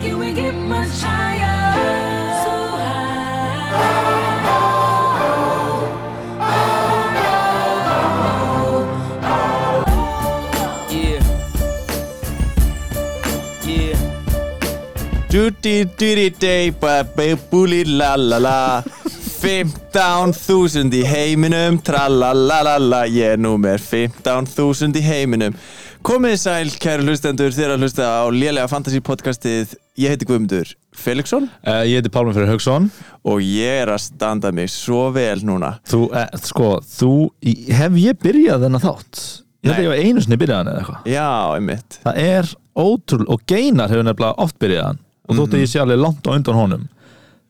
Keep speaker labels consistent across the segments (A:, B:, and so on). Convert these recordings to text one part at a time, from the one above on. A: Can we get much higher? So high.
B: Yeah. Yeah.
C: Duty duty day baby bully la la la 15.000 í heiminum tralalalala ég er númer 15.000 í heiminum komið þið sæl kæru hlustendur þeirra hlusta á lélega fantasy podcastið ég heiti Guðmundur Felixson
D: Uh, ég heiti Pálmur Fyrir Haugsson
C: og ég er að standa mig svo vel núna
D: Þú, uh, sko, þú í- Hef ég byrjað þennan þátt? Ég held að
C: Nei.
D: ég var einu sinni byrjað hann eða eitthvað
C: já, einmitt
D: Það er ótrúl og Geinar hefur nefnilega oft byrjað hann og þótt
C: Mhm.
D: að ég sé alveg langt á undan honum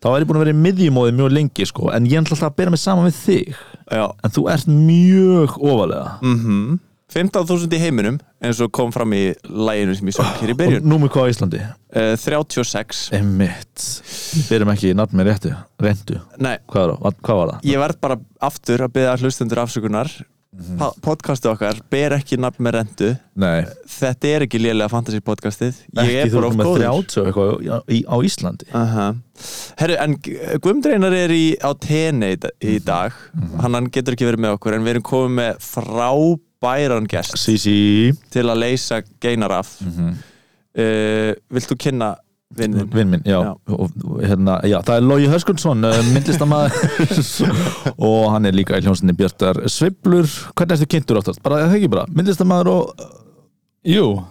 D: þá er ég búin að vera í miðjumóði mjög lengi sko, en ég ætla alltaf að byrja mig saman við þig
C: já.
D: en þú ert mjög ofalega
C: Mm. 15.000 í heiminum eins og kom fram í læginu sem ég söng hér í
D: og
C: byrjun
D: nú með hvað á Íslandi?
C: uh, 36
D: Emmitt, byrjum ekki í nafn með réttu reyndu,
C: nei,
D: hvað, er, það? hvað var það?
C: ég verð bara aftur að byrja hlustendur afsökunar
D: Mhm.
C: mm podcastið okkar ber ekki nafn með rendu
D: Nei,
C: þetta er ekki lélega fantasy podcastið ég
D: ekki
C: er
D: þú
C: bara
D: ert
C: of
D: með
C: góður
D: 30 og eitthvað á- í- á Íslandi
C: uh Herru, en Guðmdreinar er í, á TN í, da- í
D: Mhm.
C: dag hann, hann getur ekki verið með okkur en við erum komið með frábæran gest
D: Sisi,
C: til að leysa geinar af uh, vilt þú kynna vinnin?
D: vinn Mhm. minn, já,
C: Já.
D: Og, og, hérna, já það er Lógi Höskundsson myndlistamæður og hann er líka í hljómsinni Bjartar Sveiflur hvernig ertu kynntur áttast, bara það ekki bara myndlistamæður og,
E: Jú,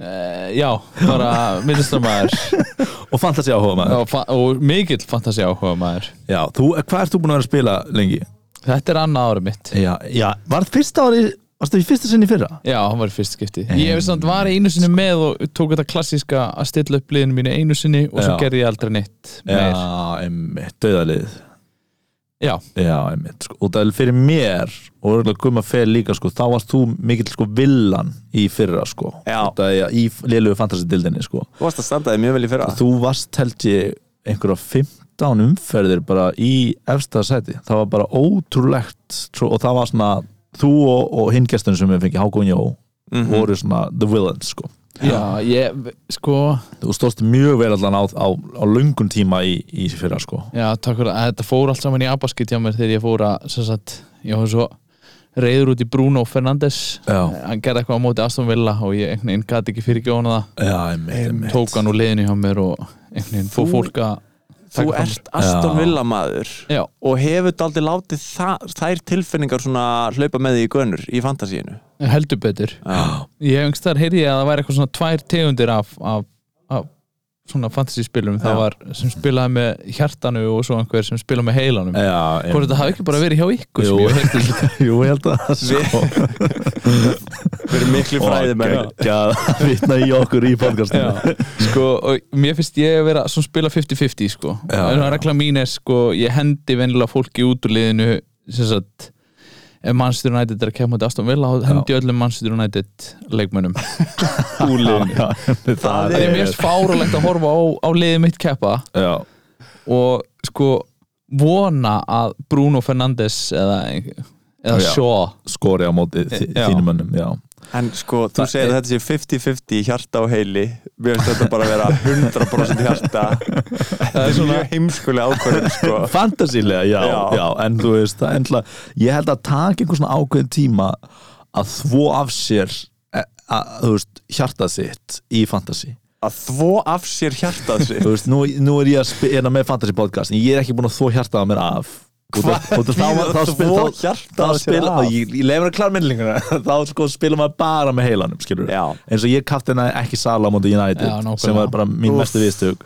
E: uh, já, bara myndlistamæður
D: og fantasi áhuga maður
E: og, fa- og mikill fantasi áhuga maður
D: já, þú, hvað ert þú búin að vera að spila lengi?
E: Þetta er annað árið mitt
D: já, já, var það fyrsta ári varstu í fyrsta sinni í fyrra?
E: Já, hann var í fyrst skipti
D: Eh.
E: Ég hef samt var einu sinni með og tók þetta klassíska að stilla upp liðinu mínu einu sinni og svo
D: Já.
E: gerði ég aldrei neitt meir.
D: já, einmitt, döðalið
E: Já,
D: já, einmitt, sko, og það er fyrir mér og örgulega gumma fel líka, sko, þá varst þú mikill, sko, villan í fyrra, sko
C: Já.
D: Þetta er- í lélugu fantasidildinni, sko
C: Þú varst að standa þig mjög vel í fyrra
D: þú varst held ég einhverja 15 umferðir bara í efsta sæti, það var bara ótrúlegt svo- og það var svona þú og, og hinn gesturinn sem við fengið, Hákon Jó voru svona the villains sko
E: já, ég, sko
D: þú stóðst mjög vel allan á, á, á löngun tíma í, í fyrra sko
E: Já, takk fyrir að þetta fór allt saman í abaskit hjá mér þegar ég fór að, sem sagt, ég var svo reyður út í Bruno Fernandes
D: Já.
E: Hann gerði eitthvað á móti Aston Villa og ég einhvern veginn gæti ekki fyrir það
D: já, einmitt,
E: tók hann úr liðinu hjá mér og einhvern veginn fór fólk að
C: þú
E: taka fram.
C: ert Aston
D: Já.
C: Villa maður
E: Já.
C: og hefur daldi látið þa þær tilfinningar svona hlaupa með því í gönur í fantasíinu
E: heldur betur
C: Já.
E: ég hengst þar heyrði ég að það væri eitthvað svona tvær tegundir af, af, af svona fantasy spilum, það
C: Já.
E: var sem spilaði með hjartanu og svo einhver sem spilaði með heilanum
D: já,
E: hvort þetta hafi ekki bara verið hjá ykkur sem
D: Jú.
E: ég heyrði líka.
D: Jú, ég held að sko
C: við erum miklu fræðið með
D: Já, vitna í okkur í podcastinu
E: sko, og mér finnst ég að vera svona spila 50-50 sko,
D: Já,
E: en
D: já.
E: regla mín er sko ég hendi venjulega fólki út úr liðinu sem sagt ef Manchester United er að kemja út Aston Villa þá hendi ég öllum Manchester United leikmönnum
D: Úlin Það,
C: Það
E: það er mjög fárulegt að horfa á, á liðið mitt keppa
D: Já,
E: og sko vona að Bruno Fernandes eða, eða
D: Já.
E: Shaw
D: skori á móti þi-
E: Já.
D: þínum mönnum Já,
C: en sko, þú segir að þetta sé 50-50 hjarta og heili mér finnst þetta bara að vera 100% hjarta þetta er mjög heimskulega ákvörðum sko.
D: Fantasílega, já,
C: Já.
D: já. en þú veist, það er endla, ég held að taka einhver svona ákveðin tíma að þvo af sér eh, að, þú veist, hjartað sitt í fantasy
C: að þvo af sér hjartað sig
D: þú veist, nú, nú er ég að spila með fantasy podcast en ég er ekki búin að þvo hjartað á mér af Út af-
C: Hvað
D: út af- þá-
C: þýðir
D: þá
C: að
D: spil-
C: þvo
D: þá-
C: hjartað
D: þá
C: á sér
D: spila-
C: af?
D: ég, ég lefur að klara myndlinguna þá sko spila maður bara með heilanum skilur
C: Já.
D: eins og ég kapteina ekki Sala á móti United
E: Já, nákvæmlega.
D: sem var bara mín
C: Úff.
D: mestu viðstök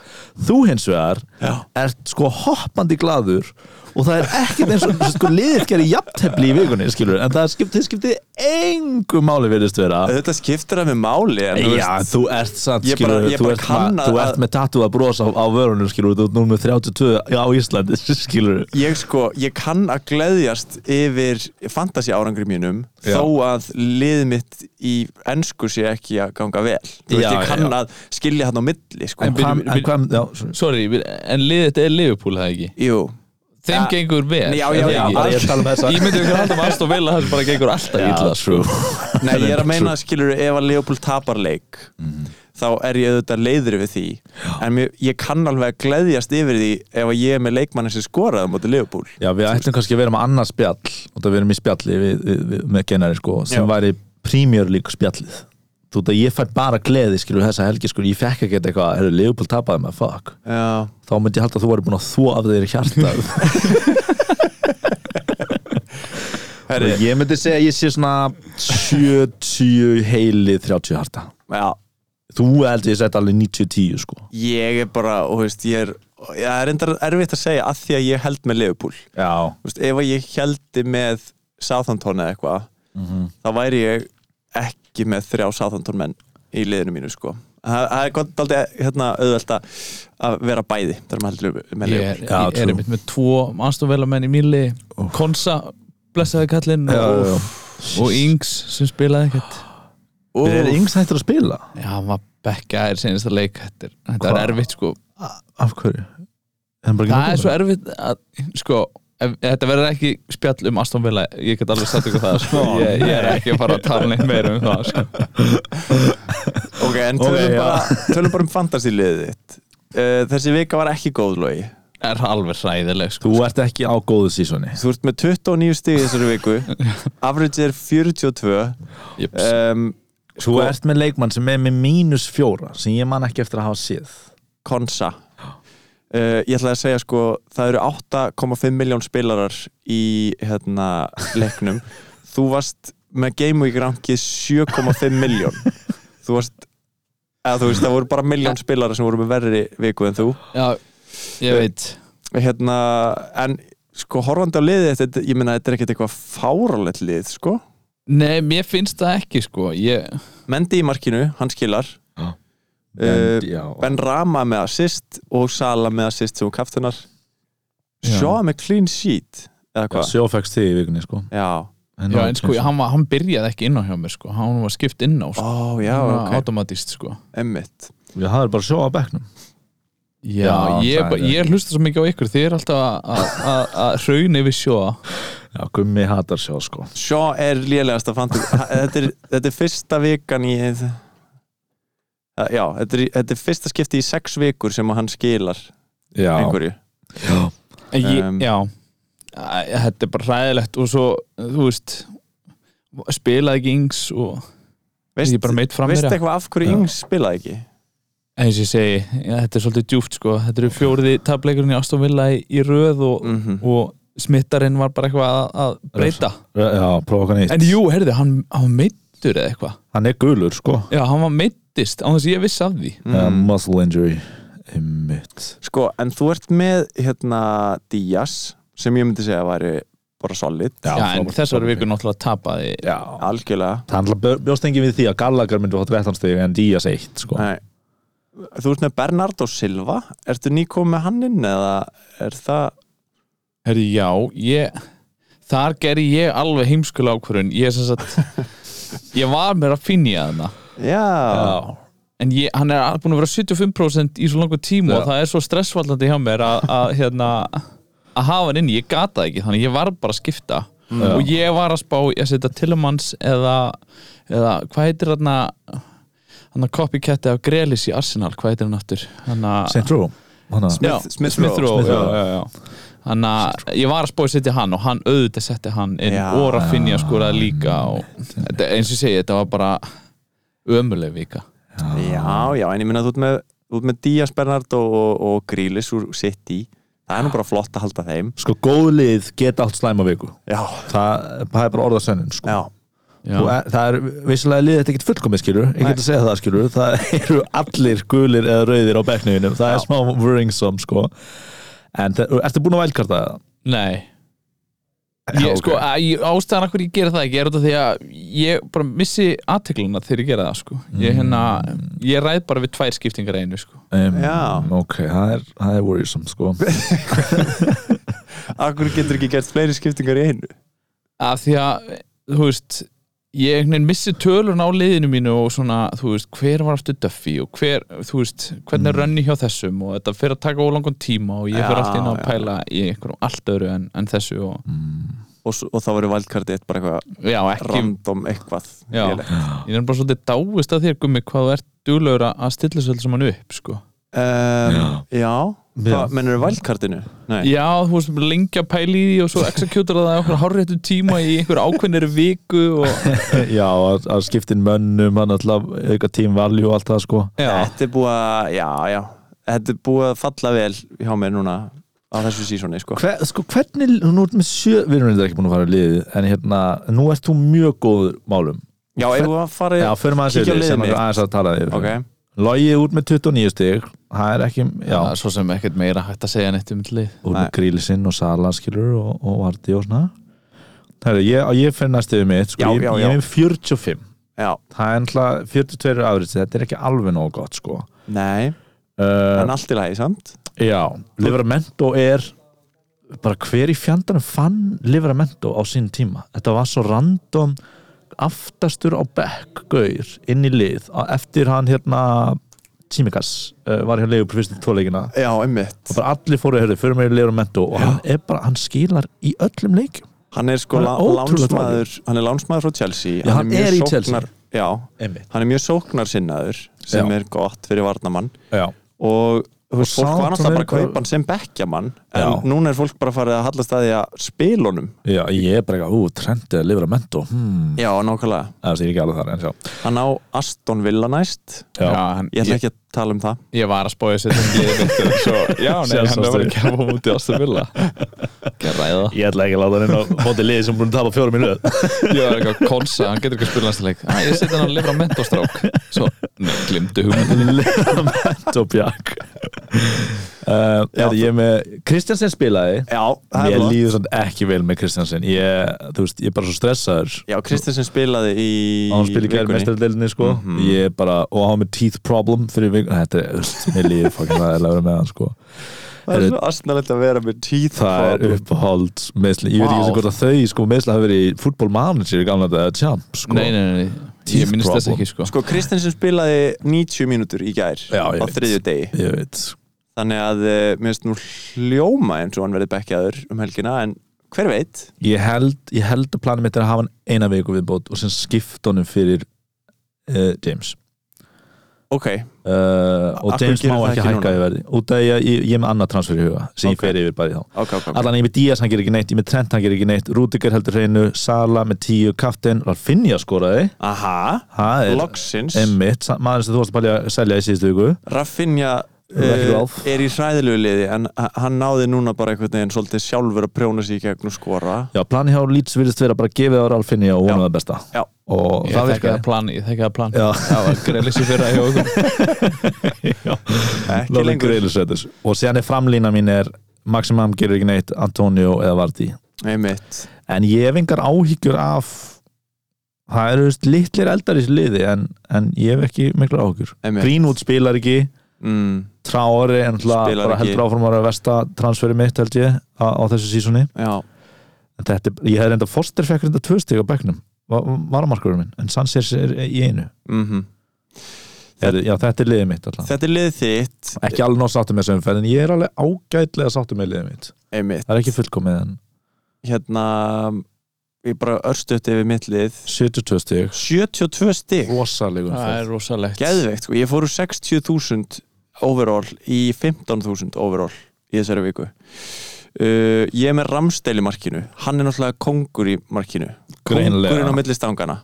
D: þú hins vegar
C: Já.
D: ert sko hoppandi glaður og það er ekkert eins og sko liðið gerir jafntefli í vikunni skilur en það skipti, skipti engu máli verðist vera
C: þetta skiptir að með máli en, þú
D: Já,
C: veist,
D: þú ert samt,
C: Ég
D: skilur,
C: bara- ég
D: þú,
C: bara
D: ert
C: kann
D: ma-
C: að-
D: þú ert með tattoo að brosa á, á vörunum, skilur, þú ert númer 32 á Íslandi, skilur
C: ég sko, ég kann að gleðjast yfir fantasi árangri mínum
D: Já.
C: þó að lið mitt í ennsku sé ekki að ganga vel þú veist,
D: Já,
C: ég kann
D: já.
C: að skilja hann á milli sko.
D: En hvað,
E: byrju,
D: en hvað, já, sorry.
E: sorry, við- en liðið þetta er Liverpool það ekki
C: jú,
E: þeim
C: Ja.
E: gengur vel
C: Já,
E: er
C: já,
E: það
C: já,
E: ekki?
D: bara ég er að tala um þessa
E: ég myndi ekki alltaf aðstof vel að það sem bara gengur alltaf
D: Já,
E: illa sko.
D: true Mhm.
C: nei, ég er að meina skilur ef að Leopold tapar leik þá er ég auðvitað leiður við því en mér, ég kann alveg að gleðjast yfir því ef að ég er með leikmann sem skoraði á móti Leopold
D: Já, við ætlum kannski að vera með annað spjall og það við erum í spjalli við, við, við, með genari sko, sem
C: Já.
D: væri Premier League spjallið þú veit að ég fær bara gleði skilur þessa helgi skilur, ég fekk ekki eitthvað hefur Leopold tapaði maður, fuck
C: Já,
D: þá myndi ég halda að þú væri búin að þvo af þeir hjarta
C: herri,
D: Sko, ég myndi segja að ég sé svona 70 heili 30 harta
C: já
D: þú heldur ég sett alveg 90-10 sko
C: ég er bara, og veist, ég er það er endar erfitt að segja að því að ég held með Leopold
D: já,
C: Þú veist, ef að ég heldi með Southampton eða eitthvað þá væri ég ekki með þrjá Southampton menn í liðinu mínu sko það það er gott aldrei hérna, auðvelt að- að vera bæði þar maður heldur með
E: ég
C: Leopold
E: er,
D: Já,
E: ég er
D: trú.
E: einmitt með tvo aðstofvelamenn í míli Konsa, blessaði kallinn
D: já, já.
E: og, og Ings sem spilaði ekkert
C: og
D: er yngst hættur að spila
E: Já, hann var bekkaðir senast að leik Þetta er, þetta er
D: Hva?
E: erfitt sko
D: af hverju? Er hann bara ekki
E: Það er
D: með
E: svo
D: góðu?
E: erfitt að, sko ef, Þetta verður ekki spjall um Aston Villa Ég get alveg satt ykkur það sko. ég, ég er ekki að fara að tala neitt meira um það sko.
C: ok, en tölum,
D: Ok, já.
C: bara, tölum bara um fantasy liðið þitt Uh, þessi vika var ekki góð logi
E: Er alveg hræðileg sko.
D: þú ert ekki á góðu sísoni
C: þú ert með 29 stig þessari viku average er 42
E: Jeps.
C: um,
D: Þú ert með leikmann sem er með mínus fjóra sem ég man ekki eftir að hafa séð
C: Konsa uh, ég ætlaði að segja sko það eru 8,5 miljón spilarar í hérna leiknum þú varst með Game Week rankið 7,5 miljón þú varst eða þú veist það voru bara miljón spilarar sem voru með verri viku en þú
E: Já, ég veit
C: hérna en sko horfandi á liðið þetta ég meina þetta er ekkert eitthvað fáralett lið sko
E: Nei, mér finnst það ekki sko ég,
C: Mendi í markinu, hann skilar
D: Já.
C: Eh,
D: já,
C: Ben Rama með assist og Sala með assist sem kaftunar
E: Já.
C: Sjá með clean sheet eða hvað?
D: Sjó fækst þig í vikunni sko
C: Já,
E: Já, en sko, hann, var, hann byrjaði ekki inn á hjá mér sko Hann var skipt inn á sko
C: ó já,
E: Hann var
C: ok,
E: Automatist sko
C: emmitt
D: Ég hafði bara sjó á bekknum
E: Já,
D: Já,
E: ég,
D: það er-
E: bara- ég hlusta svo mikið á ykkur Þið er alltaf að- að- að að hrauna yfir sjóa
D: Já, gummi hatar sjó sko
C: Sjá er lélegasta fantasy þetta, er, þetta er fyrsta vikan í Já, þetta er, þetta er fyrsta skipti í sex vikur sem að hann skilar
D: Já,
C: einhverju
D: já.
E: En ég,
C: Um,
E: já Æ, þetta er bara hræðilegt og svo, þú veist spilaði ekki yngs og
C: Veist,
E: ég er bara meitt fram
C: veistu
E: meira
C: eitthvað af hverju
D: Já.
C: Ings spilaði ekki?
E: eins og ég segi, já, þetta er svolítið djúft sko þetta eru fjóriði tableikurinn í Aston Villa í, í röð og,
C: Mhm.
E: og smittarinn var bara eitthvað að, að breyta
D: já prófa okkar neitt
E: en jú, heyrðu, hann, hann var meittur eða eitthvað
D: Hann er gulur sko
E: já, hann var meittist, án þess að ég vissi af því
D: mm. Muscle injury Einmitt
C: Sko, en þú ert með hérna Díaz sem ég myndi segja að væri bara solid
E: já, en
D: frábært,
E: þessari
D: frábært.
E: viku náttúrulega tapaði
D: Já
C: algjörlega
D: Það handla bjóst engin við því að Gallagher myndi fá 13 stig en Díaz 1
E: Eh,
D: sko
C: Nei. Þú ert með Bernardo Silva Ertu nýkom með hann inn eða er það
E: Herri, já, ég þar gerði ég alveg heimskul ákvörun ég sem sagt ég var mér að finja þarna
C: Já,
D: Já,
E: en ég, hann er búin að vera 75% í svo langu tíma og það er svo stressvallandi hjá mér að, að hérna að hafa hann inn, ég gata ekki þannig ég var bara að skipta og ég var að spá í að setja Tillemans eða, eða hvað heitir hann hann að copycatið af Grelis í Arsenal, hvað heitir hann aftur hann að
D: Saint Row Hann að
E: Já,
C: Smith- Smith Rowe.
E: Rowe,
C: Smith
E: já,
C: Rowe.
E: já, já. Þannig að ég var að spá að setja hann og hann auðvitað setti hann inn
C: Já.
E: og Rafinha skoraði líka og þetta, eins og ég segi, þetta var bara ömuleg vika
C: já, já en ég minna þú ert með, þú ert með Díaz Bernardo og, og Grílis úr City Það er nú bara flott að halda þeim
D: Sko góð lið geta átt slæma viku
C: Já,
D: Það, það er bara orðasönnin sko
C: já,
E: Já.
D: og er, það er vissulega liðið þetta ekkert fullkomið skilur ég get að segja það skilur, það eru allir gulir eða rauðir á bekkniðinum það er
C: Já.
D: smá worringsome sko en það, ertu búin að vælkarta það?
E: Nei ég, sko, að, ég, ástæðan af hverju ég gera það ekki er út af því að ég bara missi aðtegluna þegar ég gera það sko.
C: Mm.
E: ég, hérna, ég ræð bara við tvær skiptingar einu sko.
D: um,
C: Já.
D: ok, það er, það er worrisome sko
C: akkur getur ekki gert fleiri skiptingar í einu
E: af því að þú veist ég einhvern veginn missi tölun á liðinu mínu og svona, þú veist, hver var aftur Duffy og hver, þú veist,
C: Mm.
E: hvernig er rönni hjá þessum og þetta fyrir að taka ólangan tíma og ég
C: Já, Mm.
E: fyrir allt inn
C: já.
E: að pæla í einhverjum allt öðru en, en þessu og,
C: og, s- og þá verður valdkartið eitt bara eitthvað
E: já, ekki
C: random eitthvað
E: já.
C: lélegt.
E: ég er bara svolítið dáist að þér gummi hvað þú ert duglegur að- að stilla svolítið saman upp sko.
C: um, Já,
D: Já.
C: hvað mennur valdkartinu? Nei,
E: já, þú veist bara lengi að pæla í því og svo executor það á einhver hárréttu tíma í einhver ákveðnir viku og,
D: já, að, að skiptin mönnum hann alltaf auka team value og allt það sko
E: já,
C: þetta er búið að já, já, þetta er búið að falla vel hjá mér núna á þessu sísoni sko.
D: Hver, sko, hvernig, nú erum við sjö við erum eitthvað ekki búin að fara í liðið en hérna, nú ert þú mjög góður málum
C: Já, eigum við að fara
D: já, förum aðeins
C: Kíkja á
D: yfir
C: liðið
D: sem
C: mitt.
D: okkur aðeins að tala yfir
C: okay.
D: Logið út með 29 stig það er ekki, já,
E: Já, svo sem ekkert meira hægt að segja neitt um þetta lið
D: út með grílsinn og salanskilur og, og varti og svona Herru, ég, ég fyrir næst yfir mitt sko,
C: Já,
D: ég,
C: já,
D: ég
C: já.
D: er með 45
C: Já,
D: það er ennlega 42 afrið þetta er ekki alveg nóg gott sko
C: nei,
D: uh,
C: en allt í lagi samt
D: já, Livramento er bara hver í fjandanum fann Livramento á sín tíma þetta var svo random aftastur á bekk, gaur, inn í lið á- eftir hann hérna Tímikas uh, var hér leiður fyrstu tóleikina
C: Já, einmitt
D: og bara allir fóru að höfðu, fyrir mig í Livramento og hann er bara, hann skilar í öllum leikjum
C: Hann er sko
D: Hann er
C: lá-
D: ótrúlega
C: lánsmaður Hann er lánsmaður frá Chelsea
D: Já, hann er í
C: mjög
D: Chelsea.
C: sóknar- Já,
D: einmitt,
C: hann er mjög sóknarsinnaður sem
D: Já.
C: er gott fyrir varnamann
D: já
C: og þú veist, fólk var
D: Southampton
C: náttúrulega bara að
D: er bara-
C: kaupa hann sem bekkjamann en
D: Já.
C: núna er fólk bara farið að hallast að því að spila honum
D: Já, ég er bara eitthvað, ú, trendið að Livramento hmm.
C: Já, nákvæmlega.
D: það sé ekki alveg þar en sjá
C: Hann á Aston Villa næst
D: Já.
E: hann,
C: Ég
E: ég,
C: ætla
E: ég,
C: ekki að tala um það
E: var að spója sér um liðið mitt og svo, Já, nei, hann
D: Sjálfsafstöðu.
E: var ekki að fá út í Aston Villa Ekki að ræða
D: Ég ætla ekki að láta hann inn á móti liði sem búin að tapa fjórum minu
E: Ég var eitthvað að konsa, hann getur ekki að spila næstileik Æ, ég setja hann að lifra mentostrák Svo, nei, glimtu hugmyndinni
D: Livramento Bjark uh,
C: Já,
D: er Ég er með Kristjansen spilaði
C: Já, það er
D: Mér
C: það
D: líður svona ekki vel með Kristjansen ég, þú veist, ég er bara svo stressaður
C: Já, Kristinsen spilaði í
D: og hann spilaði gæri
C: vikunni.
D: mestardeldinni sko. ég er bara, og hann var með teeth problem fyrir vikun, þetta er, þú veist, mér líður fucking það er að vera með hann sko.
C: Það er svo astnalegt að vera með tíð
D: það er uppáhald meðsli, ég veit ekki
E: Vá.
D: eins og hvort að þau sko, meðsli hafi verið í fútból manager í gamla þetta champ sko.
E: Nei, nei, nei, nei, ég minnst þess ekki sko.
C: Sko, Kristinsen spilaði 90 mínútur í gær
D: Já, ég
C: á
D: veit.
C: þriðju degi
D: ég veit
C: Þannig að eh, mér finnst nú hljóma eins og hann verið bekkjaður um helgina en hver veit?
D: ég held, ég held að planið mitt er að hafa hann eina viku viðbót og sem skipta honum fyrir uh, James
C: Ok,
D: uh, og
C: Af hverju
D: James
C: gerir
D: má
C: það
D: ekki
C: ekki
D: hækka
C: núna?
D: í verði út af ég, ég, ég er með annað transfer í huga sem
C: Ok.
D: ég fer yfir bara í þá
C: ok, ok, ok.
D: allan ég með Díaz hann gerir ekki neitt, ég með Trent hann gerir ekki neitt Rúdiger heldur hreinu, Sala með tíu Kaftin, Ralfinja skoraði
C: Aha,
D: það er
C: loksins
D: emmitt, maður sem þú varst að palja að selja í síðustu viku
C: Raffinja
D: Ekki
C: uh,
D: Ralf.
C: er í hræðilegu liði en h- hann náði núna bara einhvern veginn svolítið sjálfur að prjóna sig í gegn og skora
D: já, plani hjá Leeds virðist vera bara að gefa á Ralfinja og vona það besta
C: Já.
D: og
E: Ég
D: það
E: þekki
D: virkaði
E: það plan, ég þekki það plan
D: Já.
E: Það var greiðlis í fyrra hjá okkur
C: ekki
D: Lóðin
C: lengur
D: Grealisætis. og síðan er framlína mín er Maximum gerir ekki neitt, Antonio eða Vardí
C: einmitt
D: en ég hef engar áhyggjur af það eru veist, litlir eldar í þessu liði en, en ég hef ekki miklar áhyggjur
C: Einmitt.
D: Greenwood spilar ekki,
C: mm,
D: Traore en hlað
C: Spilar
D: bara
C: ekki.
D: heldur áfram að vera versta transferi mitt held ég á, á þessu sísoni
C: já,
D: En þetta, er- ég hef reynda Foster fekk reynda tvö stig á bekknum varamarkurinn minn, en Sanchez er í einu
C: mhm
D: er, já, þetta er liðið mitt alltaf
C: þetta er liðið þitt
D: ekki alveg nóg sáttum með þessu umferð en ég er alveg ágætlega sáttum með liðið mitt
C: einmitt
D: það er ekki fullkomið en
C: hérna, ég bara örstuðt yfir mitt lið
D: 72 stig
C: 72 stig,
D: rosalegum
E: Það er rosalegt
C: geðveikt sko. ég fór úr 60.000 overall í 15.000 overall í þessari viku uh, ég er með Ramsteil í markinu hann er náttúrulega kongur í markinu kongurinn á milli stangana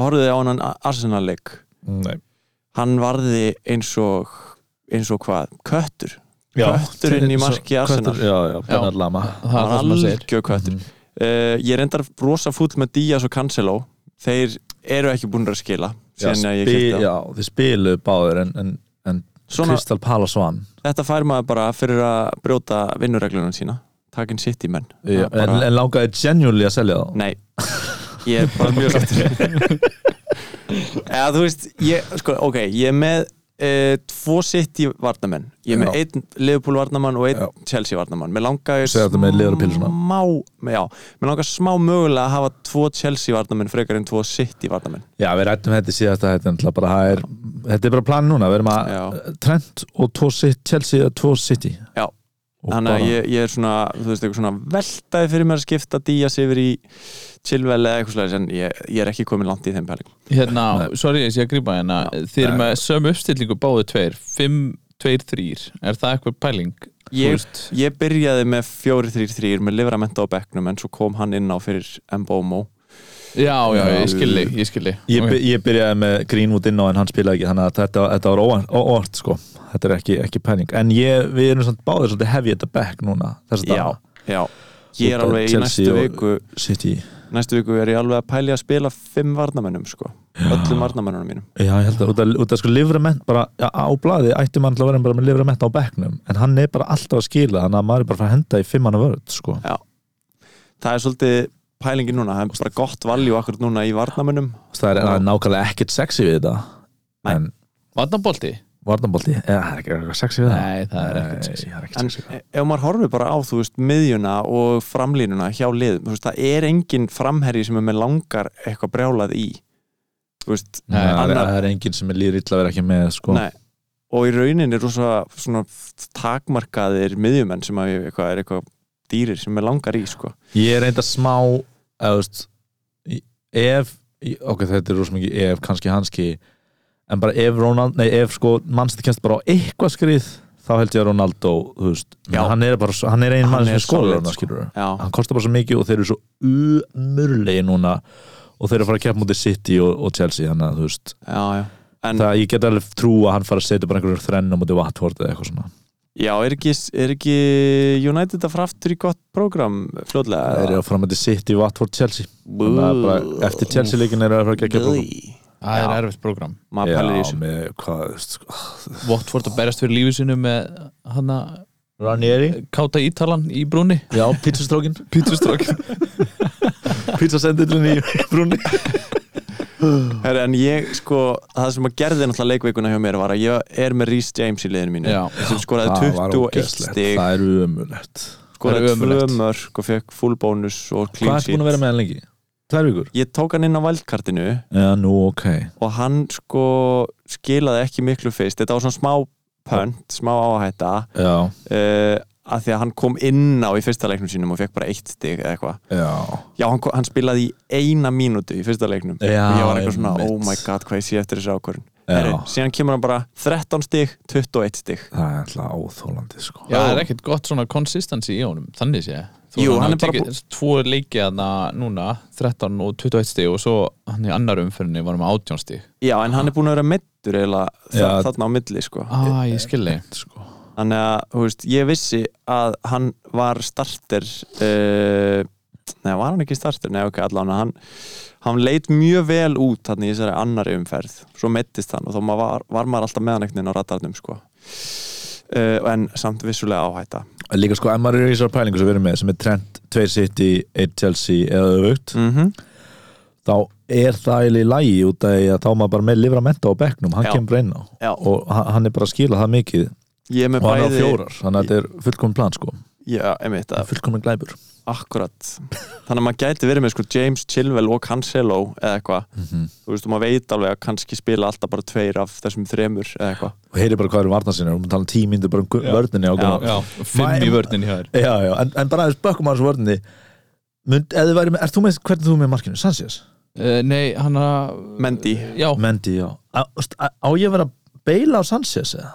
C: horfðið á hann Arsenal-leik
D: Nei.
C: hann varði eins og eins og hvað, köttur Kötturinn í marki Arsenal.
D: Köttur- já, já, Bernard Lama
E: Það er það sem maður segir Mhm.
C: algjör köttur uh, ég er reyndar rosa fúll með Díaz og Cancelo þeir eru ekki búin að skila
D: já,
C: síðan að ég
D: spi,
C: kipta
D: já, þið spiluðu báður en, en, en
C: Svona,
D: Crystal Palace vann
C: þetta fær maður bara fyrir að brjóta vinnureglunum sína takin sitt í menn Það
D: Já,
C: er bara,
D: en, en langaði genuinely að selja það
C: nei, ég er bara mjög sáttur eða þú veist ég, sko, ok, ég er með Uh, tvo sitt í varnamenn ég er með
D: Já.
C: einn Liverpool varnamann og einn
D: Já.
C: Chelsea varnamann mér langar
D: Segðu þetta með liðar og pylsuna.
C: smá já, mér langar smá mögulega að hafa tvo Chelsea varnamenn frekar en tvo City varnamenn
D: Já, við rættum þetta í síðasta þetta er náttúrulega bara, það er, þetta er bara plan núna, við erum að
C: Já.
D: Trent og tvo sitt Chelsea eða tvo City
C: Já.
D: Og
C: þannig að
D: bara-
C: ég, ég er svona, þú veist, eitthvað svona veltaði fyrir mér að skipta Días yfir í Chilwell eða eitthvað slags en ég, ég er ekki komin langt í þeim pælingum
E: Hérna, sorry ég sé að grípa hérna Þið eru með sömu uppstillingu báðu tveir 5, 2, 3, er það eitthvað pæling?
C: Ég-
E: Þú veist,
C: Ég byrjaði með 4-3-3 með livramenta á bekknum en svo kom hann inn á fyrir Mbomo
E: Já, já, ég skilji, ég skilji
D: Ég, by- ég byrjaði með Greenwood inn á en hann spilaði ekki þannig að þetta, þetta var óvart, óvart sko. þetta er ekki, ekki pæling en ég, við erum samt báðir svolítið hefjið þetta back núna þess að
C: Já, já Ég er
D: Út af
C: alveg í
D: Chelsea
C: næstu
D: og-
C: viku
D: City
C: Næstu viku er ég alveg að pæli að spila fimm varnamennum sko Öllum varnamennunum mínum
D: Já, ég held að, út að, út að sko livrament bara já, á blaði ætti mann til að vera bara með livrament á bekknum en hann er bara alltaf að skila þannig að maður er bara að fara að henda í fimmanna vörð sko.
C: Það er svolítið pælingin núna Það er bara gott valjú akkur núna í varnamennum
D: það er, það er nákvæmlega ekkert sexy við þetta
C: Nei.
D: en
E: Vatnabolti?
D: varnambolti, eða það er ekki eitthvað sexy við það
E: Nei, það er ekkert sexy.
D: Nei, það er ekkert
C: En
D: sexy við það.
C: ef maður horfir bara á, þú veist, miðjuna og framlínuna hjá lið, þú veist, það er engin framherji sem er með langar eitthvað brjálað í, þú veist,
D: Nei, það er-
C: annar-
D: það er enginn sem er líður illa að vera ekki með sko.
C: nei. Og í raunin er rosa svona takmarkaðir miðjumenn sem að ég- eitthvað er eitthvað dýrir sem er langar í, sko.
D: Ég er reynda smá eða, þú veist, í- ef í- ok, þetta er rosa mikið ef, kannski hanski en bara ef Ronald, nei ef sko mannstætti kemst bara á eitthvað skrið þá held ég að Ronaldo, þú veist
C: Já.
D: menn hann er bara, svo- hann er einn
C: Hann
D: mann sem
C: er solid,
D: skólar hann,
C: sko.
D: skilur við
C: Já,
D: hann kostar bara svo mikið og þeir eru svo umurlegi núna og þeir eru að fara að keppa mútið City og, og Chelsea þannig að þú veist,
C: já, já. En
D: það ég get alveg trú að hann fara að setja bara einhverjum þrenn á mútið Watford eða eitthvað svona
C: já, er ekki, er ekki United að fara aftur í gott prógram fljóðlega?
D: þeir eru að fara mútið City, Watford, Chelsea þannig að bara eftir Chelsea leikin eru að fara að gegja prógram
E: Það er erfitt program
C: Maður pælir í þessu.
D: með hvað sko.
E: Votford að berast fyrir lífið sinu með hana
D: Ranieri
E: káta ítalan í brúni
D: Já, pizzastrókin Pizzastrókin Pizzasendillin í brúni
C: Herra, en ég sko, það sem að gerði náttúrulega leikveikuna hjá mér var að ég er með Rhys James í liðinu mínu
E: Já.
C: sem skoraði 21 stig
D: Það er umulett
E: það
C: skoraði
E: er
C: 2
E: ömurlegt.
C: mörg og fekk full bónus og
D: Hvað
C: clean
D: ertu búin
C: sheet
D: að vera með hann lengi? Tvær vikur
C: Ég tók hann inn á valdkartinu
D: Já, nú, ok
C: og hann sko skilaði ekki miklu fyrst þetta var svona smá pönt, smá áhætta
D: Já,
C: uh, að því að hann kom inn á í fyrsta leiknum sínum og fekk bara eitt stig eða eitthvað
D: já
C: Já, hann, hann spilaði í eina mínútu í fyrsta leiknum
D: Já,
C: og ég var eitthvað svona,
D: einmitt.
C: oh my god, hvað ég sé eftir þessu ákvörðun
D: Já.
C: Herri, síðan kemur hann bara 13 stig, 21 stig
D: Það er alltaf óþólandi sko
E: Já, það er ekkert gott svona konsistansi í honum Þannig sé Þú
C: Jú,
E: veist,
C: hann er
E: hefur
C: bara
E: tekið Tvo leiki hana núna 13 og 21 stig og svo hann í annar umferðinni var hann með 18 stig
C: Já, en hann er búin að vera meittur eiginlega þa-
D: Já.
C: þarna á milli, sko
E: Ah, ég skilji
D: sko.
C: Þannig að, þú veist, ég vissi að hann var starter uh, Nei, var hann ekki starter? Nei, ok, allan hann, hann leit mjög vel út þannig í þessari annari umferð Svo meittist hann og þá maður var, var maður alltaf meðan einhvern veginn á radarnum, sko uh, En samt vissulega áhætta
D: Líka sko, ef maður er í þessar pælingu sem við erum með sem er Trent, 2 City, 1 Chelsea eða öfugt
C: mm
D: þá er það eiginlega í lægi út af því að þá er maður bara með livramenta á bekknum hann
C: Já.
D: kemur bara inn á
C: Já.
D: og hann hann er bara að skila það mikið
C: Ég er með
D: og hann á
C: bæði
D: fjórar, þannig að þetta er fullkomin plan sko
C: Já, einmitt, að,
D: fullkomin glæbur
C: akkurat Þannig að maður gæti verið með sko James Chilwell og Cancelo eða eitthvað
D: Mhm.
C: Þú veist, og maður veit alveg að kannski spila alltaf bara tveir af þessum þremur eða eitthvað
D: og heyri bara hvað eru varnar sinni, við erum að tala um tímindu bara um gu- vörninni á Gunnar.
E: Já, fimm í vörnin hjá þér
D: já, já, en, en bara aðeins bökkum aðeins vörninni Mynd, eða þú væri með, er þú með, hvernig þú með markinu, Sanchez?
E: uh, Nei, hann að
C: Mendy
E: Já,
D: Mendy, já á, þú veist, á á ég að vera að beila á Sanchez eða?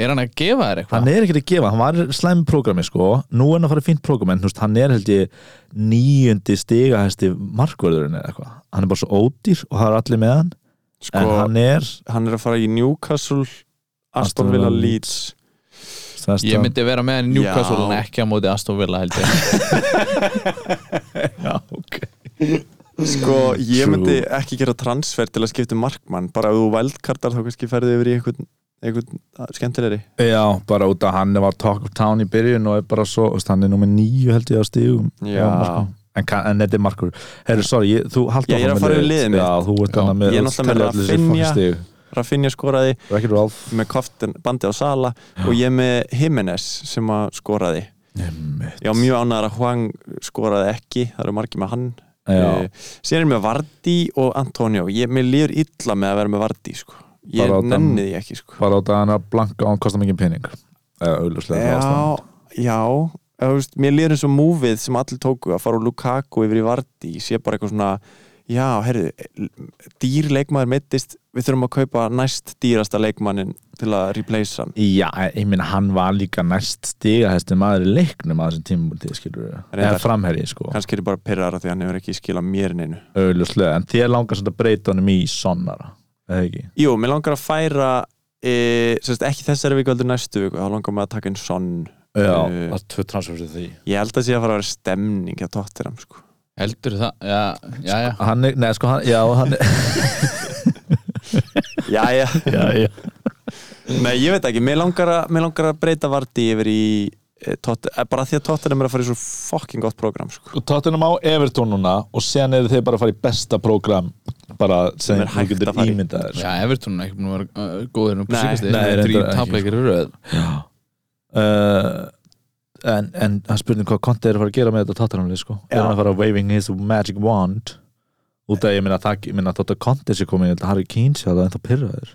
E: er hann að gefa þér
D: hann
E: eitthvað?
D: er ekkert að gefa, hann var slæm prógrami sko, nú er hann að fara í fínt prógrami en þú veist, hann er held ég níundi stigahæsti markvörðurinn eða eitthvað hann er bara svo ódýr og það er allir með hann
C: Sko,
D: en
C: hann,
D: hann er
C: er að fara í Newcastle Aston
D: Aston
C: Villa
D: Villa,
C: Leeds
D: stærsta-
E: Ég myndi vera með hann í Newcastle
C: Já.
E: en ekki á móti Aston Villa held ég
D: já, ok
C: Sko, ég
D: True.
C: myndi ekki gera transfer til að skipta um markmann bara ef þú veldkartar þá kannski ferði yfir í einhvern, einhvern að- skemmtilegri
D: Já, bara út að hann var talk of town í byrjun og er bara svo, þú veist, hann er númer nýju held ég á stígum
C: Já.
D: en, ka- en þetta er markur Herru, sorry, ég, þú haldur
C: Já, ég er að fara yfir liðið mitt.
D: Já, þú ert
E: Já.
D: hann með
C: Ég er náttúrulega með Rafinha. Rafinha skoraði
D: Rekkir Ralf
C: með koftin bandi á Sala og ég er með Jimenez sem að skoraði
D: Einmitt.
C: Ég var mjög ánægðar að Hwang skoraði ekki það eru margir með hann
D: Já,
C: Eh, Síðan er ég með Vardí og Antonio ég, Mér líður illa með að vera með Vardí sko. Ég
D: Bara á dem-
C: nenni því ekki sko.
D: bara út að hann er blanka og hann kostar mikið pening eða auðvitað
C: Já, já, eða, þú veist, mér líður eins og múfið sem allir tóku að fara úr Lukaku yfir í Vardí sé bara eitthvað svona já, herru, dýr leikmaður mittist við þurfum að kaupa næst dýrasta leikmannin til að replace hann
D: Já, ég meina hann var líka næst stigahæsti maður í leiknum að þessum tímabúti skilur við,
C: Reyndar.
D: eða framherji sko
C: kannski er ég bara pyrrara því hann hefur ekki skilað mér neinu
D: auðvitað, en þér langar svolítið að breyta honum í sonnara, eða ekki
C: Jú, mér langar að færa e, sérst, ekki þessari viku heldur næstu viku þá langar maður að taka inn sonn
D: Já,
C: Eh,
D: það er tvö transfer fyrir því
C: ég held að sé að fara að vera stemning að tóttir hann sko
E: Heldur það, já, já, já
D: Hann er, neða sko, hann, já, hann er
C: já, já.
D: já, já.
C: Nei, ég veit ekki, mér langar að, mér langar að breyta Vardí yfir í e, tóttir, bara því að tóttir er að fara í svo fucking gott program sko.
D: Og tóttunum á Everton núna og sen eru þeir bara að fara í besta prógram bara sem
C: er
D: þú
C: hægt
D: getur
C: að fara í.
D: ímyndað þér sko.
E: Já, Everton er ekki búin að vera uh, góðir nú
C: Nei,
E: på síkast
D: nei,
E: Þeir
D: reyndar
E: þrý
D: ekki, sko.
E: tapleikir eru röð
D: uh, en, en hann spurning hvað Conte er að fara að gera með þetta tátaramlið sko
C: Já.
D: er hann að fara að waving his magic wand út af ég minna það ég minna þótt að Conte sé komið ég held að Harry Kane sé að það ennþá pyrraður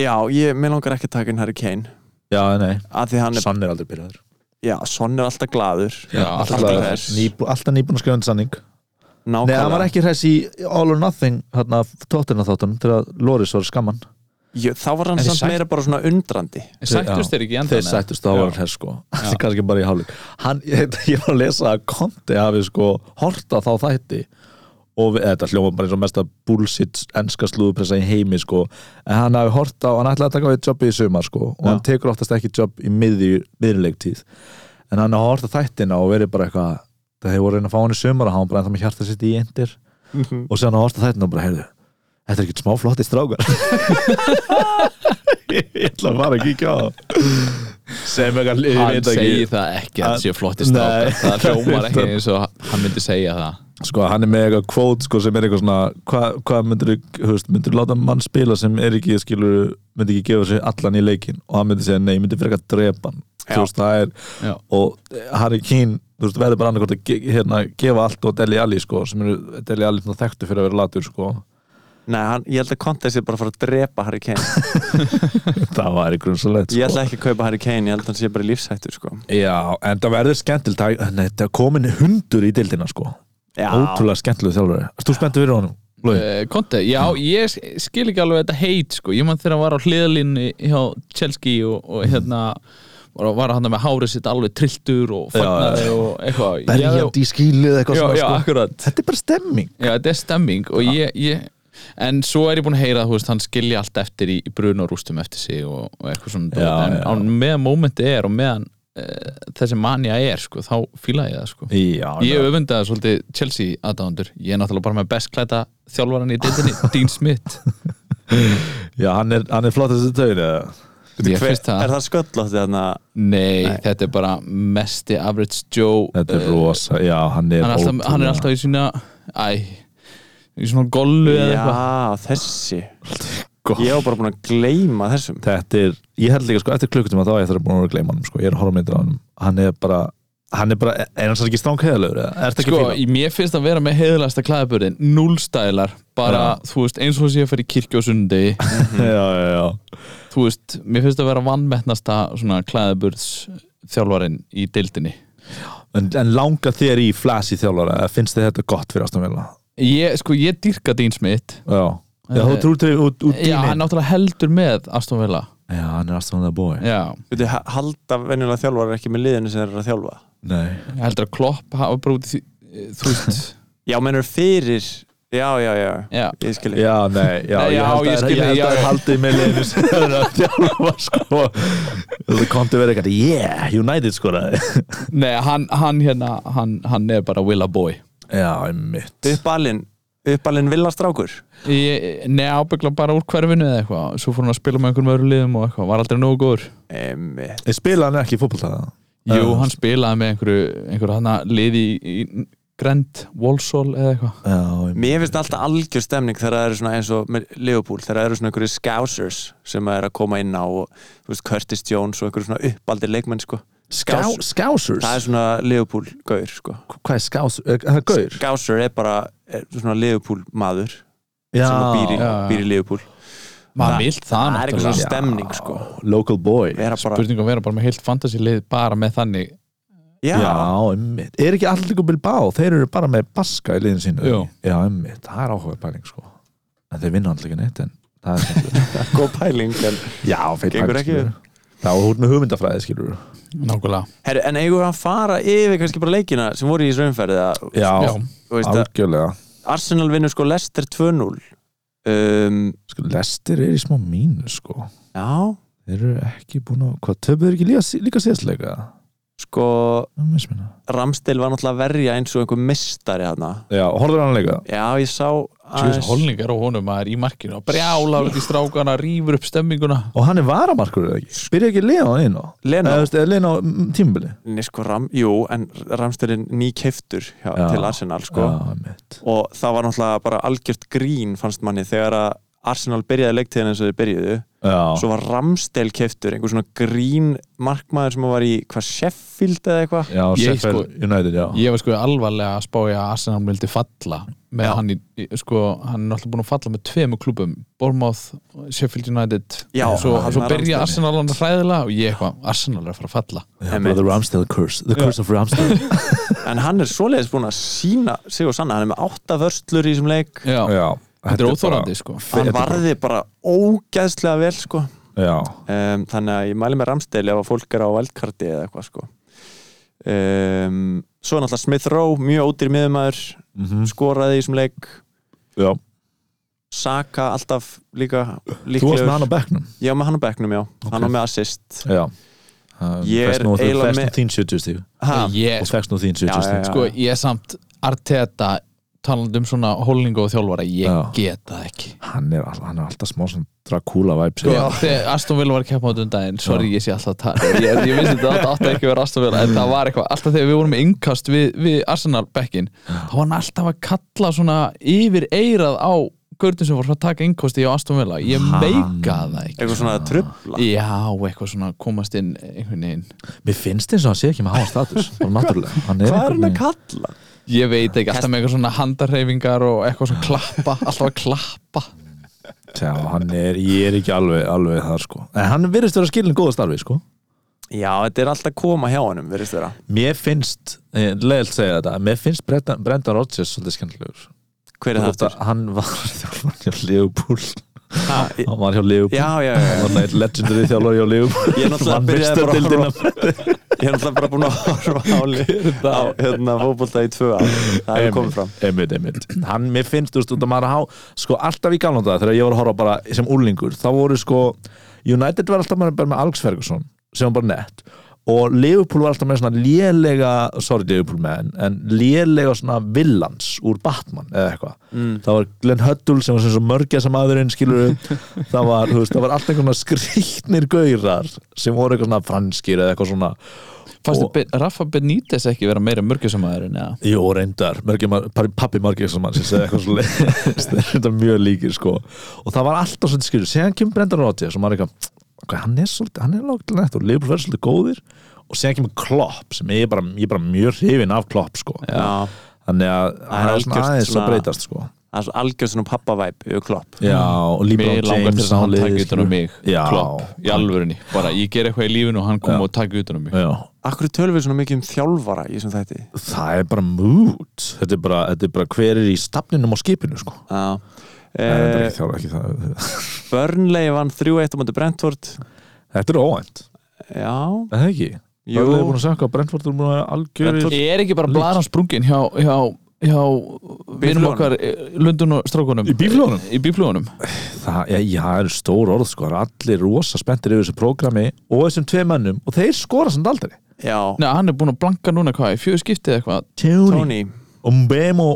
C: já, ég, mér langar ekki að taka inn Harry Kane
D: já nei
C: að því hann er,
D: Son er aldrei pyrraður
C: já, sonn er alltaf gladur
E: Já,
D: alltaf,
C: alltaf
D: alltaf,
C: hress.
D: nýbú, alltaf nýbúin að skjóða en sanning nei hann var
C: nákvæmlega,
D: ekki hress í All or Nothing hérna tóttina þáttunum til að Loris var skamman
C: Jú, þá var hann
E: En þið
C: samt
E: sætt-
C: meira bara svona undrandi
E: En Sættust þeir ekki í
D: þeir
E: endan eða?
D: sættust þá var
E: Já.
D: hann hress sko það er kannski bara í hálfleik hann, ég, ég var að lesa að Conte hafi sko horta þá þætti og við, þetta hljóma bara eins og mesta bullshit enska slúðupressa í heimi sko en hann hafi horta og hann ætlaði að taka við jobbi í sumar sko og
C: Já.
D: hann tekur oftast ekki jobb í miðju miðurleiktíð en hann hafi horta þættina og verið bara eitthvað það hefur voru að reyna að fá hann í sumar og hann bara ennþá með hjarta sitt í endir og sér hann að horta þættina og bara heyrðu Þetta er ekki smá flotti strákar Ég ætla að fara að kíkja á það Sem eitthvað liðin
E: Hann
D: þetta ekki.
E: segir það ekki að
D: Hann-
E: það sé flotti strákar
D: Nei.
E: Það hljómar ekki eins og hann myndi segja það
D: Sko, hann er með eitthvað kvót sko, sem er eitthvað svona hvað hva myndir þú myndir láta mann spila sem er ekki skilur, myndir ekki gefa sig allan í leikin og hann myndir segja nei, myndir fyrir eitthvað drepa hann
C: Já.
D: þú veist, það er
E: Já.
D: og Harry Kane, þú veist, verður bara annað að ge, hérna, gefa allt og Deli Alli sko, sem eru Deli Alli svona þekktu fyrir að vera latur sko.
C: Nei, hann, ég held að Conte sé bara að fara að drepa Harry Kane
D: það var eitthvað svo leitt
C: Ég
D: sko.
C: ætla ekki að kaupa Harry Kane, ég held að hann sé bara í lífshættu sko.
D: Já, en það verður skemmtilt það- nei, það er komin hundur í dildina sko.
C: Já,
D: ótrúlega skemmtileg þjálfari Erst þú spenntu fyrir honum? Logi?
E: Eh, Conte, já,
D: Mm.
E: ég skil ekki alveg þetta heit sko, ég mann þegar að var á hliðalínu hjá Chelsea og,
D: Mm.
E: og hérna var, var hann með hárið sitt alveg trilltur og fagnaði og eitthvað Ég-
D: Berjandi í skílið eitthvað
E: Já,
D: svona
E: já,
D: sko.
E: akkurat
D: Þetta er bara stemming
E: Já, þetta er stemming og ég, ég en svo er ég búin að heyra að þú veist, hann skilja allt eftir í, í brun og rústum eftir sig og, og eitthvað svona
D: Já,
E: en
D: já.
E: á meðan mómenti er og meðan uh, þessi manja er sko, þá fíla ég það sko
D: Já,
E: Ég öfundaði svolítið Chelsea aðdándur Ég er náttúrulega bara með best klæta þjálfaran í deildinni, Dean Smith
D: já hann, er, hann er flott þessi taun
E: Ég
C: hver,
E: finnst
C: er
E: það
C: það sköllótti þannig að
E: Nei, þetta er bara mesti average Joe
D: Þetta er
E: Eh,
D: rosa, já hann er
E: hann, er alltaf,
D: ótrúlega-
E: hann er alltaf í sína Æ, í svona gollu eða eitthvað
C: Já, þessi
D: Gott.
C: Ég var bara búin að gleyma þessum
D: Þetta er, ég held líka sko eftir klukkutum að þá á ég þarf að búin að vera að gleyma honum sko. Ég er að horfa myndir á honum Hann er bara, hann er bara, er hann svo ekki stránkæðalegur Er þetta ekki
E: Sko,
D: fíla?
E: í- mér finnst að vera með heiðlæsta klæðabörðin Núlstælar, bara, þú veist, eins og þess að ég fer í kirkju á sundi
D: Já, já, já
E: Þú veist, mér finnst að vera vannmettnasta svona klæðabörðs þjálfarin í deildinni
D: En, en langar þér í flashy þjálfara eða Finnst þér þetta gott fyrir ástamvélina?
E: Ég, sko, ég dýrka Dean Smith
D: Já, já þú
E: Eh,
D: trúir til út, út
E: Já, hann náttúrulega heldur með Aston Villa
D: Já, hann er ástamvélina bói
E: Já,
C: Þú ha- halda venjulega þjálfarar ekki með liðinu sem þeir eru að þjálfa
D: Nei
E: ég heldur að Klopp hafa bara út í því eh, Þú veist
C: Já, mennur fyrir Já, já, já,
E: Já,
C: ég skil ég
D: Já, nei, já,
E: Nei,
D: ég
E: já,
D: held
E: ég
D: að- ég
E: skil þig,
D: held
E: já,
D: að það
E: já.
D: er haldið með liðinu sem er að þjálfa sko Það komti verið eitthvað, yeah, United skoraði
E: nei, hann, hann hérna hann, hann er bara Willa boy
D: Já, einmitt
C: Uppalinn, uppalinn villastrákur
E: ég, eh, Nei, ábyggla bara úr hverfinu eða eitthvað Svo fór hann að spila með einhverjum öðru liðum og eitthvað Var aldrei nógu góður
C: Einmitt.
D: Ég spila hann ekki í fótboltaða
E: Jú, hann spilaði með einhverju, einhverju hann að liði í, í Grand Walsall eða eitthvað
D: Já, einmitt
C: Mér finnst alltaf algjör stemning þegar það eru svona eins og með Leopold, þegar það eru svona einhverju scousers sem er að koma inn á og, þú veist, Curtis Jones og einhverju svona uppaldir leikmenn sko.
D: Ská, Skásurs?
C: það er svona Leopold gaur sko.
D: Hvað er skásur? Er það gaur?
C: Scouser er bara er svona Leopold maður
D: Já,
C: sem að býr í,
E: Já, já.
C: býr í Leopold
E: Maður vilt það
C: það er eitthvað
E: náttúrulega
C: svona stemning sko.
D: local boy
C: vera bara
E: um Spurning að vera bara með heilt fantasy lið bara með þannig
C: já,
D: Já, einmitt Er ekki allir líka Bilbao, þeir eru bara með baska í liðin sínu
E: Jú.
D: Já, einmitt, það er áhuga pæling sko En þeir vinna allir ekki neitt en það er skemmtilegt.
C: góð pæling en,
D: Já, feil
C: Gengur
D: pæling,
C: ekki
D: skilurðu. Já, þú ert með hugmyndafræði skilur
E: Nákvæmlega
C: Herru, en eigum við að fara yfir kannski bara leikina sem voru í þessu umferð eða,
D: Já,
E: Já,
C: þú veist að
D: Sko, algjörlega
C: Arsenal vinnur sko Leicester 2-0 um,
D: Sko, lestir er í smá mínu sko
C: já,
D: Þeir eru ekki búin að, hvað, töpuðu þeir ekki líka, líka síðastleika?
C: sko
D: Það misst minna
C: Ramstil var náttúrulega að verja eins og einhver mistari hana
D: Já, horfður hann leika?
C: já, ég sá
E: Sjöfis holningar á honum að er í markinu að brjála út í strákana, rýfur upp stemminguna
D: Og hann er varamarkur eða ekki? Byrja ekki Leon inn á?
C: Lena,
D: Eða, þú veist, eða Leon á tímbili?
C: Nei, sko, ram, jú, en Ramstilin ný keftur hjá,
D: Já.
C: til Arsenal sko.
D: Já, einmitt
C: og það var náttúrulega bara algjört grín fannst manni þegar að Arsenal byrjaði leiktíðin eins og þeir byrjuðu
D: Já,
C: svo var Ramstel keftur, einhver svona grín markmaður sem var í hvað Sheffield eða eitthvað
D: já,
E: Ég,
D: Sheffield United, já
E: Ég var sko alvarlega að spá ég að Arsenal vildi falla með hann í, í- sko, hann er náttúrulega búin að falla með tveimu klubum Bournemouth, Sheffield United
C: Já,
E: og svo,
C: hann
E: svo
C: að
E: byrja
C: Ramsdale.
E: Arsenal hann hræðilega og ég eitthvað, Arsenal er að fara að falla
D: Já, bara The Ramsdale curse, the curse of Ramsdale
C: en hann er svoleiðis búinn að sína sig og sanna, hann er með átta vörslur í þessum leik
E: Já,
D: Já,
E: þetta er óþórandi sko
C: hann
D: þetta er
C: varði bara ógeðslega vel sko.
D: bara- Já,
C: um, þannig að ég mæli með Ramstel ef að fólk er á valdkarti eða eitthvað sko. um, svo er náttúrulega Smith Rowe mjög ódýr miðumæður
D: mhm,
C: skoraði í þessum leik
D: já
C: Saka alltaf líka
D: Þú varst með hann
C: líklegur
D: á bekknum
C: Já, með hann á bekknum, já, hann var með assist
D: Já
C: Ég er eiginlega
D: með
C: með-
D: Fest nú þín 70 stíg
C: ha,
E: Ég,
D: Og fest nú þín
C: Já,
D: 70
C: já,
D: stíg
C: já.
E: sko, ég er samt Arteta talandi um svona holningu og þjálfara, ég
D: Já.
E: get það ekki
D: Hann er all- hann er alltaf smá svona Dracula vibes
E: Sko, þegar Aston Villa var að keppa á þetta um daginn sorry, ég sé alltaf að tala ég, ég vissi þetta þetta átti ekki að vera Aston Villa en það var eitthvað, alltaf þegar við vorum með innkast við, við Arsenal bekkin, þá var hann alltaf að kalla svona yfir eirað á görðin sem voru að taka innkasti á Aston Villa ég meika það ekki
C: eitthvað svona trubla
E: já, eitthvað svona komast inn einhvern veginn,
D: Mér finnst eins og hann sé ekki með háa status Bara náttúrulega Hann er
C: Hvað er hann
D: einhvern
C: að
D: veginn-
C: kalla?
E: ég veit ekki alltaf með eitthvað svona handarhefingar og eitthvað svona klappa, alltaf að klappa
D: Já, hann er, ég er ekki alveg, alveg það sko En hann virðist vera skilin góða starfi sko
C: Já, þetta er alltaf koma hjá honum, verðist þeirra
D: Mér finnst, eh, leiðilt segja þetta Mér finnst Brendan, Brendan Rodgers svolítið skemmtilegur
C: Hver er það
D: Þetta,
C: aftur?
D: Hann var þjálfan hjá Leopold
C: Ha, í-
D: Hann var hjá Leopold
C: Já, já, já,
D: Hann var nætt legendary þjálfari hjá Leopold
C: Ég er náttúrulega
D: Hann
C: byrjaði
D: mistar
C: bara að
D: deildina.
C: ég er náttúrulega bara búin að horfa áli á hérna fótbolta í tvö ár Það er komið fram
D: einmitt, einmitt. hann, mér finnst, þú veist, út að maður að há sko alltaf í galnum það, þegar ég var að horfa bara sem úlingur, þá voru sko United var alltaf bara með Alex Ferguson sem var bara nett og Liverpool var alltaf með svona lélega sorry Liverpool menn, en lélega svona villans úr Batman eða eitthvað,
C: Mm.
D: það var Glenn Huddle sem var sem svo mörgja sem aðurinn skilur það var, þú veist, það var alltaf einhvern veginn skrýtnir gaurar sem voru eitthvað svona franskir eða eitthvað svona
E: fannst
D: Og-
E: þið Rafa Benítez ekki vera meira mörgjusamæðurinn eða?
D: Jó, reyndar, Mörgjum- par- pabbi Margeismannsins eða eitthvað svo leiðist þetta er mjög líkir sko og það var alltaf svolítið skilur, séðan kemur Brendan Rodgers og maður er eitthvað, ok, hann er svolítið hann er lágt til nætt og Liverpool verður svolítið góðir og séðan kemur Klopp sem ég er bara, ég er bara mjög hrifin af Klopp sko
C: Já,
D: þannig að hann er
C: algjört
D: svona aðeins
C: svona-
D: að breytast sko
C: það
D: Mm.
C: er svo algjör svona pappavæp yfir klopp
D: Já, og
E: Mér
D: Líbrón
E: langar til
D: James
E: þess að hann
D: liðið,
E: taki utan um
D: skilur.
E: mig
D: Já,
E: Klopp, í alvörunni bara ég ger eitthvað í lífinu og hann kom
D: Já.
E: og taki utan um mig
D: Já,
C: Akkur tölum við svona mikið um þjálfara í þessum þætti
D: það er bara mood þetta er bara, þetta er bara hver er í stafninum á skipinu sko
C: Já
D: Nei, þetta er
C: Eh,
D: ekki þjálf- ekki það-
C: Burnley vann 3-1 á móti Brentford
D: Þetta er óvænt,
C: Já,
D: er það ekki? Jú.
C: jú
D: Það er búin að segja hvað Brentford er búin að vera algjörir
E: Ég er ekki bara blaðan sprungin hjá, hjá, hjá vinum
C: Bíflugunum.
E: okkar eh, Lundun og strákunum
D: Í bíflugunum?
E: Í bíflugunum
D: Það já, já, það eru stór orð sko, það eru allir rosa spenntir yfir þessu prógrami og þessum tvei mönnum og þeir skora samt aldrei
C: Já,
E: Nei, hann er búin að blanka núna hvað, í fjögur skiptið eitthvað
D: Tjóni
C: Tony
D: og Mbemo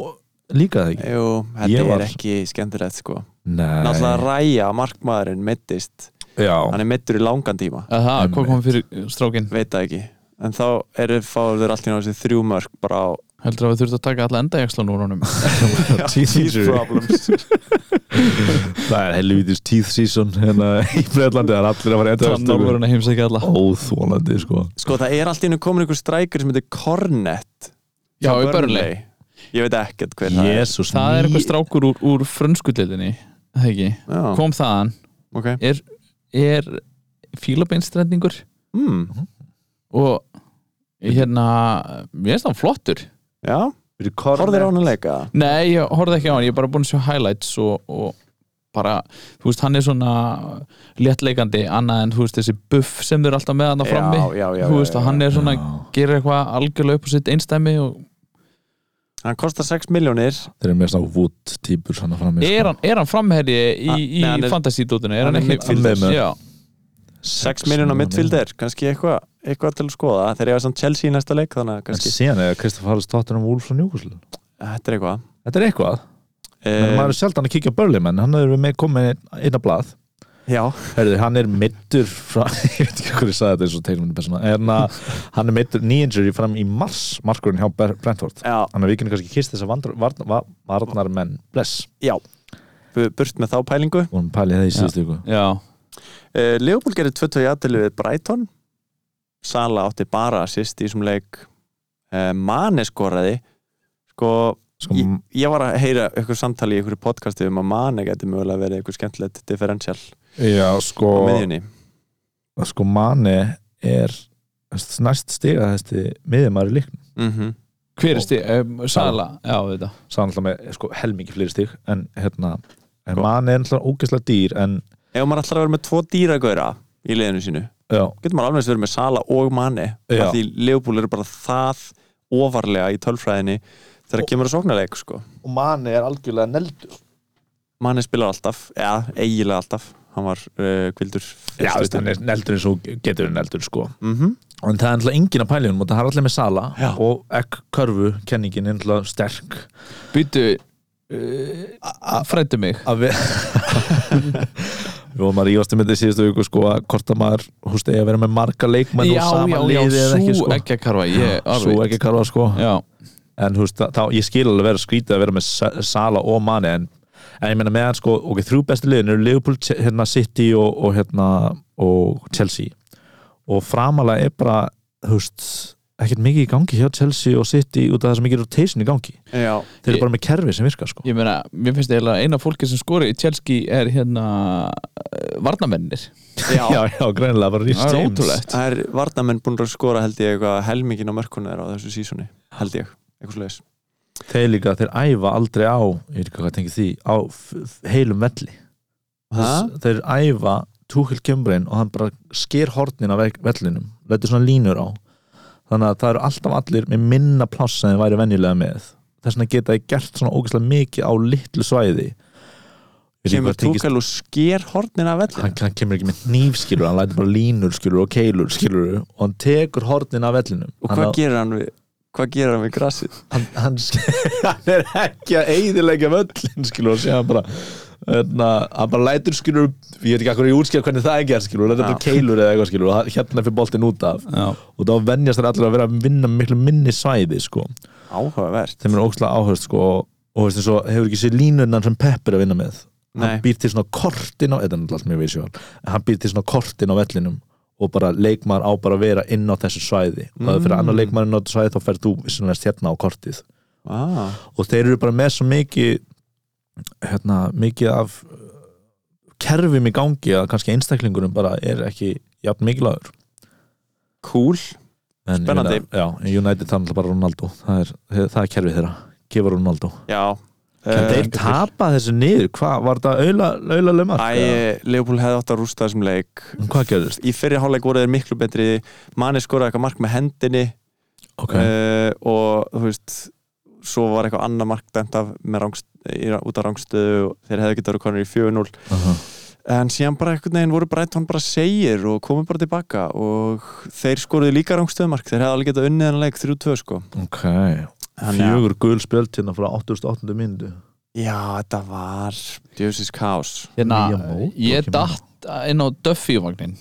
D: líka það ekki
C: Jú, þetta
D: Ég var-
C: er ekki skemmtilegt sko Náttúrulega
D: Nei,
C: Ræja, markmaðurinn, mittist
D: já,
C: Hann er mittur í langan tíma
E: Eða það,
D: Einmitt.
E: hvað kom fyrir eh, strákin
C: Veit það ekki En þá eru fáður þeir allt í náðu þessi þrjú mörk bara á
E: heldur að við þurfum að taka alla endajakslan úr honum
D: teeth injury
C: problems
D: Það er helvitis teeth season hérna í Breitlandi, það er allir að fara enda
E: Tannálfurinn að heimsækja alla
D: Óþólandi sko
C: Sko það er allt í náðu komin einhver strækur sem heitir Cornet hjá
E: Já, í Burnley
C: Ég veit ekkert hver
D: Jésús,
E: Það er eitthvað strákur úr, úr frönskullitinni Hegi,
C: það er Já,
E: kom þaðan
C: ok
E: er,
C: Hmm,
E: er fílabeinstrendingur
C: mm.
E: og hérna, ég veist hann flottur
C: Já, horfðir á hann að leika
E: Nei, ég horfði ekki á hann, ég er bara búin að sjá highlights og, og bara, þú veist, hann er svona léttleikandi annað en, þú veist, þessi buff sem þeir eru alltaf með hann
C: Já,
E: frammi
C: já, já,
E: þú
C: já,
E: veist,
C: já,
E: og hann er svona, gerir eitthvað algjörlega upp á sitt einstæmi og
C: Hann kostar 6 miljónir
D: þeir eru með svona wood típur svona fram í sko.
E: er hann, er hann framherji í,
C: Hann-
E: í
C: nei, hann er-
E: fantasy-dótinu, er
C: hann
E: hann
C: er
E: ekki
C: midfielder.
E: Hann- Já,
C: 6 miljónir á midfielder, kannski eitthvað eitthvað til að skoða, þeir eru samt Chelsea í næsta leik þannig að
D: en
C: kannski,
D: síðan eða Kristoffer Harris Tottenham Wolves og Newcastle
C: þetta er eitthvað
D: þetta er eitthvað, en
C: Eh,
D: maður er sjaldan að kíkja á Burnley menn, hann er með komið inn á blað
C: Já,
D: Herðu, hann er mittur frá, ég veit ekki hvað ég sagði þetta eins og teilmyndu persóna, en að Hérna, hann er mittur knee injury fram í mars markurinn hjá Ber- Brentford
C: já,
D: þannig að við kynum kannski kist þess að varnar menn bless,
C: já Bu- Burt með þá pælingu
D: vorum pælið það í síðustu ykkur
E: já,
C: uh, Leopold gerir 22 jættili við Brighton Sala átti bara assist í þessum leik uh, Mane skoraði sko,
D: sko,
C: ég, ég var að heyra ykkur samtali í ykkur podcasti um að Mane geti mögulega verið ykkur skemmtilegt differential
D: já, sko,
C: á miðjunni
D: sko manni er þú veist, næst stiga þessi miðjumar í líkn
C: mm
E: hver er stíð, um, Sala já, við þetta,
D: sá hann alltaf með sko, helmingi fleiri stig en hérna, en manni er alltaf ógeðslega dýr en,
C: Ef maður ætlar að vera með tvo dýragöra í liðinu sínu
D: já,
C: getur maður alveg eins verið með Sala og Mane
D: Já.
C: af því Leopold eru bara það ofarlega í tölfræðinni þegar kemur að sóknarleik sko
D: og manni er algjörlega neldur
C: Mane spilar alltaf, eða eiginlega alltaf hann var uh, kvildur
D: já, þú veist, hann er neldur eins og getur verið neldur sko
C: mm
D: en það er alltaf engin að pælinum og það er alltaf með sala
C: Já.
D: og ekk körfu, kenningin er alltaf sterk
E: býtu frættu eh, mig
D: að við við vorum að rífast um þetta í síðustu viku sko að hvort að maður, húst, eigi að vera með marga leikmenn
E: já,
D: og
E: já,
D: saman
E: já,
D: liði eða ekki
E: sú
D: sko
E: ekki að karfa ég,
D: svo
E: alveg.
D: ekki karfa sko
E: já,
D: en húst, þá, þá- ég skil alveg vera skrítið að vera með Sa- sala og manni en, en ég meina meðan sko, ok, þrjú bestu liðin eru Liverpool, Che- hérna City og, og hérna og Chelsea og framalega er bara húst, ekkert mikið í gangi hjá Chelsea og City út af það sem mikið rotation í gangi
C: Já,
D: þeir
E: Ég-
D: eru bara með kerfi sem virkar sko
E: ég meina, mér finnst eiginlega eina fólki sem skori í Chelsea er hérna eh, varnamennir,
C: já,
D: já, já, greinilega bara Rhys
E: það er
D: James
E: ótrúlegt
C: Það er varnamenn búin að skora held ég eitthvað helmingin á mörkunni er á þessu sísoni held ég, eitthvað slags
D: þeir líka, þeir æfa aldrei á ég veit ekki hvað tengið því, á f- f- heilum velli
C: Ha?
D: þeir æfa Tuchel kemur inn og hann bara sker hornin af veg- vellinum letur svona línur á þannig að það eru alltaf allir með minna pláss sem þeir væri venjulega með þess vegna geta þeir gert svona ógeðslega mikið á litlu svæði Ég veit ekki
C: Kemur
D: hvað tengist-
C: Túkel og sker hornin af vellinu
D: hann, hann kemur ekki með nýfskilur hann lætur bara línur skilur og keilur skilur og hann tekur hornin af vellinum
C: Og
D: Hann
C: hvað
D: á-
C: gerir hann við, hvað gerir hann við grassið?
D: hann, hann, hann er ekki að eyðilegja völlin skilur og sé hann bara hérna, hann bara lætur skilur ég veit ekki akkur ég útskýra hvernig það er gert skilur lætur bara keilur eða eitthvað skilur og hann- hérna fyrir boltinn út af
E: já,
D: og þá venjast þær allir að vera að vinna miklu minni svæði sko
C: Áhugavert
D: þeim er ókslega áhörst sko og og veist eins og hefur ekki sér línunnan sem Pep er að vinna með
C: Nei.
D: hann býr til svona kortin á þetta er náttúrulega allt mjög visjál en hann býr til svona kortin á vellinum og bara leikmaður á bara að vera inn á þessu svæði og ef það fyrir annar leikmaður inn á þessu svæði þá ferð þú vissulegast hérna á kortið
C: ah,
D: og þeir eru bara með svo mikið hérna, mikið af uh, kerfum í gangi að kannski einstaklingurum bara er ekki jafn mikilvægur
C: Cool
D: en,
C: Spennandi.
D: ég meina, Já, en United þannig bara Ronaldo það er, það er kerfið þeirra, gefa Ronaldo
C: Já
D: en
C: Eh,
D: þeir tapa þessu niður, hvað var þetta auðla, auðla lömar?
C: Æ, Leopold hefði átt að rústa þessum leik
D: Hvað gerðist?
C: Í fyrri hálfleik voru þeir miklu betri Mani skoraði eitthvað mark með hendinni
D: Ok,
C: okay. og þú veist svo var eitthvað annað mark dæmt af með rangst, í, út af rangstöðu og þeir hefðu getið að vera konur í 4-0
D: uh -huh.
C: en síðan bara einhvern veginn voru Brighton bara segir og komið bara tilbaka og þeir skoruðu líka rangstöðumark þeir hefðu alveg getað unnið hennar leik 3-2 sko Þannig að-
D: fjögur gul spjöld hérna frá 88. myndu
C: Já, þetta var djöfisins kaos
E: hérna
D: Nýja mót,
E: ég
D: ekki
E: datt inn á Duffy-vagnin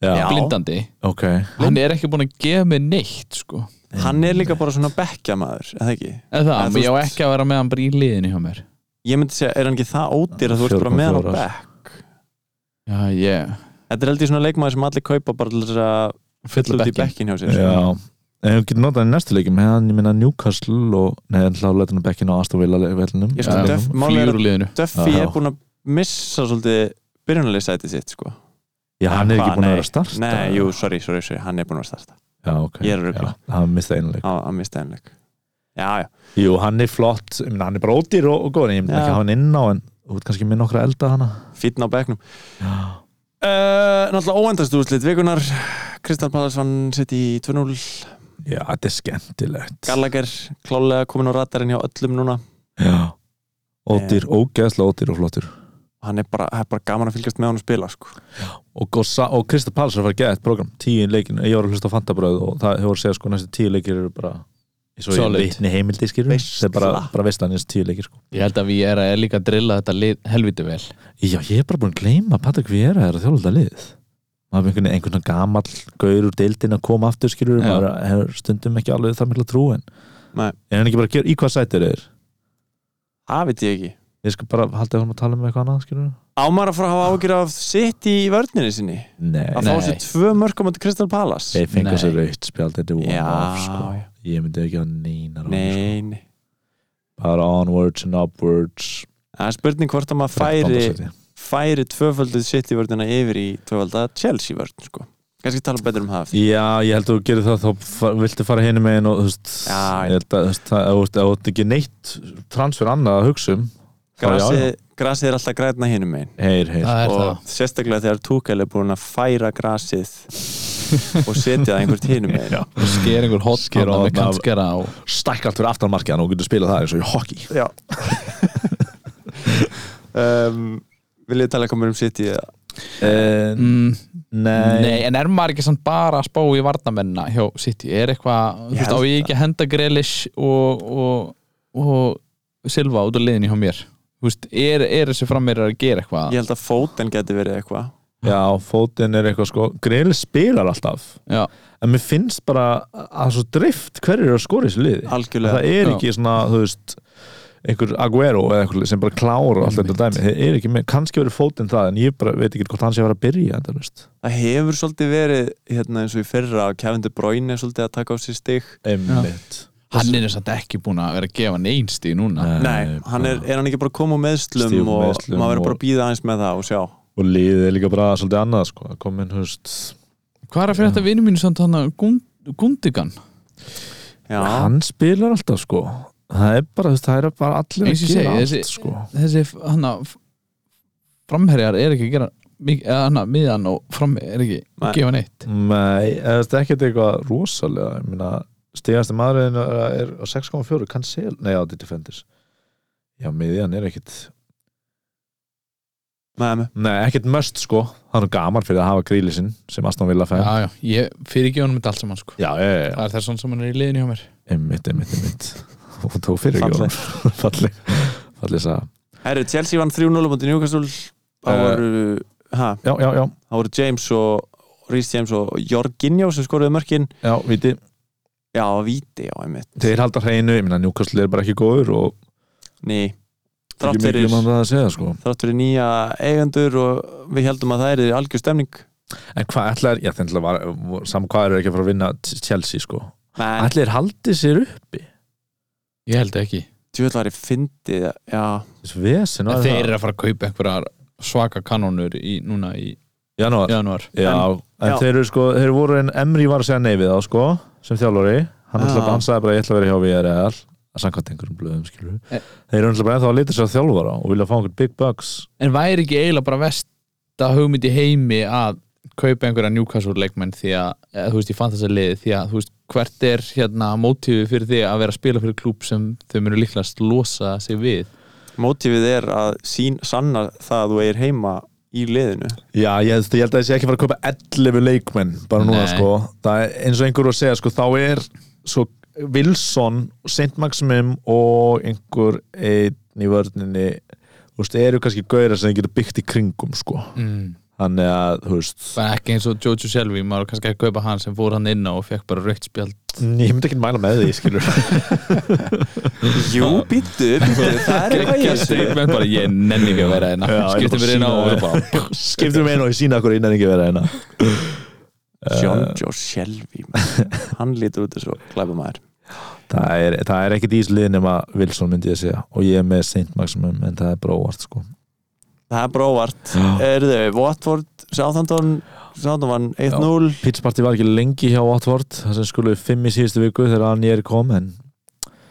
E: blindandi,
D: ok
E: hann er ekki búin að gefa mig neitt, sko
C: Hann er líka bara svona bekkjamaður, eða ekki?
E: Eða það,
C: Eða þú
E: ég á
C: veist-
E: ekki að vera með hann bara í liðinu hjá mér
C: Ég myndi segja, er hann ekki það ódýr að þú ert bara með hann á
D: 4,4
C: bekk?
E: Já, ég
C: Þetta er heldur svona leikmaður sem allir kaupa bara til þess að
E: Fylla
C: fylla út í
E: bekkinn.
C: bekkin hjá sér sko.
D: Já, en við getum notað í næstu leikum meðan ég minna Newcastle og neðan hláleitinu bekkinu á Aston Villa vellinum
C: Ég sko,
D: Já.
C: Duff- málið er
E: flýur úr liðinu
C: Duffy
D: Já.
C: er búin að missa svolítið byrjunarlega sætið sitt sko.
D: Já, hann er
C: Hvað,
D: ekki búin að
C: nei.
D: vera að starta
C: Nei, jú, sorry, sorry, sorry, hann er búin að vera að starta
D: já, ok
C: Ég er að rugla.
D: Já, hann mista einleik
C: á, á mista einleik já, já,
D: Jú, hann er flott, ég meina, hann er bara ódýr og, og góð en ég myndi
C: Já.
D: ekki hafa hann inn á en þú veit kannski með nokkra elda hana
C: fýtna á bekknum uh, náttúrulega óendast úrslit vikunar Kristall Pallas vann sitt í 2-0
D: Já, þetta er skemmtilegt
C: Gallagher klálega komin á radarinn hjá öllum núna
D: Já,
C: Eh.
D: ódýr, ógeðslega ódýr og flottur
C: hann er bara, það er bara gaman að fylgjast með hann að spila sko.
D: og, og, sa- og Krista Páls er að fara að geða eitt program tíu leikin, ég var að hlusta á Fantabröð og það hefur að segja sko næstu tíu leikir eru bara svo ég
E: Solid.
D: vitni heimildi skilur
C: Veistla.
D: það er bara, bara veistlan eins tíu leikir sko
E: Ég held að við erum líka að drilla þetta lið helviti vel
D: já, ég er bara búin að gleyma að Patrik Viera er að þjóla þetta lið maður er einhvern einhvern veginn gamall gaur úr deildin að koma aftur skilur
E: Já.
D: maður er stundum ekki alveg það mikla trú en
C: Nei.
D: er hann ekki bara að gera í hvað sætir er
C: það veit ég ekki
D: ég skal bara halda hann að tala um eitthvað annað skilur
C: ámar að fara að hafa ágjur af sitt í vörninni sinni
D: nei,
C: að fá
E: Nei.
C: sér tvö mörgum á Kristall Pallas
D: þeir fengur
E: Nei.
D: sér raukt spjald þetta er sko. one off sko
C: já.
D: ég myndi ekki að nýna
C: nei, nei
D: bara onwards and upwards
C: það er spurning hvort að maður færi færi tvöfölduð sitt í vörnina yfir í tvöfölda Chelsea vörn sko. kannski tala betur um það
D: Já, ég held að þú gerir það þá fa- viltu fara hinu megin og þú veist
C: Já,
D: ég held að þú veist, það- ef þú veist, ef þú veist ekki neitt transfer annað að hugsa um þá
C: grasið,
D: já,
C: grasið er alltaf græna hinum megin
D: heyr, heyr
E: Það
C: og
E: er það
C: sérstaklega þegar Túkel er búin að færa grasið og setja það einhvert hinum megin
D: Já.
E: Sker einhver hot
D: Sker
E: þarna
D: horn
E: með
D: af-
E: kantskera á
D: Stækka allt fyrir aftanmarkið þannig að þú getur spilað það eins og í hockey
C: Já um, Vil ég tala komur um City eða?
D: uh,
E: mm,
D: Nei,
E: Nei, en er maður ekki samt bara að spá í varnamennina hjá City Er eitthvað,
C: Ég
E: þú veist, á
C: held
E: ég ekki að henda Grealish og, og, og Silva út af liðinni hjá mér Þú veist, er, er þessi frammeir að gera eitthvað
C: Ég held að fóten geti verið eitthvað
D: Já, fótinn er eitthvað sko Grill spilar alltaf
E: Já,
D: en mér finnst bara að svo drift hverju er að skora í þessu liði
C: Algjörlega
D: það er
E: Já.
D: ekki svona, þú veist einhver Aguero eða einhver sem bara klára allt þetta dæmi, það er ekki með, kannski verið fótinn það en ég bara veit ekki hvort hann sé að vera að byrja þetta, þú veist,
C: Það hefur svolítið verið hérna, eins og í fyrra að Kevin De Bruyne er svolítið að taka á sér stig
D: einmitt
E: hann er samt ekki búin að vera að gefa neynst í núna
C: Nei, hann er, er hann ekki bara að koma úr meðslum
D: Stíf úr
C: og
D: meiðslum
C: maður verður bara
D: og-
C: að býða aðeins með það og sjá
D: og liðið er líka bara svolítið annað sko, að koma inn, þú veist
E: Hvað er að fyrir þetta vinnu mínu samt hann að Gundigan?
C: Já,
D: hann spilar alltaf sko það er bara, þú veist, það er bara allir að
E: Eins og ég
D: gera
E: segi,
D: allt
E: þessi-
D: sko
E: Þessi hann að framherjar er ekki að gera mikið, eða hann að miðan og framherjar er ekki
C: Nei.
E: að gefa neitt
D: Nei, eða þetta er ekkert eitthvað rosalega ég meina, stigast maðurinn er, er á 6,4, cancel nei, á Defenders já, miðjan er ekkert
C: með mig
D: nei, ekkert möst sko, hann er gaman fyrir að hafa gríli sinn sem Aston Villa fæn já,
E: Já, já, ég fyrir ekki honum þetta allt saman sko
D: já, já, já,
E: Það er þess að hann er í liðinu hjá mér
D: einmitt, einmitt, einmitt og þú fyrir ekki
C: Falleg.
D: honum. falleg, falleg sá
C: Herru, Chelsea vann 3-0 mútið Newcastle Það
D: Eh.
C: voru, ha,
D: já, já, já,
C: það voru James og Rhys James og Jorginho sem skoruðu mörkin
D: já, viti
C: Já, víti, já, einmitt
D: þeir halda hreinu, ég meina Newcastle er bara ekki góður og
C: Ný,
D: ekki
C: þrátt
D: mikið
C: fyrir
D: um hann að segja sko
C: þrátt fyrir nýja eigendur og við heldum að það er algjör stemning
D: en hvað ætlar, já, þeir ætla var saman hvað eru ekki að fara að vinna Chelsea sko
C: en
D: Allir haldið sér uppi
E: Ég held ekki
C: tjóðlari fyndið já,
D: Þessu vesen
E: Þeir eru að fara að kaupa einhverjar svaka kanónur í, núna í
D: Janúar Já,
E: januar
D: en,
C: já.
D: þeir eru sko Þeir voru en Emri var að segja nei við þá sko sem þjálfari Hann
C: Já.
D: ætlaði bara, hann sagði bara ég ætla að vera hjá VRL að samkvæmt einhverjum blöðum skilur
E: Eh.
D: Þeir eru ætla bara ennþá að lita sér að þjálfara og vilja fá einhvern big bucks
E: En væri ekki eiginlega bara vesta hugmynd í heimi að kaupa einhverja Newcastle leikmenn því að, eða, þú veist, ég fann þessa liði því að, þú veist, hvert er hérna mótífið fyrir því að vera að spila fyrir klúb sem þau munu líklegast losa sig við
C: mótífið er að sín, sanna það að þú eigir heima í liðinu
D: Já, ég, held- ég held að þessi ekki fara að kaupa 11 leikmenn bara núna
E: Nei.
D: sko Það er eins og einhver var að segja sko þá er svo Wilson, St. Maximum og einhver einn í vörninni þú veist, eru kannski gauðra sem þeir getur byggt í kringum sko
E: mm.
D: þannig að, þú veist
E: Bara ekki eins og Jojo Selvi, maður var kannski að kaupa hann sem fór hann inn á og fekk bara raukt spjald
D: ég myndi ekki mæla með því, skilur
C: jú, býttu, býttu, það er eitthvað í
E: Gekkja
C: þessu
E: statement bara, ég nenni ekki að vera hérna
D: Já, ég
E: Skipti
D: bara
E: mér inn á
D: sýna
E: og
D: þér.
E: bara
D: skiptum við einu og ég sína okkur innan ekki vera hérna
C: John
D: Eh.
C: Joe Shelby maður. hann lítur út þessu klæpa maður
D: það er, það er ekkit íslið nema Wilson myndi ég að segja og ég er með St. Maximum en það er bara óvart sko Eh,
C: það er bara óvart, eru þau Watford, Southampton Sáðan vann 1-0
D: Pizzaparti var ekki lengi hjá Watford það sem skulle fimm í síðustu viku þegar Anjér kom en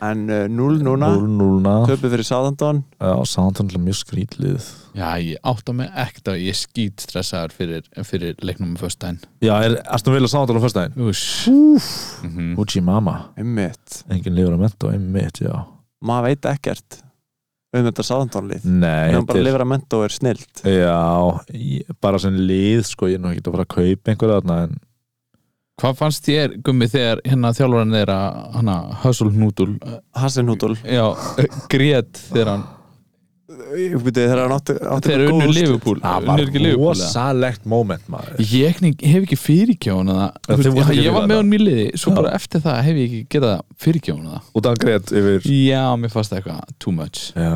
C: en uh, 0 núna
D: 0-0-na
C: töpuð fyrir Sáðandón
D: Já, Southampton er mjög skrítlið
E: Já, ég átta mig ekkert á ég er skýt stressaður fyrir, fyrir leiknum um föstudaginn
D: Já, er Aston Villa Southampton á fyrstæðin?
E: Úss mm -hmm.
D: Uchi Mama,
C: einmitt
D: enginn lifur að menta einmitt, já
C: maður veit ekkert um þetta Sáðandón lið
D: Nei,
C: en hann bara
D: þetta er-
C: lifra mentó er snilt
D: Já, ég, bara sem lið sko, ég er nú ekki að fara að kaupa einhverja þarna en
E: Hvað fannst þér, Gummi, þegar hérna þjálfarinn þeirra, hana, Hösul Hnútul
C: Hasenhútól
E: Já, grét þegar hann
C: þegar hann átti, átti
E: Þeir
C: bara góð
E: unnu
C: úrslit.
E: Liverpool
D: það
E: Unnu ekki
D: var
E: Liverpool eða?
D: rosalegt moment maður
E: Ég hef ekki- hef ekki fyrirkjána
D: Já,
E: það
D: þið voru
E: Þú veist,
D: ekki
E: Ég
D: fyrir
E: var með
D: það.
E: hann í liði Svo
D: Já.
E: bara eftir það hef ég ekki getað fyrirkjána það
D: út af hann greitt yfir
E: Já, mér fannst það eitthvað too much
D: Já,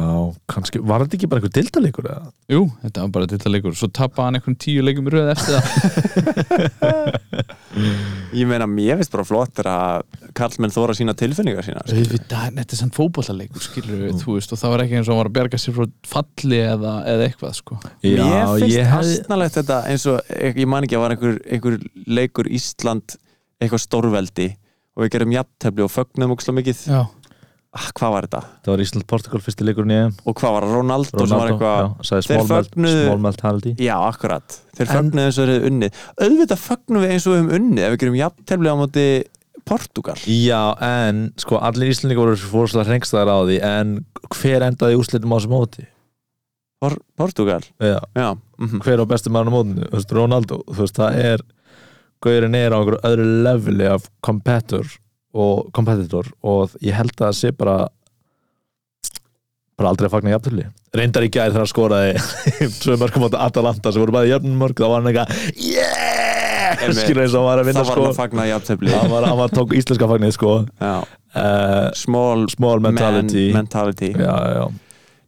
D: kannski, var þetta ekki bara einhver dildalegur eða?
E: Jú, þetta var bara þetta leikur Svo tappa hann einhvern tíu leikum í röð eftir það
C: ég meina mér finnst bara flott þegar að Karlmenn þóra sína tilfinningar sína skilur.
E: Auðvitað, þetta er sann fótballaleikur skilur þú veist og það var ekki eins og hann var að bjarga sér frá falli eða, eða eitthvað sko
C: mér finnst
D: ég
C: hef...
D: hefði
C: hastnalegt þetta eins og ég ég man ekki að var einhver, einhver leikur Ísland eitthvað stórveldi og við gerum jafntefli og fögnum óksla mikið
E: Já,
C: ah, hvað var þetta?
D: Það var Ísland-Portugal fyrsti leikurinn í EM
C: og hvað var það? Ronaldo, sem var
D: Ronaldo,
C: eitthvað
D: já, sagði
C: Þeir
D: smálmælt
C: fögnuðu-
D: smálmælt haldi
C: Já, akkurat. Þeir
D: En-
C: fögnuðu eins og þeir hefðu unnið. Auðvitað fögnum við eins og við hefum unnið ef við gerum jafntefli á móti Portugal.
D: Já, en sko allir Íslandingar voru fórslega hrengstaðar á því en hver endaði úslitum á þessu móti?
C: Por Portugal?
D: Já,
C: Já. mhm.
D: hver á bestu mann á mótinu? Þú veist, Ronaldo, þú veist, það er Gaurin er á einhverju öðru leveli af competitor og, competitor og ég held að það sé bara bara aldrei að fagna jafntöfli reyndar í gær þegar hann skoraði tvö mörgum átta Atalanta sem voru bæði jafnum mörg þá var hann eitthvað yeah!
C: Einmitt.
D: skilur eins og hann var að
C: Þá
D: vinna
C: var
D: sko
C: hann að fagna jafntefli.
D: hann var, hann var tók íslenska fagnið sko
C: Já.
D: uh,
C: Small
D: small mentality
C: man mentality.
D: já, já,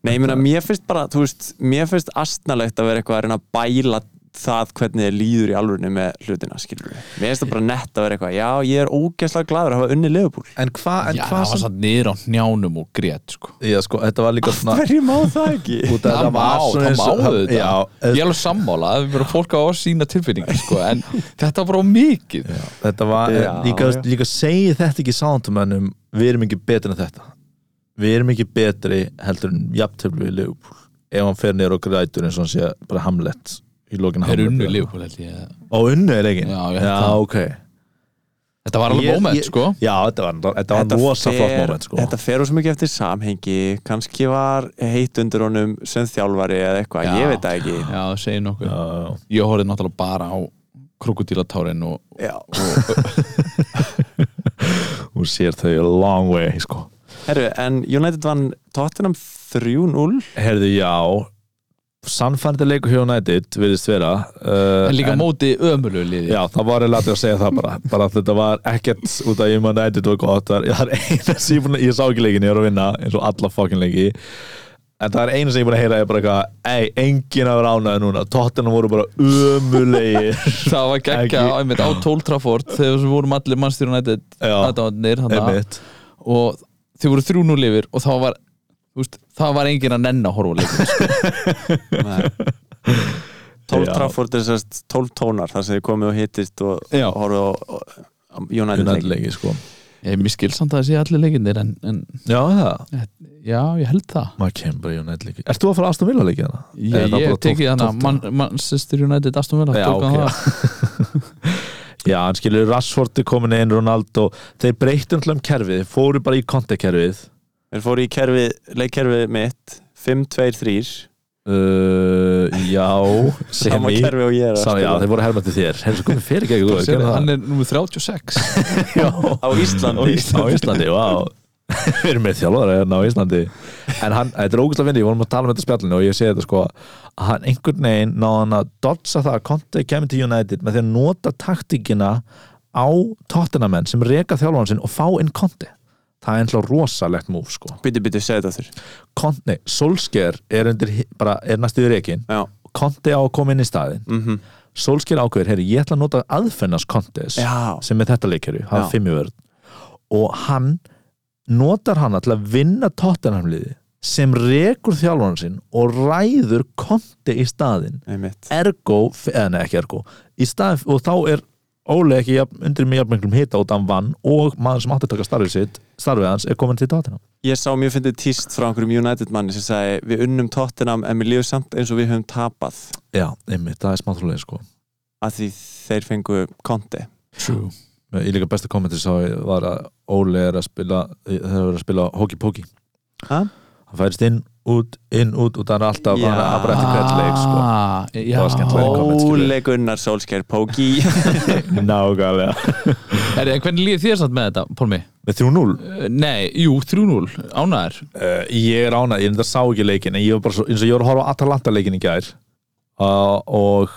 C: Nei, ég meina, mér finnst bara, þú veist, mér finnst astnalegt að vera eitthvað að reyna að bæla það hvernig þið líður í alvörinu með hlutina, skilur við. Mér finnst það bara nett að vera eitthvað, já, ég er ógeðslega gladur að hafa unnið Liverpool.
D: en hvað
E: Já það var satt niður á njánum og grét sko
D: já, sko, þetta var líka svona
C: Hverju má það ekki?
D: út af
E: Það
D: þetta var
E: má,
D: svona
E: það
D: eins
E: má
D: og-
E: auðvitað
D: já,
E: Ég er alveg sammála að við verðum fólk á að sína tilfinningar sko, en þetta var bara of mikið
D: Já, þetta var
C: Já,
D: líka,
C: já.
D: líka segi þetta ekki sándumennum við erum ekki betri en þetta við erum ekki betri heldur en jafntöflu við Liverpool ef hann fer nýra og grætur eins og hann sé bara Hamlet í lokinu
E: Það er unnu lífból held ég
D: og unnu er ekki
E: Já, ég held
D: já
E: það.
D: ok
E: Þetta var alveg
D: Ég-
E: moment
D: ég-
E: sko
D: já þetta var, þetta var rosa flott moment sko.
C: þetta fer úr sem ekki eftir samhengi kannski var heitt undir honum sem þjálfari eða eitthvað,
E: Já.
C: ég veit það ekki
E: Já, segir nokkuð
D: já, já.
E: Ég horfði náttúrulega bara á krokodílatárin og,
C: Já.
D: hún sér þau a long way sko.
C: Herru, en United vann Tottenham 3-0
D: herðu já sannfærandi leikur hjá United virðist vera uh,
E: en líka
D: en-
E: móti ömulu liði
D: Já, það var eiginlega að segja það bara bara að þetta var ekkert út af ég mann að þetta var gott, það er, það er eina sem ég, búin, ég sá ekki leikin, ég var að vinna eins og alla fokkin leiki en það er eina sem ég búin að heyra er bara eitthvað, ei, enginn að vera ánæði núna Tottenham voru bara ömulegir
E: Það var geggja
D: Ekki-
E: á, einmitt, á 12 Trafford þegar við vorum allir mannstýrun
D: Já.
E: aðdáðanir
D: einmitt,
E: og þið voru 3-0 yfir og þá var þú veist, það var enginn að nenn að horfa á leikin
C: 12
D: Já.
C: Trafford er sérst 12 tónar þar sem þið komið og hittist og
E: Já.
C: horfðu á á United
D: United
C: leik
D: leiki sko
E: Ég mér skil samt að það sé allir leikinnir en, en
D: Já, það,
E: já, ég held það
D: maður kemur bara í United leiki Ert þú að fara Aston Villa hérna? leiki hana?
E: Ég, ég hef tekið hana Man- Manchester United Aston Villa
D: Já,
E: tók hann
D: ok.
E: það.
D: Já, hann skilur Rashford er komin inn, Ronaldo þeir breyttu náttúrulega um kerfið, fóru bara í kontekerfið
C: Þeir fóru í kerfi, leikkerfi mitt 5-2-3
D: Uh, já
C: sama
D: Semi
C: kerfi og ég er að
D: Sann, já,
C: spila.
D: þeir voru að herma til þér Herra, komið fyrir ekki góð
E: Sér, hann
D: Á
E: er nummer 36
C: á Íslandi
D: Íslandi, vá Við erum með þjálfara hérna á Íslandi En hann, þetta er ógustlega fyndi, ég vorum að tala um þetta spjallinu og ég segi þetta sko að hann einhvern veginn náði hann að dodsa það að Conte kemur til United með því að nota taktíkina á tottenamenn sem reka þjálfaran sinn og fá inn Conte Það er ennþá rosalegt múf sko
C: Bytti, bytti, segðu þetta þurr
D: Conte, Solskjær er, undir, bara, er næstu í reikin
C: Já,
D: Conte á að koma inn í staðin
C: mhm
D: Solskjær ákveður, heyri, ég ætla að nota aðfennast Kontes
C: Já.
D: sem er þetta leikjöru, hann
C: Já.
D: fimmjövörð og hann notar hann til að vinna Tottenham liði sem rekur þjálfarn sinn og ræður konti í staðinn
C: einmitt
D: ergo, eða nei ekki ergo í stað, og þá er Óli ekki jafn, undir með jafnmiklum hita út af vann og maður sem átti að taka starfið sitt starfið hans er komin til dátina
C: Ég sá mjög fyndið tíst frá einhverjum United manni sem sagði við unnum Tottenham en við lífum samt eins og við höfum tapað
D: já, einmitt, það er smáþrúlega sko
C: að því þeir fengu konti
E: True
D: ég líka besta kommentir sá ég var að Óli er að spila þeir eru að spila hóki póki
C: Ha?
D: hann færist inn, út, inn, út og það er alltaf
C: Já.
D: bara að bara eftir hvert leik sko
E: Ah, Já,
D: Það var skemmtilega. Óli
C: Óle Gunnar Solskjær Póki
D: nákvæmlega
E: er, en Hvernig líður þér samt með þetta, Pálmi?
D: með 3-0
E: Eh, Nei, jú, 3-0, ánæður
D: Uh, ég er ánað, ég þetta sá ekki leikin en ég var bara svo, eins og ég var að horfa á Atalanta leikin í gær uh, og,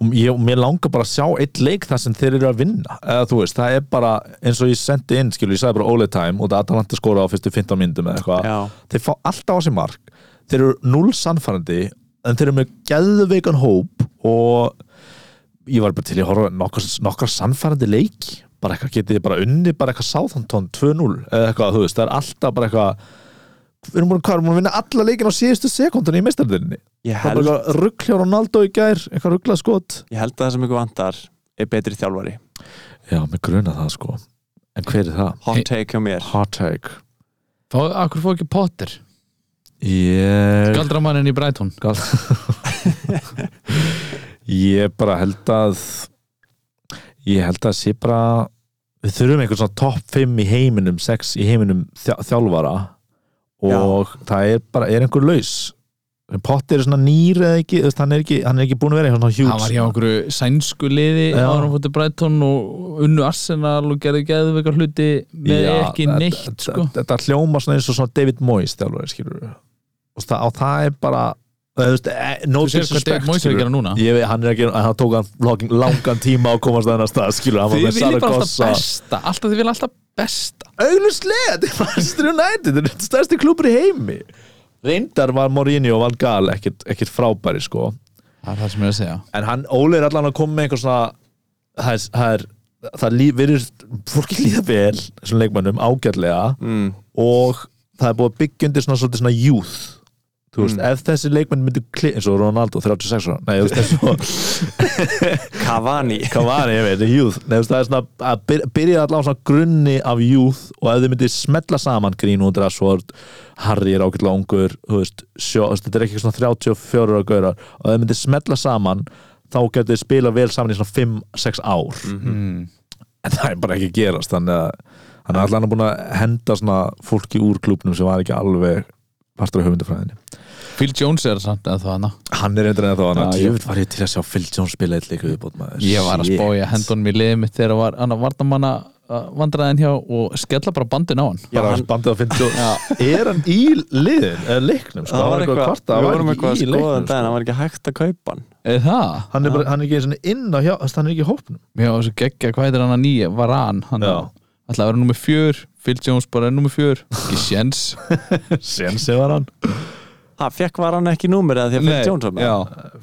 D: og ég, og mér langar bara að sjá eitt leik þar sem þeir eru að vinna eða þú veist, það er bara, eins og ég sendi inn skilu, ég sagði bara Ole Time og það Atalanta skora á fyrstu 15 myndum eða eitthvað
C: Já,
D: þeir fá alltaf á sig mark þeir eru null sannfærandi en þeir eru með geðveikan hóp og ég var bara til að horfa á nokkar, nokkar sannfærandi leik bara eitthvað getið þið bara unni bara eitthvað sáþantón 2-0 eða eitthvað þú veist það er alltaf bara eitthvað við erum búin, hvað, erum búin að vinna alla leikin á síðustu sekundunni í meistardinni
C: ég
D: það er bara
C: held,
D: eitthvað rugglja Ronaldo í gær eitthvað ruggla skot
C: ég held að það sem ykkur vantar er betri þjálfari
D: já, mig gruna það sko en hver er það?
C: Hot take hjá mér
D: Hot take
E: Akkur fór ekki Potter
D: ég
E: Galdramannin í Brighton
D: Gal Ég bara held að ég held að sé bara við þurfum einhvern svona topp 5 í heiminum 6 í heiminum þjá- þjálfara og það er bara er einhver laus Potter er svona nýr eða ekki þú veist, hann er ekki, hann er ekki búin að vera einhvern svona
E: Hann var hjá
D: hjúts
E: okkur sænsku liði
D: Já.
E: áður en hann fór til Brighton og unnu Arsenal og gerði geðveikar hluti með ekki neitt sko.
D: Þetta hljóma svona eins og svona David Moyes þjálfari skilur og það, á það er bara þú veist, eh, no
E: Þú sér hvað David
D: disrespect,
E: Moyes er að
D: skilurðu.
E: gera núna
D: Ég veit, hann er ekki, hann tók hann langan, langan tíma að komast að hennar stað, skilur, hann var
E: Þið
D: með
E: viljið bara alltaf
D: Saragossa
E: besta Alltaf þið vilja alltaf besta
D: Augluslega, þetta er Manchester United, þetta er stærsti klubur í heimi Reyndar var Mourinho og Van Gaal ekkert, ekkert frábæri, sko
E: Það er það sem ég er að segja
D: En hann, Óli er allan að koma með einhver svona Það er, það er, það líf, verið, fólki líða vel, þessum leikmannum, ágætlega
C: mm.
D: og það er búið að byggja undir svona svolítið svona youth þú
E: Mm.
D: veist, ef þessi leikmenn myndi kli, eins og Ronaldo 36 ára, nei, þú veist, eins og
C: Cavani
D: Cavani, ég veit, youth Nei, þú veist, það er svona að byr- byrja allavega á svona grunni af youth og ef þið myndir smetla saman Greenwood, Rashford, Harry er ágætlega ungur, þú veist, sjó, þú veist, þetta er ekki svona 34 ára gaurar og ef þið myndir smetla saman þá getur þið spila vel saman í svona 5-6 ár Mhm. en það er bara ekki að gerast þannig að hann er allan búin að henda svona fólki úr klubnum sem var ekki alveg partur af höfundafræðinni
E: Phil Jones er samt eða það hana
D: hann er eitthvað en þá hann
E: Já,
D: að
E: ég-
D: djöfull var ég til að sjá Phil Jones spila eitthvað í viðbót, maður.
E: Ég var að
D: Shit.
E: spója hendunum í liðið mitt þegar var hann að varnamanna vandræðin hjá og skella bara bandin á hann
D: bara hann, bandið að finna svo er hann í liðin, eða leiknum sko,
C: Það var eitthvað,
D: kvarta,
C: við vorum eitthvað að skoða
D: leiknum, sko.
C: þetta en það var ekki hægt að kaupa hann
E: Er það?
D: hann er, bara, hann er ekki einu sinni inn á hjá, þess að hann er ekki í hópnum
E: Já, þessu geggja, hvað heitir hann að nýja? Varan, hann
D: Já.
E: ætlaði að vera nummer fjör Phil Jones bara er nummer fjör ekki sjens
D: sensi var hann
C: Það fekk var hann ekki númer eða því að fyrir Jónsson
E: já.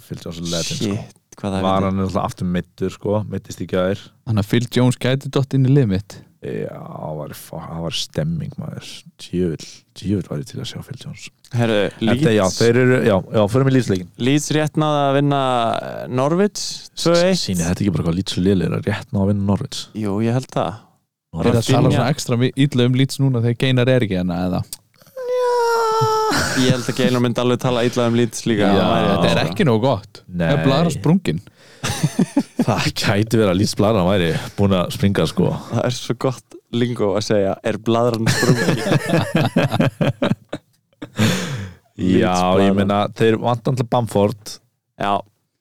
D: fylgdi á svo letin sko.
C: Shit, hvað það
D: var
C: er
D: hann alltaf aftur mittur sko, mittist í gær
E: Þannig að Phil Jones gæti dott inn í lið mitt
D: já, það var, það var stemming maður, djöfull djöfull var ég til að sjá Phil Jones
C: Herru,
D: Þetta, já,
C: Leeds
D: þeir eru, já, já, fyrir mig lýtsleikin
C: Leeds rétt náða að vinna eh, Norwich 2-1
D: síni, þetta er ekki bara hvað lýtsu liðlega er að rétt ná að vinna Norvits
C: Jú, ég held það
E: Er það að
C: Rafinha.
E: tala svona ekstra mi- illa um lýts núna þegar Geinar er ekki hana eða
C: Ég held að Geinar myndi alveg tala illa um Leeds líka
D: Já.
C: Það væri-
E: Þetta er ekki nóg gott
D: Nei.
E: Það er blara sprungin
D: það gæti verið að lýtsblaran væri búin að springa sko
C: Það er svo gott lingó að segja Er bladran sprungin
D: Já,
C: Leeds
D: ég
C: bara.
D: meina, þeir vant alltaf Bamford
C: Já,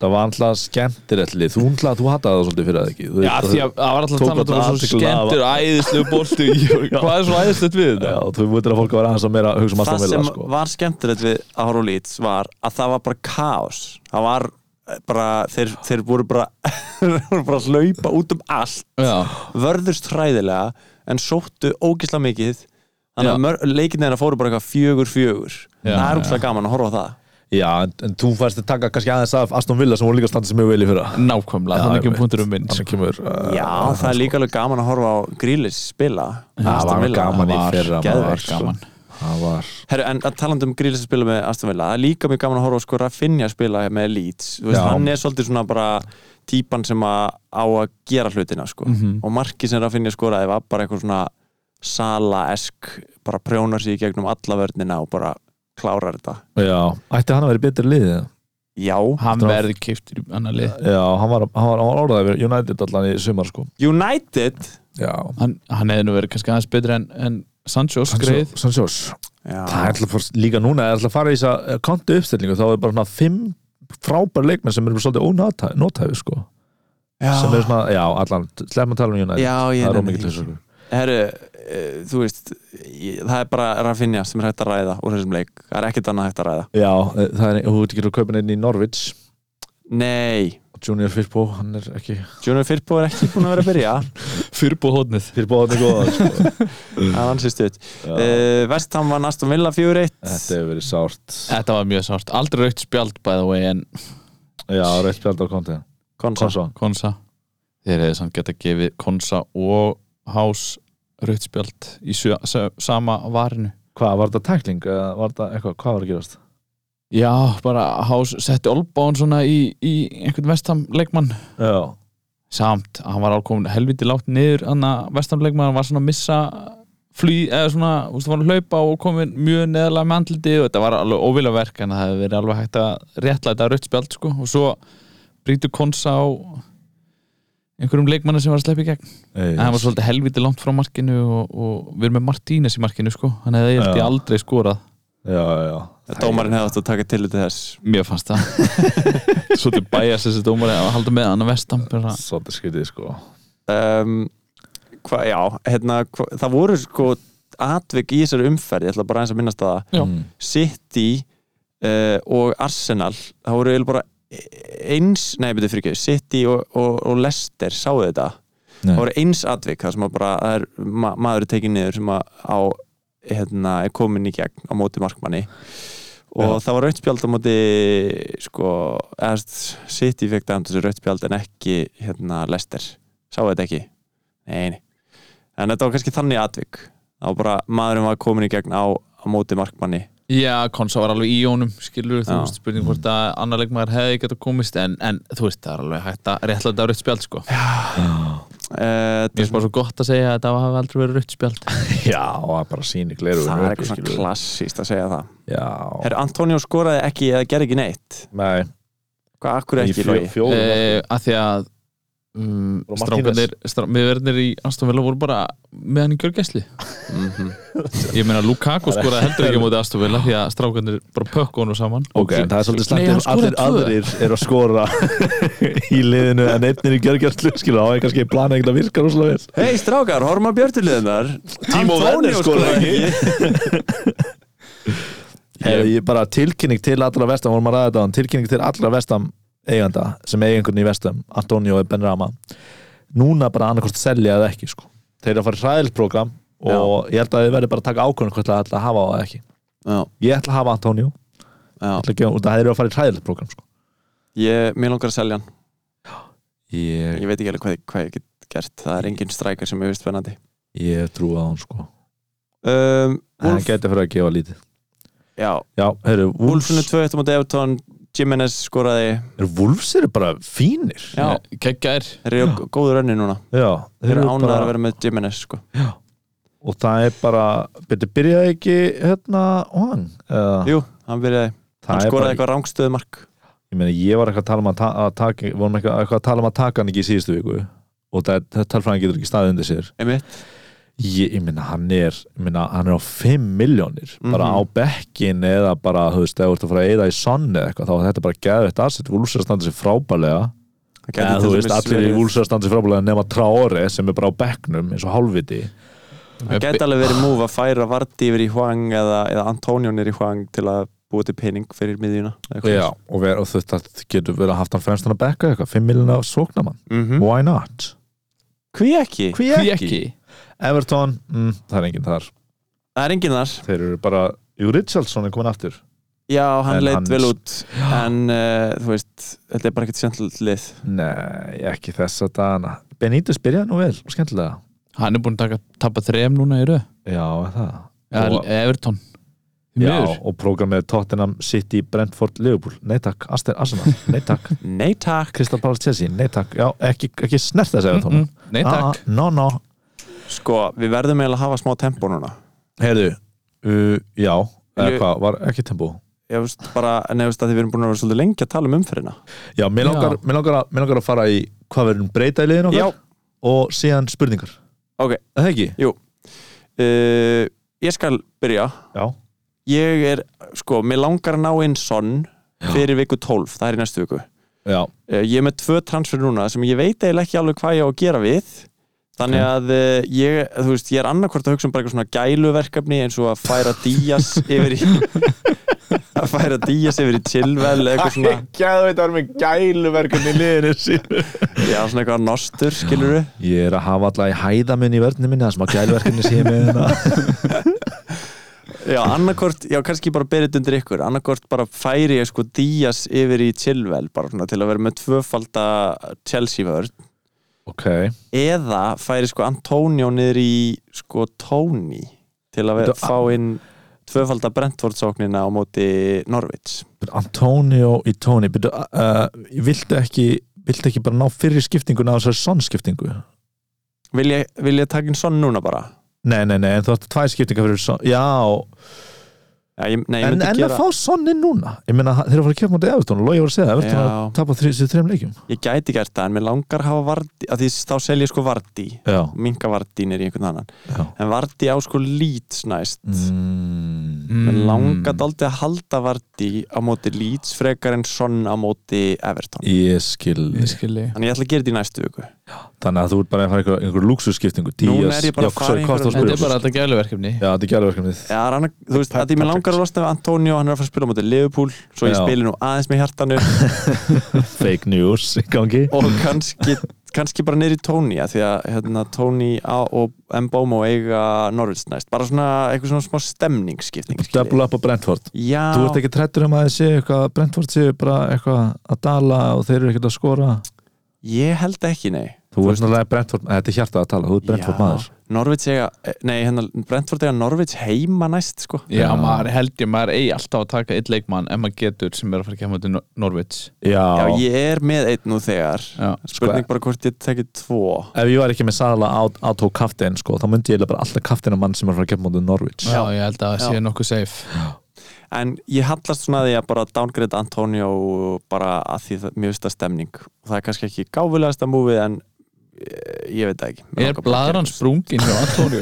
D: það var alltaf skemmtirelli þú alltaf, þú hattaði það svolítið fyrir það ekki þú,
E: Já, því að það var alltaf
D: Tók
E: að tala um
D: alltaf
E: það svo
D: athygli af-
E: skemmtur æðislu bolti Ég- Hvað er svo æðislegt við
D: Já,
E: þetta?
D: þú veitir að fólk var aðeins að meira að hugsa um
C: það
D: alltaf meira
C: sem
D: sko.
C: var skemmtilegt við að horfa á Leeds var að það var bara kaos það var eh, bara þeir, þeir voru bara, þeir voru bara að hlaupa út um allt
E: Já,
C: vörðust hræðilega en sóttu ógisla mikið þannig
E: Já.
C: að mör, leikin þeirna fóru bara eitthvað fjögur fjögur
E: Já,
C: það
E: já.
C: er úrslega gaman að horfa á það
D: Já, en, en þú færst að taka kannski aðeins af Aston Villa sem voru líka að standa sem mjög vel í fyrra
E: nákvæmlega, þannig kemur punktur um minn
D: Þannig kemur uh,
C: já, það er líka alveg gaman að horfa á Grílis spila
D: Það
C: Aston
D: var
C: Villa.
D: gaman í
E: var
D: fyrra
C: geðveikt,
D: maður,
E: gaman.
D: sko. það var
C: Herru, en að talandi um Grílis að spila með Aston Villa það er líka mjög gaman að horfa á sko Raffinja að spila með Leeds Þú veist,
D: Já.
C: hann er svolítið svona bara típan sem að á að gera hlutina sko.
D: Mhm.
C: og markið sem Raffinja skoraði var bara eitthvað svona sala-esk bara prjónar sig í gegnum alla vörnina og bara klárar þetta
D: já, ætti hann að vera í betri liðið eða?
C: Já,
E: hann
D: Drá-
E: verði keiftur í annar lið
D: já, hann var, hann var, hann var orðaðið við United allan í sumar sko
C: United
D: já,
E: hann, hann hefði nú verið kannski aðeins betri en, en Sancho skreið
D: Sanchós
C: Já,
D: það er alltaf fórst líka núna, það er alltaf að fara í þess að kontu uppstillingu, þá er bara svona fimm frábæri leikmenn sem eru svolítið ónótæfi sko,
C: já.
D: sem eru svona, já, allan, slepp að tala um United
C: já ég
D: það er
C: nenni
D: ómikið
C: því.
D: til þessu
C: Herru, eh, þú veist ég, það er bara Raffinja sem er hægt að ræða úr þessum leik, það er ekkert annað hægt að ræða
D: já, eh, það er, þú veit ekki að kaupa neinn í Norwich
C: Nei,
D: Junior Firpo, hann er ekki
C: Junior Firpo er ekki búin að vera að byrja
E: fyrirbúð hóðnið
D: Firpo, hann er góð sko.
C: Það var hans í stuð
D: Já,
C: uh, Vestham var Aston Villa 4-1
D: þetta hefur verið sárt
E: þetta var mjög sárt, aldrei raukt spjald by the way en
D: já, rautt spjald á konti
C: Konsa
D: Konsa,
E: Konsa þeir hefði samt geta gefið Konsa og Hás raukt spjald í sjö, sa- sama varinu
D: hvað, var þetta tækling? eða Var þetta eitthvað, hvað var að gerast?
E: já, bara Hás setti Olbán svona í, í einhvern vestam leikmann
D: Já,
E: samt, hann var álkomin helviti látt niður hann að vestamleikmann, hann var svona að missa flý, eða svona, þú veist, var að hlaupa og komin mjög neðalega með andliti og þetta var alveg óvilja verk en það hefði verið alveg hægt að réttlæta rautt spjald sko og svo brýtu konsa á einhverjum leikmanni sem var að sleppa í gegn
D: Ei,
E: en hann var svolítið helviti langt frá markinu og, og við erum með Martínez í markinu sko hann hefði ég
D: Já.
E: aldrei skorað
D: já, já
C: Dómarinn hefði átt að taka til þess
E: mér fannst það svolítið bæjast þessi dómari að halda með hann að vestam bara-
D: Svolítið skytið, sko
C: um, hva, Já, hérna hva, það voru sko atvik í þessari umferð ég ætla bara eins að minnast að það
E: Já.
D: Mm.
C: City uh, og Arsenal það voru eiginlega bara eins nei, betur fyrir ekki, City og, og, og Leicester sáðu þetta,
D: Nei.
C: það voru eins atvik það sem að bara, það er ma maður er tekið niður sem að á hérna, er komin í gegn á móti markmanni og það var rautspjald á móti sko, eða þú veist, City fekk dæmt þessu rautspjald en ekki hérna Lester, sáu þetta ekki nei, nei, en þetta var kannski þannig atvik, það var bara maðurinn var komin í gegn á, á móti markmanni
E: Já, Konsa var alveg í honum skilur, þú
C: Já.
E: veist, spurning hvort að annar leikmaður hefði geta komist, en, en þú veist, það er alveg hægt að réttlega rautt spjald, sko Mér
C: uh,
E: finnst bara svo gott að segja að þetta hafi aldrei verið rautt spjald
D: Já, það er bara síni gleru
C: það er eitthvað svona klassíst að segja það
D: Já,
C: Herra, Antonio skoraði ekki eða gerði ekki neitt
D: nei
C: Hvað, akkur
D: í
C: ekki,
D: fjó-
C: Lói?
D: fjórum
E: eh, að Því að um,
D: Og Martínez.
E: strákanir, strá, miðverðinir í Aston Villa voru bara með hann í gjörgæsli
D: mhm.
E: Ég meina, Lukaku skoraði heldur ekki á móti Aston Villa því að strákanir bara pökku honum saman
D: Ok, en það er svolítið
E: Nei,
D: slæmt
E: hann
D: ef allir
E: skoraði
D: aðrir eru að skora í liðinu en einnir í gjörgjörnslu skilur þá er kannski plana ekkert að virka rosalega vel
C: Hei strákar, horfum að björtuliðunar
D: Timo Werner skoraði
C: ekki
D: Ég, ég bara tilkynning til allra vestam vorum að ræða þetta, áðan, tilkynning til allra vestam eiganda sem eiga einhvern í vestam Antonio Benrama núna bara annarkost selja eða ekki sko. þeir eru að fara í hræðilt program og ég held að þið verði bara að taka ákvörðun hvort það ætla að hafa á eða ekki
C: Já,
D: ég ætla að hafa Antonio
C: já
D: ætla að gefa, út af það eru að fara í hræðilt program sko.
C: Ég, mér langar að selja hann
D: ég,
C: Ég veit ekki alveg hvað, hvað ég get gert Það er engin strækar sem ég veist spennandi
D: ég trúa á hann sko.
C: um,
D: hann
C: Wolf,
D: getur fyrir að gefa lítið
C: Já,
D: Já, heyrðu, Wolves,
C: Wolfsunu 2-1 mútið Evertón Jimenez skoraði
D: er, Wolves eru bara fínir
C: Já,
E: Keggjær
C: þeir eru á góðu rönni núna
D: Já,
C: Þeir eru
D: bara-
C: ánæðar að vera með Jimenez sko.
D: og það er bara, betur byrjaði ekki hérna, Wang eða-
C: Jú, hann byrjaði, hann
D: Það er
C: skoraði
D: bara,
C: eitthvað rángstöðumark
D: ég meina, ég var eitthvað að tala um að, ta að taka, vorum eitthvað, eitthvað að tala um að taka hann ekki í síðustu viku og þetta talfræðan getur ekki staðið undir sér
C: Einmitt,
D: ég, ég meina, hann er ég meina, hann er á 5 miljónir bara
C: Mhm.
D: á bekkin eða bara, þú veist, ef þú ert að fara að eyða í sonni eða eitthvað, þá er þetta bara geðvægt asset, Wolves er að standa sér frábælega
C: Það gæti
D: eða
C: til
D: þú veist,
C: dæmis
D: allir í
C: verið-
D: Wolves er að standa sér frábælega nema Traore sem er bara á bekknum eins og hálfviti
C: Það gæti alveg verið múf að færa Vardí yfir í Hwang eða, eða Antonjón er í Hwang til að búa til pening fyrir miðjuna
D: Já, og, ver, og þetta getur verið að haft hann fremst hann að bekka eitthvað, 5 miljónir af sóknamann
C: mm -hmm.
D: why not?
C: Hví ekki?
D: Hví
E: Hví ekki?
D: Everton, mm, það er enginn þar
C: Það er enginn þar
D: þeir eru bara, Jú Richardson er komin aftur
C: Já, hann
D: En
C: leit
D: hann-
C: vel út en uh, þú veist, þetta er bara ekkert sjöntlið lið
D: Nei, ekki þess að dana Benítez byrjaði nú vel, og skemmtilega
E: Hann er búin að taka, tappa þrem núna í röð
D: Já, er það
E: Já,
D: Og-
E: Evertón Því
D: Já,
E: miður.
D: og prógramið Tottenham City, Brentford, Liverpool Nei takk, Aston Arsenal, nei takk
C: Nei takk
D: Crystal Palace, Chelsea, nei takk Já, ekki, ekki snert þess að
E: Mm, mm. Nei takk
D: ah, No, no
C: Sko, við verðum eiginlega að hafa smá tempó núna
D: Heyrðu, uh, já,
C: Ég-
D: eða hvað, var ekki tempo
C: Ég veist bara, en ég veist að þið verðum búin að vera svolítið lengi að tala um umferðina
D: Já, mér langar, mér langar, að, mér langar að fara í hvað verður um breyta í liðin okkar
C: Já,
D: og síðan spurningar
C: Ok.
D: Er Það ekki?
C: uh, ég skal byrja
D: Já,
C: Ég er, sko, mér langar að ná inn sonn fyrir viku 12, það er í næstu viku
D: já,
C: Eh, Ég er með tvö transfer núna sem ég veit eiginlega ekki alveg hvað ég á að gera við Þannig að eh, ég, þú veist, ég er annarkvort að hugsa um bara eitthvað svona gæluverkefni eins og að færa Díaz yfir í að færa Díaz yfir í Chilwell eða eitthvað svona,
D: Gæðu þetta var með gæluverkefni í liðinu sínu
C: já, svona eitthvað nostur, skilur við
D: Ég er að hafa alltaf í hæða minni í verðinu minni það sem að gæluverkefni sé með hérna
C: Já, annarkvort, já, kannski bara berið undir ykkur annarkvort bara færi ég sko Díaz yfir í Chilwell bara svona til að vera með tvöfalda Chelsea vörð
D: Ok,
C: eða færi sko Antonio niður í sko Tony til að vera,
D: Þetta-
C: fá inn tvöfalda Brentford sóknina á móti Norvits
D: But Antonio í Tony but, uh, viltu, ekki, viltu ekki bara ná fyrir skiptinguna á þessari sonnskiptingu?
C: vil ég, vil ég taka inn sonn núna bara?
D: Nei, nei, nei, en þú ætti tvær skiptingar fyrir son, Já,
C: Já, ég, nei, ég
D: en,
C: myndi
D: en að
C: gera,
D: fá sonni núna ég meina þeir eru að fara að kjöpa mútið Evertón Lói var að segja það, Evertón
C: Já.
D: að tapa þri, sér þreim leikjum
C: ég gæti gert það en mér langar að hafa Vardí, að því þá selja sko Vardí
D: já,
C: minga Vardí niður í einhvern annan
D: já
C: en Vardí á sko Leeds næst
D: mm,
C: Mér langar daldið að halda Vardí á móti Leeds frekar en Son á móti Everton.
D: ég skil
E: Ég skilji
C: Þannig ég ætla að gera þetta í næstu viku.
D: þannig að þú ert bara að fara einhver, einhver lúksusskiptingu
C: Núna
D: Díaz,
C: er ég bara að fara í
D: hvað
C: einhverja-
D: varstu að
E: Þetta
D: spyrja
E: er bara þetta gæluverkefni
D: já, þetta er gæluverkefnið
C: Já, rann, þú veist, að því mér langar að losna við Antonio, hann er að fara að spila á móti Liverpool, svo ég
D: Já.
C: spili nú aðeins með hjartanu
D: fake news í gangi
C: og kannski, kannski bara niður í Tony, af því að hérna, Tony A og Mbomo eiga Norvins næst. Bara svona eitthvað svona smá stemningsskipting. skilji.
D: double up á Brentford
C: Já,
D: þú ert ekki trættur um að þið séu eitthvað Brentford séu bara eitthvað að dala og þeir eru ekkert að skora
C: ég held ekki, nei.
D: þú ert náttúrulega Brentford, þetta er hjartað að tala þú ert Brentford maður
C: Norvits eiga, nei, hérna, Brentford eiga Norvits heima næst, sko.
D: Já.
E: Já, maður held ég, maður eigi alltaf að taka eitt leikmann en maður getur sem er að fara að kemja til Nor- Norwich
C: Já,
D: já,
C: ég er með einn nú þegar
E: Já,
D: sko-
C: Spurning bara hvort ég tekið tvo
D: ef ég var ekki með Sala á, á tók kaftin sko, þá myndi ég eiginlega bara alltaf kaftin mann sem er að fara að kempa mútið Norwich
E: já ég held að það
C: Já.
E: sé nokkuð safe
C: En ég hallast svona að ég bara downgrade Antonio bara að því það, mér finnst það stemning og það er kannski ekki gáfulegasta múfið en eh, ég veit það ekki Mig
E: Er
C: langar bara að gera
E: blaðran sprungin hjá Antonio?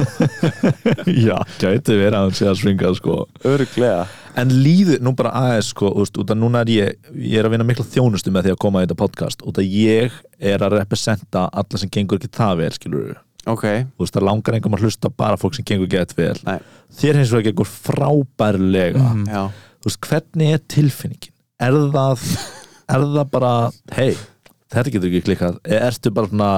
D: Já, gæti verið að hann sé að svinga sko.
C: þetta. Örugglega
D: En líður, nú bara aðeins sko, úst, út að núna er ég, ég er að vinna mikla þjónustu með því að koma í þetta podcast út að ég er að representa alla sem gengur ekki það vel, skilur við
C: Ok,
D: Þú veist, það langar engum að hlusta bara fólk sem gengur gett vel
C: Nei.
D: Þér hins vegar gengur frábærlega
C: já
D: Þú veist, hvernig er tilfinningin? Er það, er það bara, hei, þetta getur ekki klikkað Eða Ertu bara svona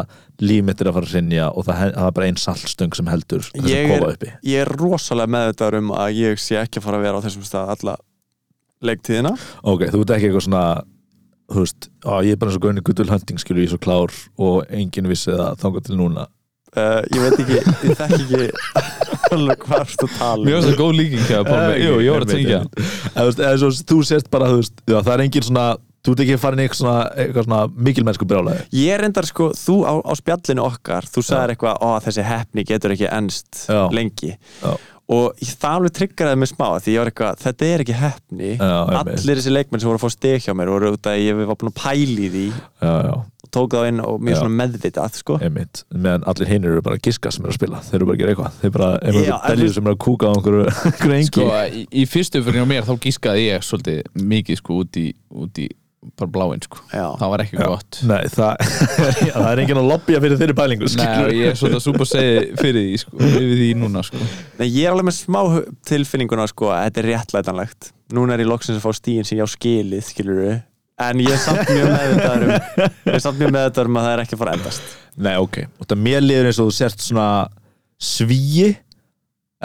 D: límittir að fara að sinja og það, he- það er bara einn saltstöng sem heldur þess
C: Ég
D: að
C: er,
D: kofa uppi
C: ég er rosalega meðvitaður um að ég sé ekki að fara að vera á þessum stað alla leiktíðina
D: Ok, þú ert ekki eitthvað svona þú veist, á, ég er bara eins og Gunni Guttul Hunting skilur ég er svo klár og enginn vissi það þangað til núna
C: uh, Ég veit ekki, ég þekk ekki alveg hvað ertu að tala um.
E: Mjög það góð líking hjá Pálmi Eh, Jú, ég var að tengja
D: Eða, þú veist, eða, svo, Þú sért bara, þú veist, já, það er enginn svona þú ert ekki farin í eitthvað svona, eitthvað svona mikilmennsku brjálæði
C: Ég er reyndar sko, þú á, á spjallinu okkar þú sagðir eitthvað, ó þessi hefni getur ekki ennst
D: Já.
C: lengi
D: Já.
C: og ég- það alveg triggeraði mig smá því ég var eitthvað, þetta er ekki hefni
D: Já, einmitt.
C: allir þessi leikmenn sem voru að fá stig hjá mér voru út að ég var búin að pæli því
D: Já, já,
C: og tók þá inn og mér
D: Já.
C: svona meðvitað sko.
D: einmitt meðan allir hinn eru bara að giska sem eru að spila þeir eru bara að gera eitthvað, þeir eru bara einhver
C: Já, en
D: deljur
C: þú-
D: sem eru að kúka á einhverju einhverju engi
E: Sko, í, í fyrstu fyrir hjá mér þá gískaði ég svolítið mikið sko út í, út í bara bláinn sko
C: Já.
E: Það var ekki gott
D: Nei, það, já, það er enginn að lobbya fyrir þeirri pælingu
E: Nei,
D: skilurðu.
E: og ég er svolítið að súpa segi fyrir því sko, yfir því núna sko
C: Nei, ég er alveg með smá hu- tilfinninguna sko, að þetta er réttlætanlegt núna er ég loksins að fá stíin sem ég á skilið skilur en ég er samt mjög meðvitaður um, ég er samt mjög meðvitaður um að það er ekki að fara að endast
D: Nei, ok, og það mér liður eins og þú sért svona svíi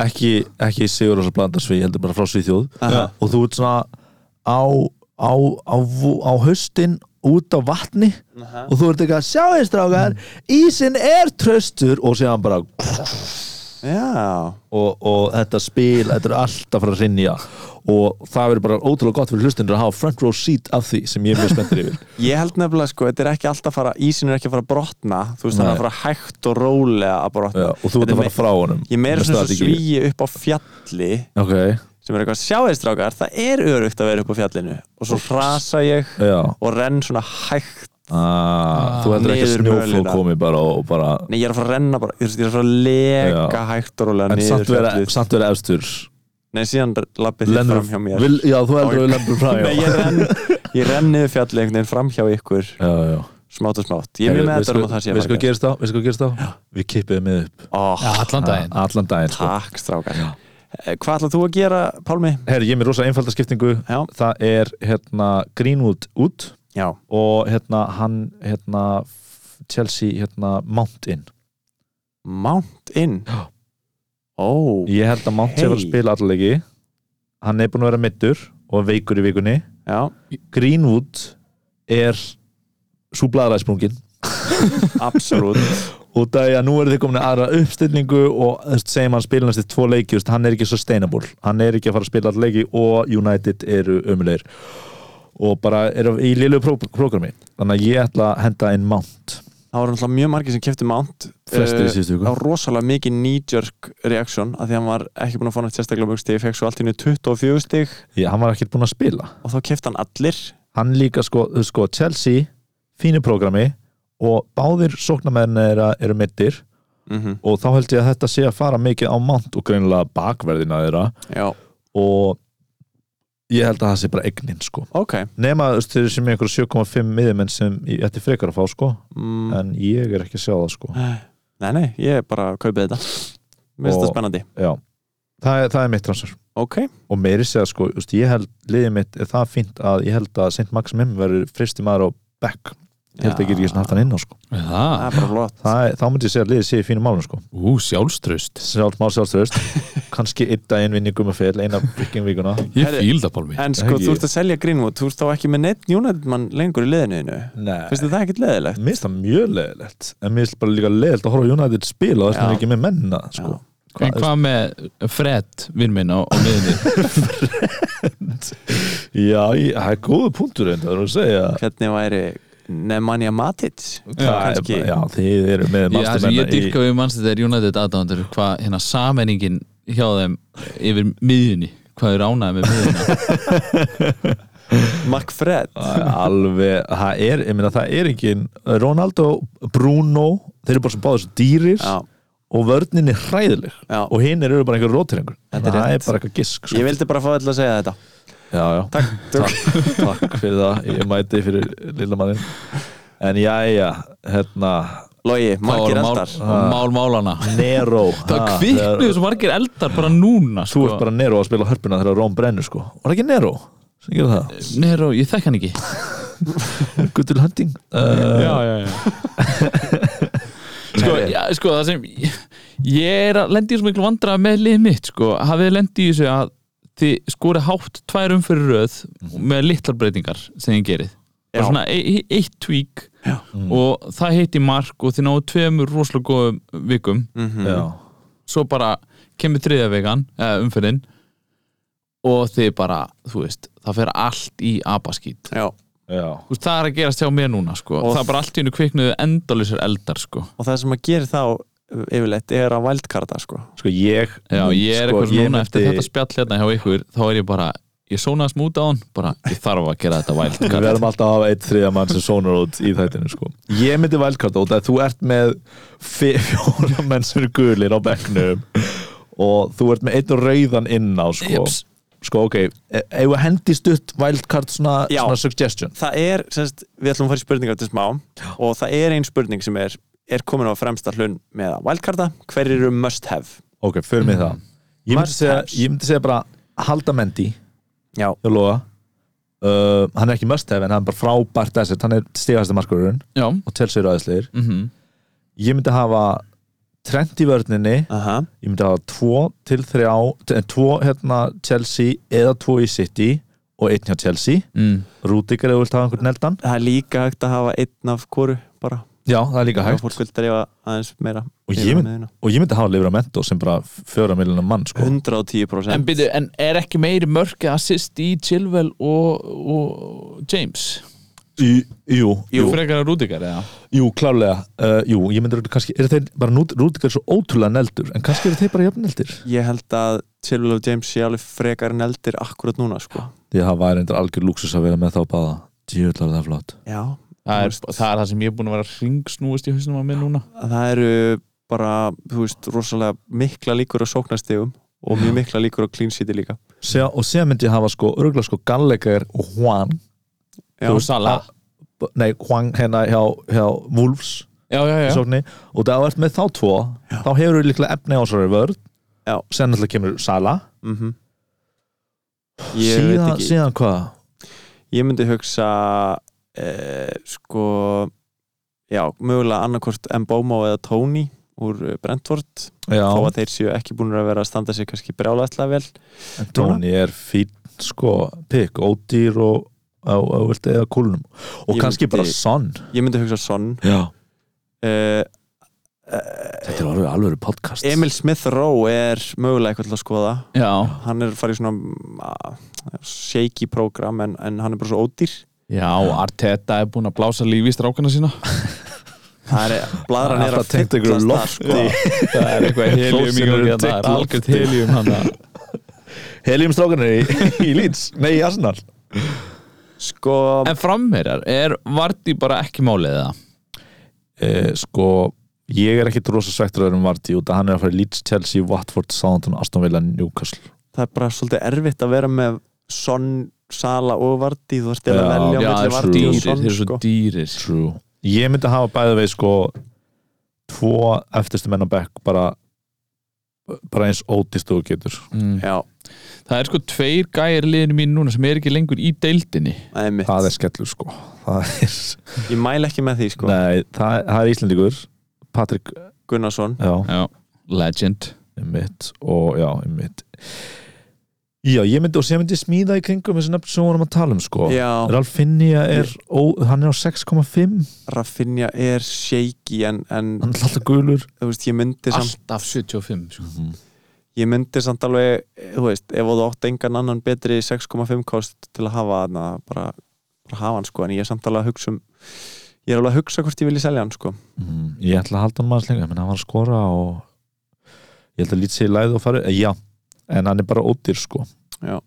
D: ekki, ekki sigur og blanda svíi, heldur bara frá svíþjóð
C: Aha.
D: og þú ert svona á, á, á, vo- á haustin út á vatni og þú ert eitthvað sjáðistrákar, mm. ísin er tröstur og séðan bara
C: Já,
D: og, og þetta spil, þetta er alltaf frá að rinja og það verður bara ótrúlega gott fyrir hlustundur að hafa front row seat af því sem ég er mjög spenntur yfir
C: ég held nefnilega sko, þetta er ekki alltaf að fara, ísin er ekki að fara að brotna þú veist, það er
D: Nei.
C: að fara hægt og rólega að brotna
D: Já, og þú ert
C: Þetta er
D: að fara frá honum
C: Ég meira
D: með
C: sem svo
D: strategíu.
C: svíi upp á fjalli
D: ok,
C: sem er eitthvað sjáðistrákar, það er örugt að vera upp á fjallinu og svo hrasa ég
D: já
C: og renn svona hægt
D: ah, þú heldur ekki að
C: Niður
D: snjóflóð
C: mölina.
D: komi bara og bara
C: Nei, ég er að fara að renna bara, ég er- ég er að fara að leka hægt og rólega
D: en
C: niður
D: samt vera,
C: fjallið
D: samt vera efstur
C: Nei, síðan lappið þið
D: Lendur-
C: fram hjá mér
D: vil, já, þú heldur
C: Já, ég-
D: að við lendur frá
C: Nei, ég renn, ég renn niður fjallið einhvern veginn fram hjá ykkur
D: já, já
C: smátt og smátt, ég er mjög með þetta um að það sé að
D: við sko
C: fara að
D: gerist á, við sko gerist á við kippið með upp
C: gera. Ó,
E: allan daginn
D: Ah, allan daginn sko.
C: Takk strákar Eh, Hvað ætlað þú að gera, Pálmi?
D: herri, ég er með rosa einfalda skiptingu
C: Já,
D: það er hérna Greenwood út
C: já,
D: og hérna hann hérna f- Chelsea hérna Mount in
C: Mount Inn
D: Já.
C: Ó,
D: ég held að Mount sé að fara að
C: Hey.
D: spila allalegi hann er búin að vera middur og veikur í vikunni
C: já,
D: Greenwood er svo blaðræðsprungin
C: absolutt
D: og það er að nú eru þið komin aðra uppstillingu og þú veist, segjum hann spila næstu tvo leiki þú veist, hann er ekki sustainable, hann er ekki að fara að spila all leiki og United eru ömulegir og bara eru í liðlegu pró prógrami, þannig að ég ætla að henda inn Mount,
C: Það voru náttúrulega mjög margir sem kefti Mount
D: flestir í
C: Eh,
D: síðustu
C: Það
D: viku
C: var rosalega mikið knee-jerk reaction af því að hann var ekki búin að fá nátt sérstaklega mjög stig fekk svo allt í henni 24 stig
D: Já, hann var ekkert búin að spila
C: og þá kefti hann allir
D: hann líka sko, þú veist, sko Chelsea fínu prógrami og báðir sóknarmenn eru, eru middir
C: mm
D: og þá held ég að þetta sé að fara mikið á Mount og greinilega bakverðina þeirra
C: Já,
D: og ég held að það sé bara eignin sko
C: ok
D: nema þú veist, þeir sem einhver 7,5 miðjumenn sem ég ætti frekar að fá sko
C: mm,
D: en ég er ekki að sjá það sko
C: Nei, nei, ég er bara að kaupa þetta Mér finnst
D: Og-
C: þetta spennandi
D: já, það er, það er mitt transfer
C: Ok,
D: og meiri segja sko, þú veist, ég held liðið mitt er það fínt að ég held að Sint Maximum verður fristi maður á back ég held
C: Já.
D: ekki að ég snart hann inn á sko
C: það
E: Já.
C: er bara flott
D: það, er- þá myndi ég segja að liðið sé í fínum málum sko
E: ú, sjálfströst
D: sjálf má sjálfströðust, kannski einn daginn vinn í gummafél, eina byggjum vikuna
E: ég
C: Herri-
E: fíl það Pálmi
C: En sko,
D: Ekki-
C: þú ert að selja Greenwood, þú ert þá ekki með neitt United mann lengur í liðinuðinu
D: Nei,
C: Finnst þið það ekkert leðilegt?
D: mér finnst það mjög leðilegt en mér finnst bara líka leðilegt að horfa á United spila og þess að
C: Já.
D: það er ekki með menna sko.
C: Já.
E: en hvað með Fred, vinn minn á, á miðinni
D: Já, ég- það er góðu punktur einnig, það er að segja
C: Hvernig væri Nemanja Matic?
D: Það er
C: Kannski.
D: bara- Já, þið eru með
E: Já, það sem ég
D: mastermenna í
E: dyrka við mannstættir United aðdándur hvað hérna samenningin hjá þeim yfir miðjunni hvað þau ránaði með miðjunna
C: Mark Fred
D: Það er alveg, það er, ég meina það er ekki Ronaldo, Bruno þeir eru bara sem báður svo dýrir
C: Já,
D: og vörnin er hræðileg
C: já
D: og hinn eru bara einhver rótrengur
C: Þetta
D: það
C: er
D: er
C: rétt.
D: bara eitthvað gisk sko.
C: Ég vildi bara fá þetta að segja þetta
D: Já, já
C: Takk, takk.
D: takk fyrir það, ég mæti fyrir lilla mannin en jæja, hérna
C: Logi, margir
E: mál,
C: eldar
E: mál málana
D: Nero
E: það
D: ha,
E: kviknuðu
D: þegar-
E: svo margir eldar bara núna
D: þú
E: sko.
D: ert bara Nero að spila á hörpuna þegar Róm brennur sko var ekki Nero sem gerði það,
E: Nero, ég þekk hann ekki
D: good will hunting
E: Mm.
D: uh,
E: já, já Eh, sko, já, sko, það sem ég er að lendi í svo miklu vandræða með lið mitt sko, hafið lendi í þessu að þið skorið hátt tvær umfyrir röð með litlar breytingar sem þið gerið
C: Já.
E: bara svona e e eitt tvík og það heiti mark og þið náðu tveimur rosalega góðum vikum
C: Mhm.
D: já.
E: svo bara kemur þriðja vegan eh, umfyrin og þið bara, þú veist það fer allt í abaskít
C: Já,
D: já,
E: Þú veist, það er að gerast hjá mér núna sko.
C: Og-
E: það er bara allt í hennu kviknuðu endalusir eldar sko.
C: og það sem að gera þá uh, yfirleitt er að vældkarta sko.
D: sko ég
E: já, ég er
D: sko, ég
E: eitthvað svona núna
D: myndi-
E: eftir þetta spjall hérna hjá ykkur þá er ég bara, ég sónaði smúta á hann bara, ég þarf að gera þetta vælt
D: við verðum alltaf að hafa eitt þriða mann sem sónar út í þættinu sko ég myndi vælkarta út að þú ert með fi- fjóra menn sem eru gulir á bekknum og þú ert með einn rauðan inn á sko
E: Jeps.
D: sko ok, e- eigum við að hendi stutt vældkart svona,
C: Já.
D: svona suggestion
C: Það er, semst, við ætlum að fara í spurningar til smá og það er ein spurning sem er er komin á fremsta hlun með að vældkarta hver eru must have?
D: ok, förum við það ég myndi,
C: Must
D: segja,
C: haves.
D: ég myndi segja bara halda mendi
C: Já,
D: hjá Lóa uh, hann er ekki must have en hann er bara frábært asset hann er stigast markurinn
E: já,
D: og Chelsea eru aðeinslegir
E: mm
D: ég myndi hafa Trent í vörninni
C: aha,
D: ég myndi hafa tvo til þrjá eh, tvo hérna Chelsea eða tvo í City og einn hjá Chelsea
E: mm.
D: Rúdikar eða þú vilt hafa einhvern eldan
C: það er líka hægt að hafa einn af koru bara,
D: já, það er líka
C: og
D: hægt
C: fólk vil dreifa aðeins meira
D: og
C: Yfir
D: ég,
C: á
D: mynd,
C: miðjuna.
D: og ég myndi hafa lifra mentó sem bara fjóra miljonar mann sko.
C: 110%
E: En, byrju, en er ekki meiri mörk að assist í Chilwell og, og James?
D: Í- jú, jú,
E: Frekar að Rúdikar eða?
D: jú, klárlega uh, jú, ég myndi kannski, eru þeir bara rúdikar svo ótrúlega neldur, en kannski eru þeir bara jafneldir
C: Ég held að Chilwell og James sé alveg frekar en eldir akkurat núna sko.
D: því það væri endur algjör lúksus að vera með þá báða djúðlar það flott
C: Já,
E: Það er,
C: Þú veist.
E: það er það sem ég er búin að vera hringsnúist í hausnum að minn núna
C: það eru bara, þú veist, rosalega mikla líkur á sóknastegum og mjög mikla líkur á clean city líka
D: Sjá, og síðan myndi ég hafa sko, örgulega sko Gallagher og Juan
C: Já,
E: Og Sala
D: b- nei, Juan hérna hjá, hjá Wolves
E: Já, já,
D: í
E: já
D: sóknni, og það ert með þá tvo þá hefur þú líklega efni á svarri vörð
C: Já.
D: sen alltaf kemur Sala
C: mm Ég veit
D: síðan,
C: ekki
D: síðan hvað
C: Ég myndi hugsa eh, sko já, mögulega annarkvort Mbomo eða Tony úr eh, Brentford þó
D: já,
C: að þeir séu ekki búin að vera að standa sér kannski brjálætlega vel
D: en Tony er fín sko, pikk, ódýr og á, á, viltu eða kúlunum og
C: Ég
D: kannski
C: myndi-
D: bara Son
C: Ég myndi hugsa Son
D: já.
C: eh,
D: þetta er alveg alveg podcast
C: Emil Smith Rowe er mögulega eitthvað til að skoða
E: Já,
C: hann er farið í svona mm, að- shaky program en, en hann er bara svo ódýr
E: já Arteta er búin að blása lífi í strákana sína
C: það er, blaðran er að
D: Alltaf um tengt einhverju
C: fyllast
D: lofti.
C: þar,
E: Það er eitthvað helium í
D: Klósin eru
E: gangi þarna, Það
D: tyggt
E: er algjört helium hann
D: Helium strákanir um í, í Leeds nei, í Arsenal
C: sko, sko
E: En framherjar, er Vardí bara ekki málið það?
D: eh, sko ég er ekkit rosa svektur að vera um Vardí út að hann er að fara í Leeds, Chelsea, Watford, Southampton, Aston Villa, Newcastle
C: það er bara svolítið erfitt að vera með Son, Sala og Vardí þú ert eða
D: Já,
C: að velja á
E: Já,
C: milli
E: þeir eru svo
C: Vardí og Son
E: dýrir, þeir eru svo
C: sko.
E: dýrir
D: True. ég myndi hafa bæðið veið sko tvo eftirstu menn á bekk bara bara eins ódýst og þú getur
E: Mm.
C: já,
E: Það er sko tveir gæjar í liðinu mín núna sem er ekki lengur í deildinni
C: það er mitt
D: það er skellur sko það er, sko.
C: ég mæl ekki með því sko,
D: nei, það, það er Íslendingur Patrik,
C: Gunnarsson
D: já,
E: Já, legend
D: mitt og já, mitt já, ég myndi og sem myndi ég smíða í kringum þessi nefn sem við vorum að tala um sko
C: já,
D: Ralf Finnja er, ó, hann er á 6,5
C: Rafinha er shaky en, en
D: hann er alltaf gulur
C: þú veist, ég myndi samt
E: Alltaf 75 sko.
D: Mhm.
C: ég myndi samt alveg, eh, þú veist ef þú átt engan annan betri 6,5 kost til að hafa þarna, bara, bara hafa hann sko, en ég er samt alveg að hugsa um ég er alveg að hugsa hvort ég vilja selja hann sko
D: mm, ég ætla að halda hann maður lengur menn hann var að skora og ég held að lítið sig í læð og fari eh, já, en hann er bara ódýr sko
C: Já.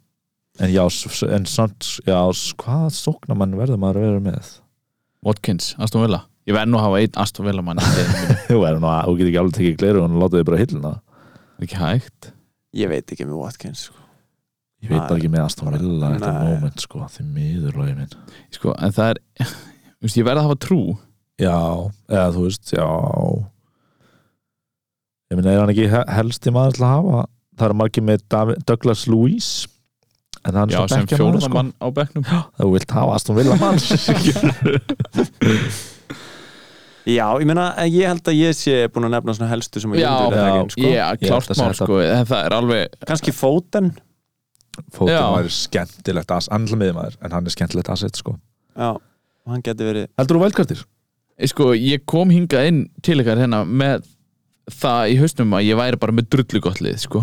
D: en já, s- s- en samt já, s- hvað sóknar mann verður maður að vera með
E: Watkins, Aston Villa Ég verð nú að hafa einn Aston Villa mann í deildinni.
D: þú er nú að, þú getur ekki alveg tekið gleru og hann láta þig bara hillina
E: Ekki hægt
C: ég veit ekki með Watkins sko.
D: ég veit
C: Nei.
D: bara ekki með Aston Villa þetta
C: Nei.
D: moment sko, því miður lagi minn
E: sko, En það er Þú veist, Ég verð að hafa trú
D: já, eða þú veist, já ég meina, er hann ekki he- helsti maður til að hafa það eru margir með Davi- Douglas Lewis en hann
E: Já,
D: er svo
E: sem
D: bekkjamaður sko
E: fjóruðamann á bekknum
D: þú vilt hafa Aston Villa mann
C: já, ég meina, en ég held að ég sé búin að nefna svona helstu sem ég
E: Já,
C: myndi
D: já.
C: vilja ekki, sko.
E: Já,
D: Ég
E: klárt
D: ætla að segja
E: mál
D: þetta.
E: sko en Það er alveg
C: kannski Foden
D: Fótinn
E: Já.
D: væri skemmtilegt as hann er alltaf miðjumæður, en hann er skemmtilegt asset sko.
C: já, og hann geti verið
D: heldur þú vældkartir?
E: Sko, ég kom hingað inn til ykkar hérna með það í hausnum að ég væri bara með drullu gott lið sko.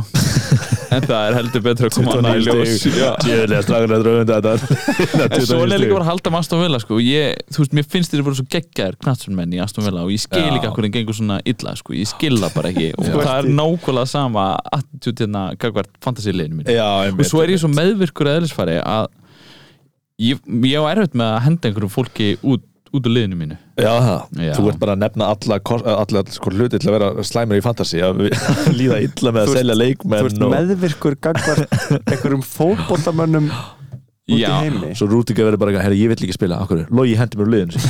E: en það er heldur betur að koma annað í ljós Já.
D: djöðlega strafin að dröfunda þetta
E: en svo er líka bara að halda með Aston Villa sko. ég, þú veist, mér finnst þeir voru svo geggjaðir knatsunmenn í Aston Villa og ég skil
D: Já.
E: ekki okkur en gengur svona illa, sko. ég skil það bara ekki og
C: Já.
E: það er nákvæmlega sama attitude hérna, gagvart fantasíliðinu mín
D: já, einmitt,
E: og svo er ég svo meðvirkur að eðlisfari að ég, ég á erfitt með að henda einhverju fólki út, út úr liðinu mínu
D: já, það.
E: Já.
D: þú ert bara að nefna alla, kos- alla sko, hluti til að vera slæmur í fantasy að við- líða illa
C: Þú
D: með að
C: ert- þú
D: selja
C: ert
D: leikmenn og
C: meðvirkur gagvart einhverjum fótboltamönnum út í
E: Já.
C: heimi
D: svo Rúdíka verður bara, herri, ég vill ekki spila akkur, logi hendi mér úr liðin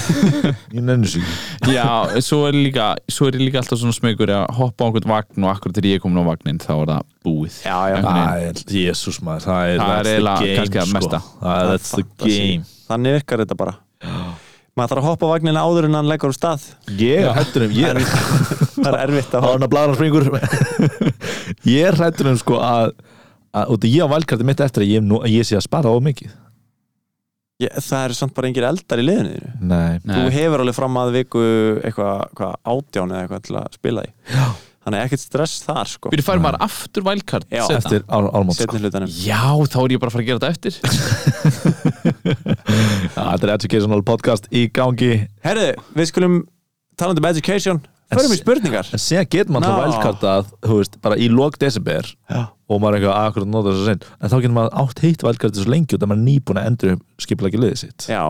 D: ég nenni sig ekki.
E: Já, svo er, líka, svo er ég líka alltaf svona smegur að hoppa á einhvern vagn og akkurat þegar ég er komin á vagnin þá er það búið
C: já, já,
E: Einhvern veginn.
D: Æ, jésús maður, það er
E: Það
D: that's
E: er
D: the
E: eiginlega
D: game,
E: kannski það
D: sko.
E: mesta.
D: Það er- that's the
C: fantasy.
D: game
C: þannig virkar þetta bara maður þarf að hoppa á vagnina áður en hann leggur úr stað
D: ég er hættur um, ég er
C: það er erfitt að
D: áður en að blæðan springur ég er hrættur um sko að, að út af ég á valkarti mitt eftir að ég, nú, ég sé að spara of mikið
C: ég, það er samt bara engir eldar í liðinu þínu.
D: Nei,
C: þú
E: Nei.
C: hefur alveg fram að viku eitthvað hvað, átján eða eitthvað til að spila í Já. þannig ekkert stress þar sko
E: Býrðu fær maður aftur wildcard
C: Já,
E: seinna?
D: eftir ár, ármót sko.
C: setni hlutanum
E: Já, þá er ég bara að fara að gera þetta eftir
D: Já, Þetta er educational podcast í gangi
C: herðu, við skulum talandi um education förum í spurningar
D: En síðan getur
C: Ná.
D: maður þá vældkartað, þú veist, bara í lok desember
C: Já.
D: og maður er eitthvað að akkurat nota þess að seint en þá getur maður átt heitt vældkartið svo lengi og það maður er nýbúin að endur skipulagi liðið sitt
C: Já,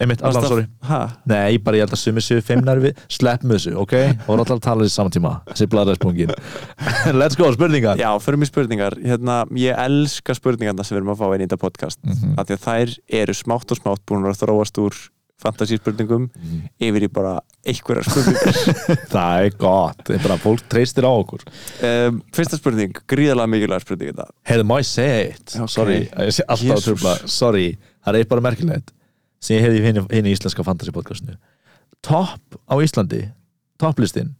D: Einmitt, allan, sorry
C: ha,
D: Nei, bara ég held að sumi séu feimnar við sleppum þessu, ok? Og er allar að tala þessu saman tíma þessi bladaðspungin Let's go, spurningar
C: já, förum í spurningar hérna, ég elska spurningarna sem við erum að fá inn í þetta podcast mm -hmm. að þær eru smátt og smátt búin að þróast úr fantasíspurningum yfir í bara einhverjar spurningar
D: Það er gott, það er bara að fólk treystir á okkur
C: um, fyrsta spurning, gríðarlega mikilvæg spurning þetta.
D: Heyrðu, má ég segja eitt?
C: Ok.
D: Sorry, ég sé alltaf
C: Jesus.
D: að tröfla Sorry, það er eitt bara merkilegt sem ég heyrði í hinn, hinn í íslenska fantasy podcastinu Topp á Íslandi topplistin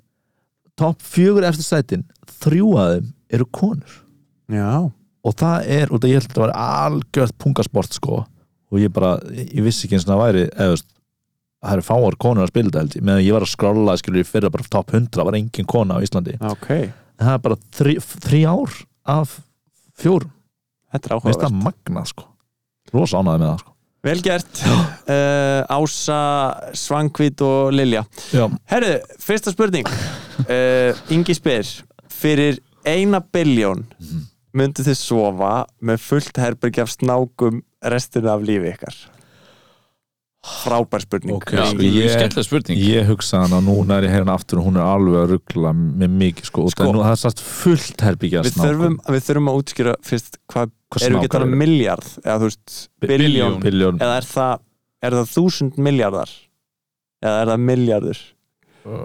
D: topp fjögur eftir sætin þrjú að þeim eru konur
C: já,
D: og það er, og það ég held að þetta var algjörð pungasport sko og ég bara, ég ég vissi ekki eins og það væri eða þú veist, það eru fáar konur að spila þetta held ég meðan ég var að skrolla, skilur ég fyrir bara topp 100 var engin kona á Íslandi
C: ok
D: en það er bara þrý, þrý ár af fjórum
C: þetta er
D: Mér finnst
C: áhugavert
D: það magnað sko Rosa ánaði með það sko
C: vel gert, uh, Ása Svangvít og Lilja
D: Já,
C: herru, fyrsta spurning uh, Ingi spyr fyrir eina biljón
D: Mhm.
C: myndu þið sofa með fullt herbergi af snákum restina af lífi ykkar frábær spurning
D: Ok,
E: Já,
D: sko,
C: Ingi.
D: ég-
E: Skemmtileg spurning
D: ég hugsa hana núna er ég hérna aftur og hún er alveg að ruggla með mikið sko, sko
C: Sko.
D: nú, Það er satt fullt herbyggja
C: við, þurfum, við þurfum að útskýra fyrst hvað, erum við ekki að tala um miljard eða þú veist, biljón
E: Billjón.
D: Biljón
C: eða er það, er það þúsund miljardar eða er það miljardur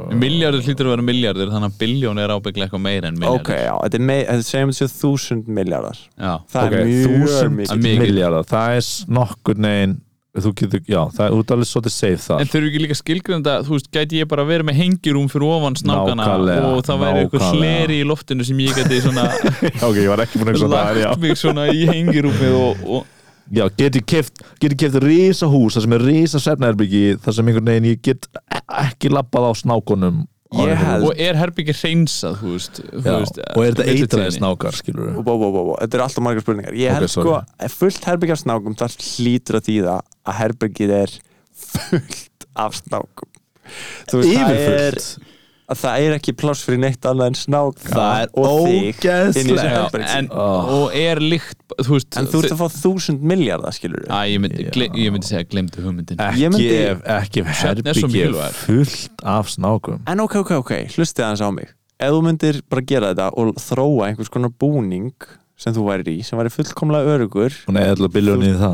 E: Miljardur hlýtur að vera miljardur þannig að biljón er ábygglega eitthvað meira en miljardur
C: ok, já, þetta er mei, þetta segjum þetta séu þúsund miljardar
E: Já,
C: það
D: Ok,
C: er mjög
D: þúsund
C: mikið
E: mikið.
D: miljardar Það er nokkur negin Þú getur, já, það er út alveg svolítið safe
E: En
D: það
E: þurfi ekki líka skilgrenda, þú veist, gæti ég bara verið með hengirúm fyrir ofan snákana
D: Nákvæmlega,
E: og það væri eitthvað
D: nákvæmlega.
E: hleri í loftinu sem ég gæti svona
D: Ok, ég var ekki búin að hugsa það
E: lagt mig svona í hengirúmið og, og
D: Já, getur keft, getur keft risa hús Það sem er risa svefnaherbyggi Það sem einhvern veginn ég get ekki labbað á snákunum
C: Ég held-
E: og er herbyggir hreinsað, þú veist, þú
D: Já,
E: veist
D: og er þetta
E: millitíðinni.
D: eitraðið snákar, skilur
C: Bó, bó, bó, bó. Þetta eru alltaf margar spurningar Ég
D: Ok,
C: held
D: sorry.
C: sko, fullt herbyggja af snákum þar hlýtur að þýða að herbyggið er fullt af snákum Þú veist, það er,
D: Yfirfullt
C: að það er ekki pláss fyrir neitt annað en snáka
D: Það er
C: og þig inn í þessu
D: ógeðslegt.
E: Já,
C: herbergi.
E: en,
D: Oh.
E: og er líkt, þú veist
C: En þú ert að fá þúsund miljardar, skilur
E: Æ, ég myndi,
D: Já.
E: gle, ég myndi segja, glemdu hugmyndin
C: Ég
D: ekki,
C: myndi- Hérna
D: ef, ekki ef
E: Svefn er
D: herbyggið
E: svo
D: er
E: mikilvægur.
D: fullt af snákum
C: En ok, ok, ok, hlustið aðeins á mig Ef þú myndir bara gera þetta og þróa einhvers konar búning sem þú værir í, sem væri fullkomlega örugur
D: hún er alltaf biljónið í það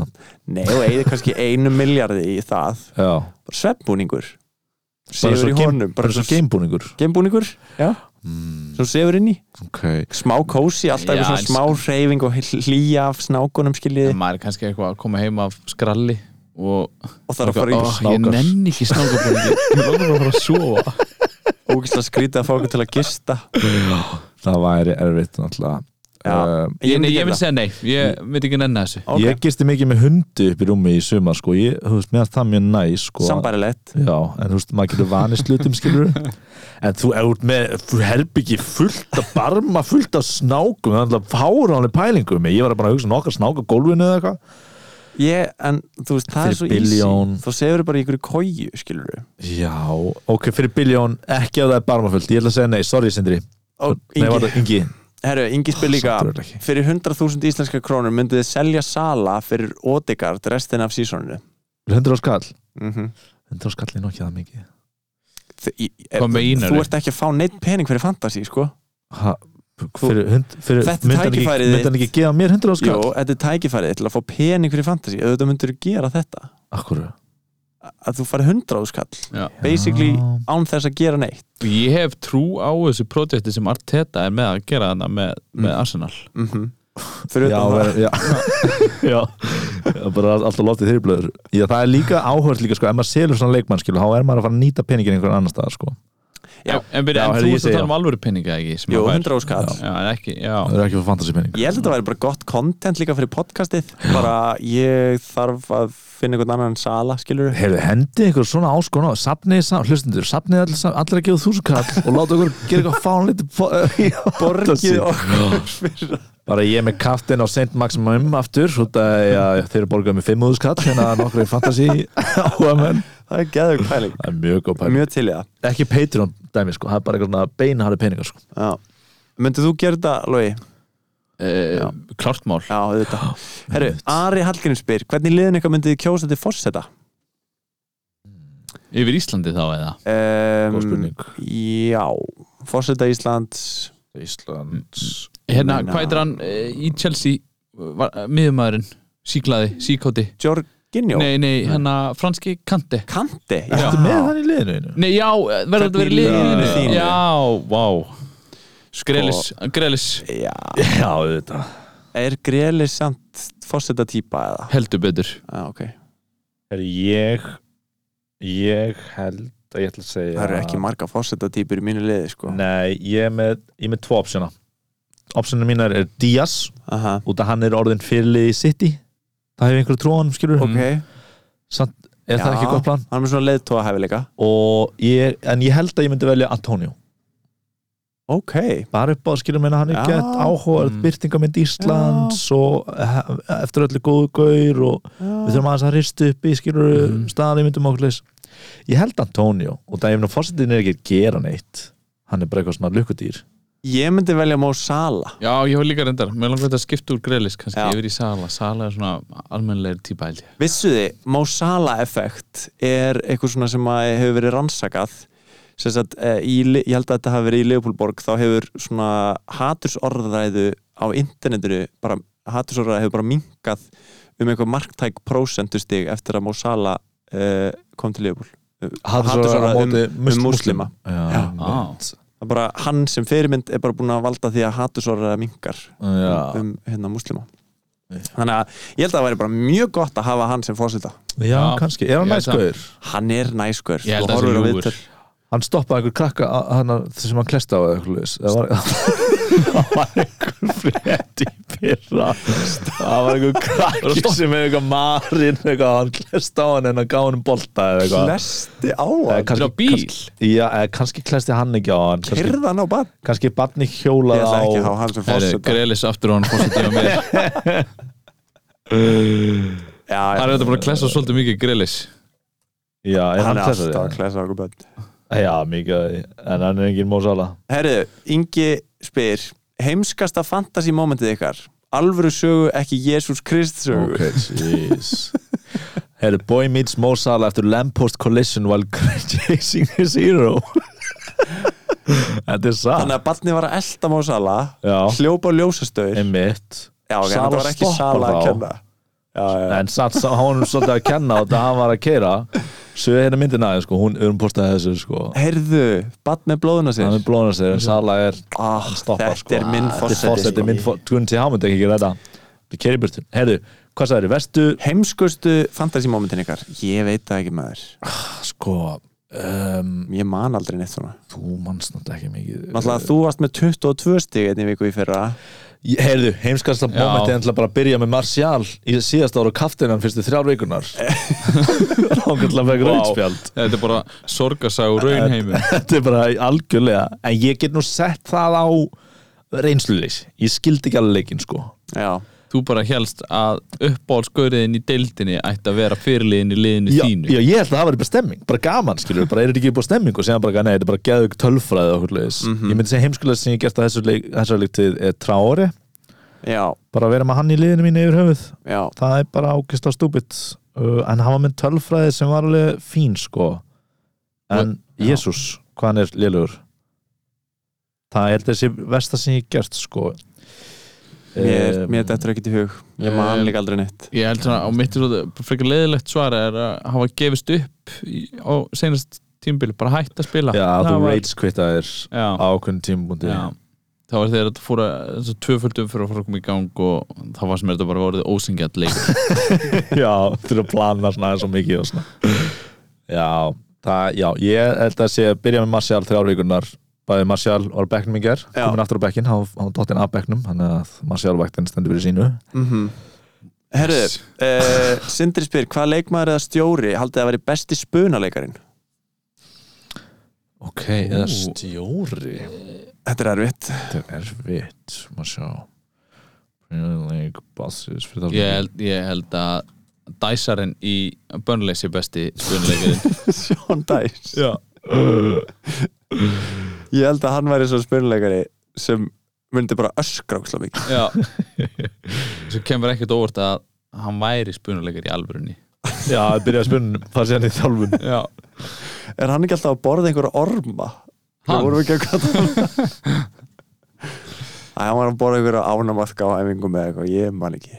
C: Nei, og eigið kannski einu miljardi í það
D: já.
C: bara svefnbúningur
D: bara
C: Sefur í
D: game-
C: honum,
D: bara svo geimbúningur
C: gembúningur já,
D: mm,
C: sem þú sefur inn í
D: okay.
C: smá kósi, alltaf
E: Já,
C: eitthvað
E: en- sko-
C: svona smá hreyfing og hel- hlýja af snákunum skiljiði
E: en maður er kannski eitthvað að koma heim af skralli og
C: og það er að fara í
E: Ó,
C: oh,
E: ég
D: snákar.
E: nenni ekki snákabúningi ég langar bara að fara að sofa
C: ógislega skrítið að fá okkur til að gista
D: það væri erfitt náttúrulega
C: Já.
D: um,
E: ég, nei, ég
C: gera
E: myndi
C: það.
E: segja nei, ég myndi ekki nenni þessu
C: Ok.
D: ég gisti mikið með hundi upp í rúmi í sumar sko. ég, þú veist, mér er það mjög næ sko.
C: sambærilegt
D: já, en þú veist, maður getur vanist hlutum skilur en þú ert með herbyggi fullt af barma fullt af snákum, það er alltaf fáránlega pælingum um ég var bara að hugsa nokkar snák á gólfinu eða eitthvað
C: ég, en þú veist, það
D: Fyrir
C: er svo
D: billjón.
C: easy þú sefur bara í ykkur kóju, skilur
D: Já, ok, fyrir biljón ekki að það er barmafullt, ég ætla að segja nei, sorry Sindri
C: og
D: Nei, var
C: Ingi,
D: það Ingi
C: herru, Ingi spyr líka
D: Samt er þetta ekki.
C: fyrir 100.000 íslenska krónur myndið þið selja sala fyrir Odegaard restin af sísoninu
D: 100 á skall
C: mm -hmm.
D: 100 á skall er nokkið það mikið
E: Hvað meinarðu?
C: eh, þú ert ekki að fá neitt pening fyrir fantasi, sko
D: ha, fyrir, hund, fyrir,
C: Þetta er
D: myndi hann ekki-
C: tækifærið
D: myndi hann
C: þitt.
D: ekki gefa mér 100 á
C: Jú,
D: skall
C: þetta er tækifærið til að fá pening fyrir fantasi auðvitað myndur þú gera þetta
D: Akkur
C: að þú fari 100 skall
E: Já.
C: basically án þess að gera neitt
E: ég hef trú á þessu projekti sem Arteta er með að gera þarna með, með
C: Mm.
E: Arsenal
C: mm -hmm. fyrir
D: Já,
C: utan það
D: ver, já. já bara alltaf loftið þyrblöður Já, það er líka áhört líka sko, ef maður selur svona leikmann skilu, þá er maður að fara að nýta peningin einhvern annar staðar sko
C: Já.
E: en, byrja,
D: Já,
E: en
D: heyrðu,
E: þú
D: ég
E: veist að
D: segi
E: tala
D: já.
E: um alvöru peninga ekki sem
C: Jú,
E: að fær.
C: 100 óskall
E: já, en ekki, já,
D: það er ekki fyrir fantasi pening
C: Ég held að þetta væri bara gott content líka fyrir podcastið bara ég þarf að finna einhvern annan sala, skilur
D: Heyrðu, hendi ykkur svona áskona sapnið saman, hlustendur, sapnið allir, sam- allir að gefa þúsukall og láta ykkur gera eitthvað fánlítið
C: Borgið okkur fyrir
D: bara ég með kaftin á Saint Maximum aftur, svo það er að þeir eru borgað með 5 þúsukall, hérna nokkru fantasi áhuga menn,
C: Það er geðug pæling
D: það er mjög góð pæling
C: Mjög til í það
D: ekki Patreon dæmi sko, það er bara eitthvað svona beinharði peningar sko
C: Já. Myndið þú gera þetta, Lói?
E: Eh,
C: Já.
E: klárt mál
C: Já, auðvitað Herru, Ari Hallgrim spyr Hvernig liðin eitthvað myndið þið kjósa til fórseta?
E: yfir Íslandi þá eða
C: Um,
D: Góð spurning.
C: Já, fórseta Íslands
D: Íslands
E: hérna,
C: Meina-
E: hvað er hann eh, í Chelsea var, eh, miðumæðurinn, síklaði, síkóti
C: Jorginjó
E: nei, nei, hérna franski kanti
C: Kanti
E: Já.
D: Ertu með hann í liðinu? einu?
E: nei, já, eh, verður þetta verið
C: Hvernig
E: liðinu
C: liðinu þínu? Sko-
E: já, vá Grelis, Grelis
C: Já,
D: Já, auðvitað
C: er Grelis samt fórseta típa eða?
E: heldur betur
C: Já, ok
D: Er ég ég held að ég ætla að segja
C: Það eru ekki marga fórseta típur í mínu liði, sko
D: Nei, ég er með, ég er með tvo opsjona Opsjona mínar er Díaz
C: Aha,
D: út að hann er orðin fyrirlið í City Það hefur einhver trúan, skilur
C: ok
D: Samt, er
C: Já.
D: það ekki gott plan?
C: Hann er með svona leiðtóa hæfileika
D: Og ég, en ég held að ég myndi velja Antonio
C: Ok,
D: bara upp á skilur minna hann er
C: Já.
D: gett áhugað
E: Mm.
D: byrtingamind Íslands og he- eftir öllu góðu gaur og við þurfum aðeins að ristu upp í skilur mm.
E: Mhm.
D: staðalímyndum okkur leys ég held Antonio og það er nú fórsetin er ekki að gera neitt hann er bara eitthvað svona lukkudýr
C: ég myndi velja Mó Sala
E: já, ég var líka reyndar, mér langar þetta að skipta úr Grelis kannski
C: Já.
E: yfir í Sala, Sala er svona almennlegur típa held ég
C: Vissuði, Mó Sala effekt er eitthvað svona sem að hefur verið rannsakað sem sagt, eh, í, Li- ég held að þetta hafi verið í Leopoldborg þá hefur svona hatursorðræðu á internetinu bara, hatursorðræðu hefur bara minkað um eitthvað marktæk prósentustig eftir að Mó Sala uh, kom til Leopold Hatursorðræða um- um múslima.
D: já,
C: Já.
D: einmitt.
C: Það er bara hann sem fyrirmynd er bara búin að valda því að hatursorðræða minkar
D: Ah. já.
C: um hérna muslima
D: Nei.
C: þannig að ég held að það væri bara mjög gott að hafa hann sem fósita
D: já
E: Já.
D: kannski, er hann
E: Ég held það.
D: næskur
C: hann er næskur
E: ég held
C: Þú
E: að
C: horfir á
E: það sé
C: viðtöl.
E: ljúfur
D: hann stoppaði einhver krakka a- hana, sem hann klesta á eða eitthvað leys það var, það var einhver frétt í fyrra það var einhver krakki sem hefur eitthvað marinn eitthvað, hann klesta á hann en hann gá hann um bolta eða eitthvað
C: Klesti á
D: Eða
C: hann
D: Eh,
E: Þetta
D: kannski-
E: er á bíl
D: kannski- Já, eða kannski klesti hann ekki á hann kannski,
C: Kyrða hann á bann
D: kannski barni
C: Ég
D: hjólað
C: ætla ekki að hafa
D: á
C: hann sem
E: Herri,
C: fósita
E: Grelis aftur á hann fórsetið á mér Það
C: Já, já,
E: er þetta bara að klessa svolítið mikið Grelis
D: já, er
C: hann
D: hann
C: er
D: klestað
C: alltaf að klesa á okkur bönn
D: já, mikið af því. en hann er engin mósala
C: Herru, Ingi spyr Heimskasta fantasy momentið ykkar Alvöru sögu, ekki Jésús Krist sögu
D: jeez Herri, boy meets Mosala after lamppost collision while chasing his hero Þetta er
C: Þannig
D: satt
C: að barnið var að elda má sala
D: Já.
C: Hljópa á ljósastaur Já,
D: Einmitt
C: ok,
D: Ah. Sala
C: þetta var ekki
D: stoppar
C: sala að
D: þá.
C: kenna Já, já,
D: En satt, sá, hann var svolítið að kenna á þetta að hann var að keira Svo hérna myndin aðeins sko, hún örum postaði þessu sko
C: Herðu, barn með blóðuna sér
D: Hann er blóðan sér en Sala er
C: ah,
D: stoppar sko
C: Þetta er minn sko.
D: Þetta er
C: fórseti
D: minn fórseti, Guðn til Hámund ekki gera þetta Þetta er keiriburtun Herri, hvað sagði þér, vestu
C: Heimskustu fantasímomentin ykkar Ég veit það ekki maður
D: Sko, um,
C: Ég man aldrei neitt svona
D: þú manst náttúrulega ekki mikið
C: Náttúrulega þú varst með 22 stig einnig viku í fyrra
D: Ég- Heyrðu, heimskasta
E: Já.
D: moment er ennlega bara að byrja með Martial í síðasta ára kaftinan fyrstu þrjár vikunar Ránkvæmlega fekk
E: Vá.
D: rautspjald
E: Þetta er bara sorgasag raunheimi
D: Þetta er bara algjörlega En ég get nú sett það á reynsluleys Ég skildi ekki alveg leikinn sko
C: Já,
E: Þú bara helst að uppáhaldsgöriðin í deildinni ætti að vera fyrirliðin í liðinu
D: já,
E: þínu
D: já, ég held að það var bara stemming, bara gaman skilur Bara er þetta ekki búið stemming og segja bara Nei, þetta er bara geðug tölfræði og okkur leis
E: Mhm.
D: Ég myndi segja heimskulega sem ég gert að þessu leik, þessu leik til e, Trári
C: já,
D: Bara að vera með hann í liðinu mínu yfir höfuð
C: já
D: það er bara ákist á stúbit uh, en hann var með tölfræði sem var alveg fín sko en
E: Já.
D: Jésús, hvað hann er lélugur það er þessi versta sem ég hef gert sko Eh,
C: Mér,
D: Em,
C: mér dettur ekki til hug Ég man
E: Em,
C: líka aldrei neitt
E: Eh, Ég held svona á mitt er svo frekar leðilegt svara er að hafa gefist upp í, á senast tímbili, bara hætt að spila
D: já,
E: Það
D: þú
E: var-
D: rage quittaðir
E: Já,
D: á ákveðin tímabundi
E: já. Það var þegar þetta fór að þessu tvöföldum fyrir að fór að koma í gang og það var sem þetta bara orðið ósengjart leikur
D: já, þú eru að plana svona aðeins og mikið og svona já, það, já, ég held að sé að byrja með Martial þrjár vikunar bæði Martial var á bekknum í ger
C: Já.
D: komin aftur á bekkin, hann var dottinn af bekknum þannig að Martial vaktin stendur fyrir sínu
C: Mhm. Herðu, uh, Sindri spyr, hvað leikmaður eða stjóri haldið að veri besti spunaleikarin?
D: ok, eða stjóri
C: Þetta er erfitt
D: þetta er erfitt, maður sjá Premier League bosses fyrir þá
E: ég, held- ég held að dæsarinn í Burnley sé besti spunuleikurinn
C: Sean Dice
E: Já.
C: Ég held að hann væri svo spunaleikari sem myndi bara öskra ósla mikið
E: Já Svo kemur ekkert óvart að hann væri spunuleikar í alvörunni
D: já, byrja að spunnum, það sé hann í þjálfun
E: Já
C: Er hann ekki alltaf að borða einhverja orma?
E: Hann?
C: Við vorum ekki að hvað það Æ, hann var að borða einhverja ánamaðka á æfingum eða eitthvað, ég man ekki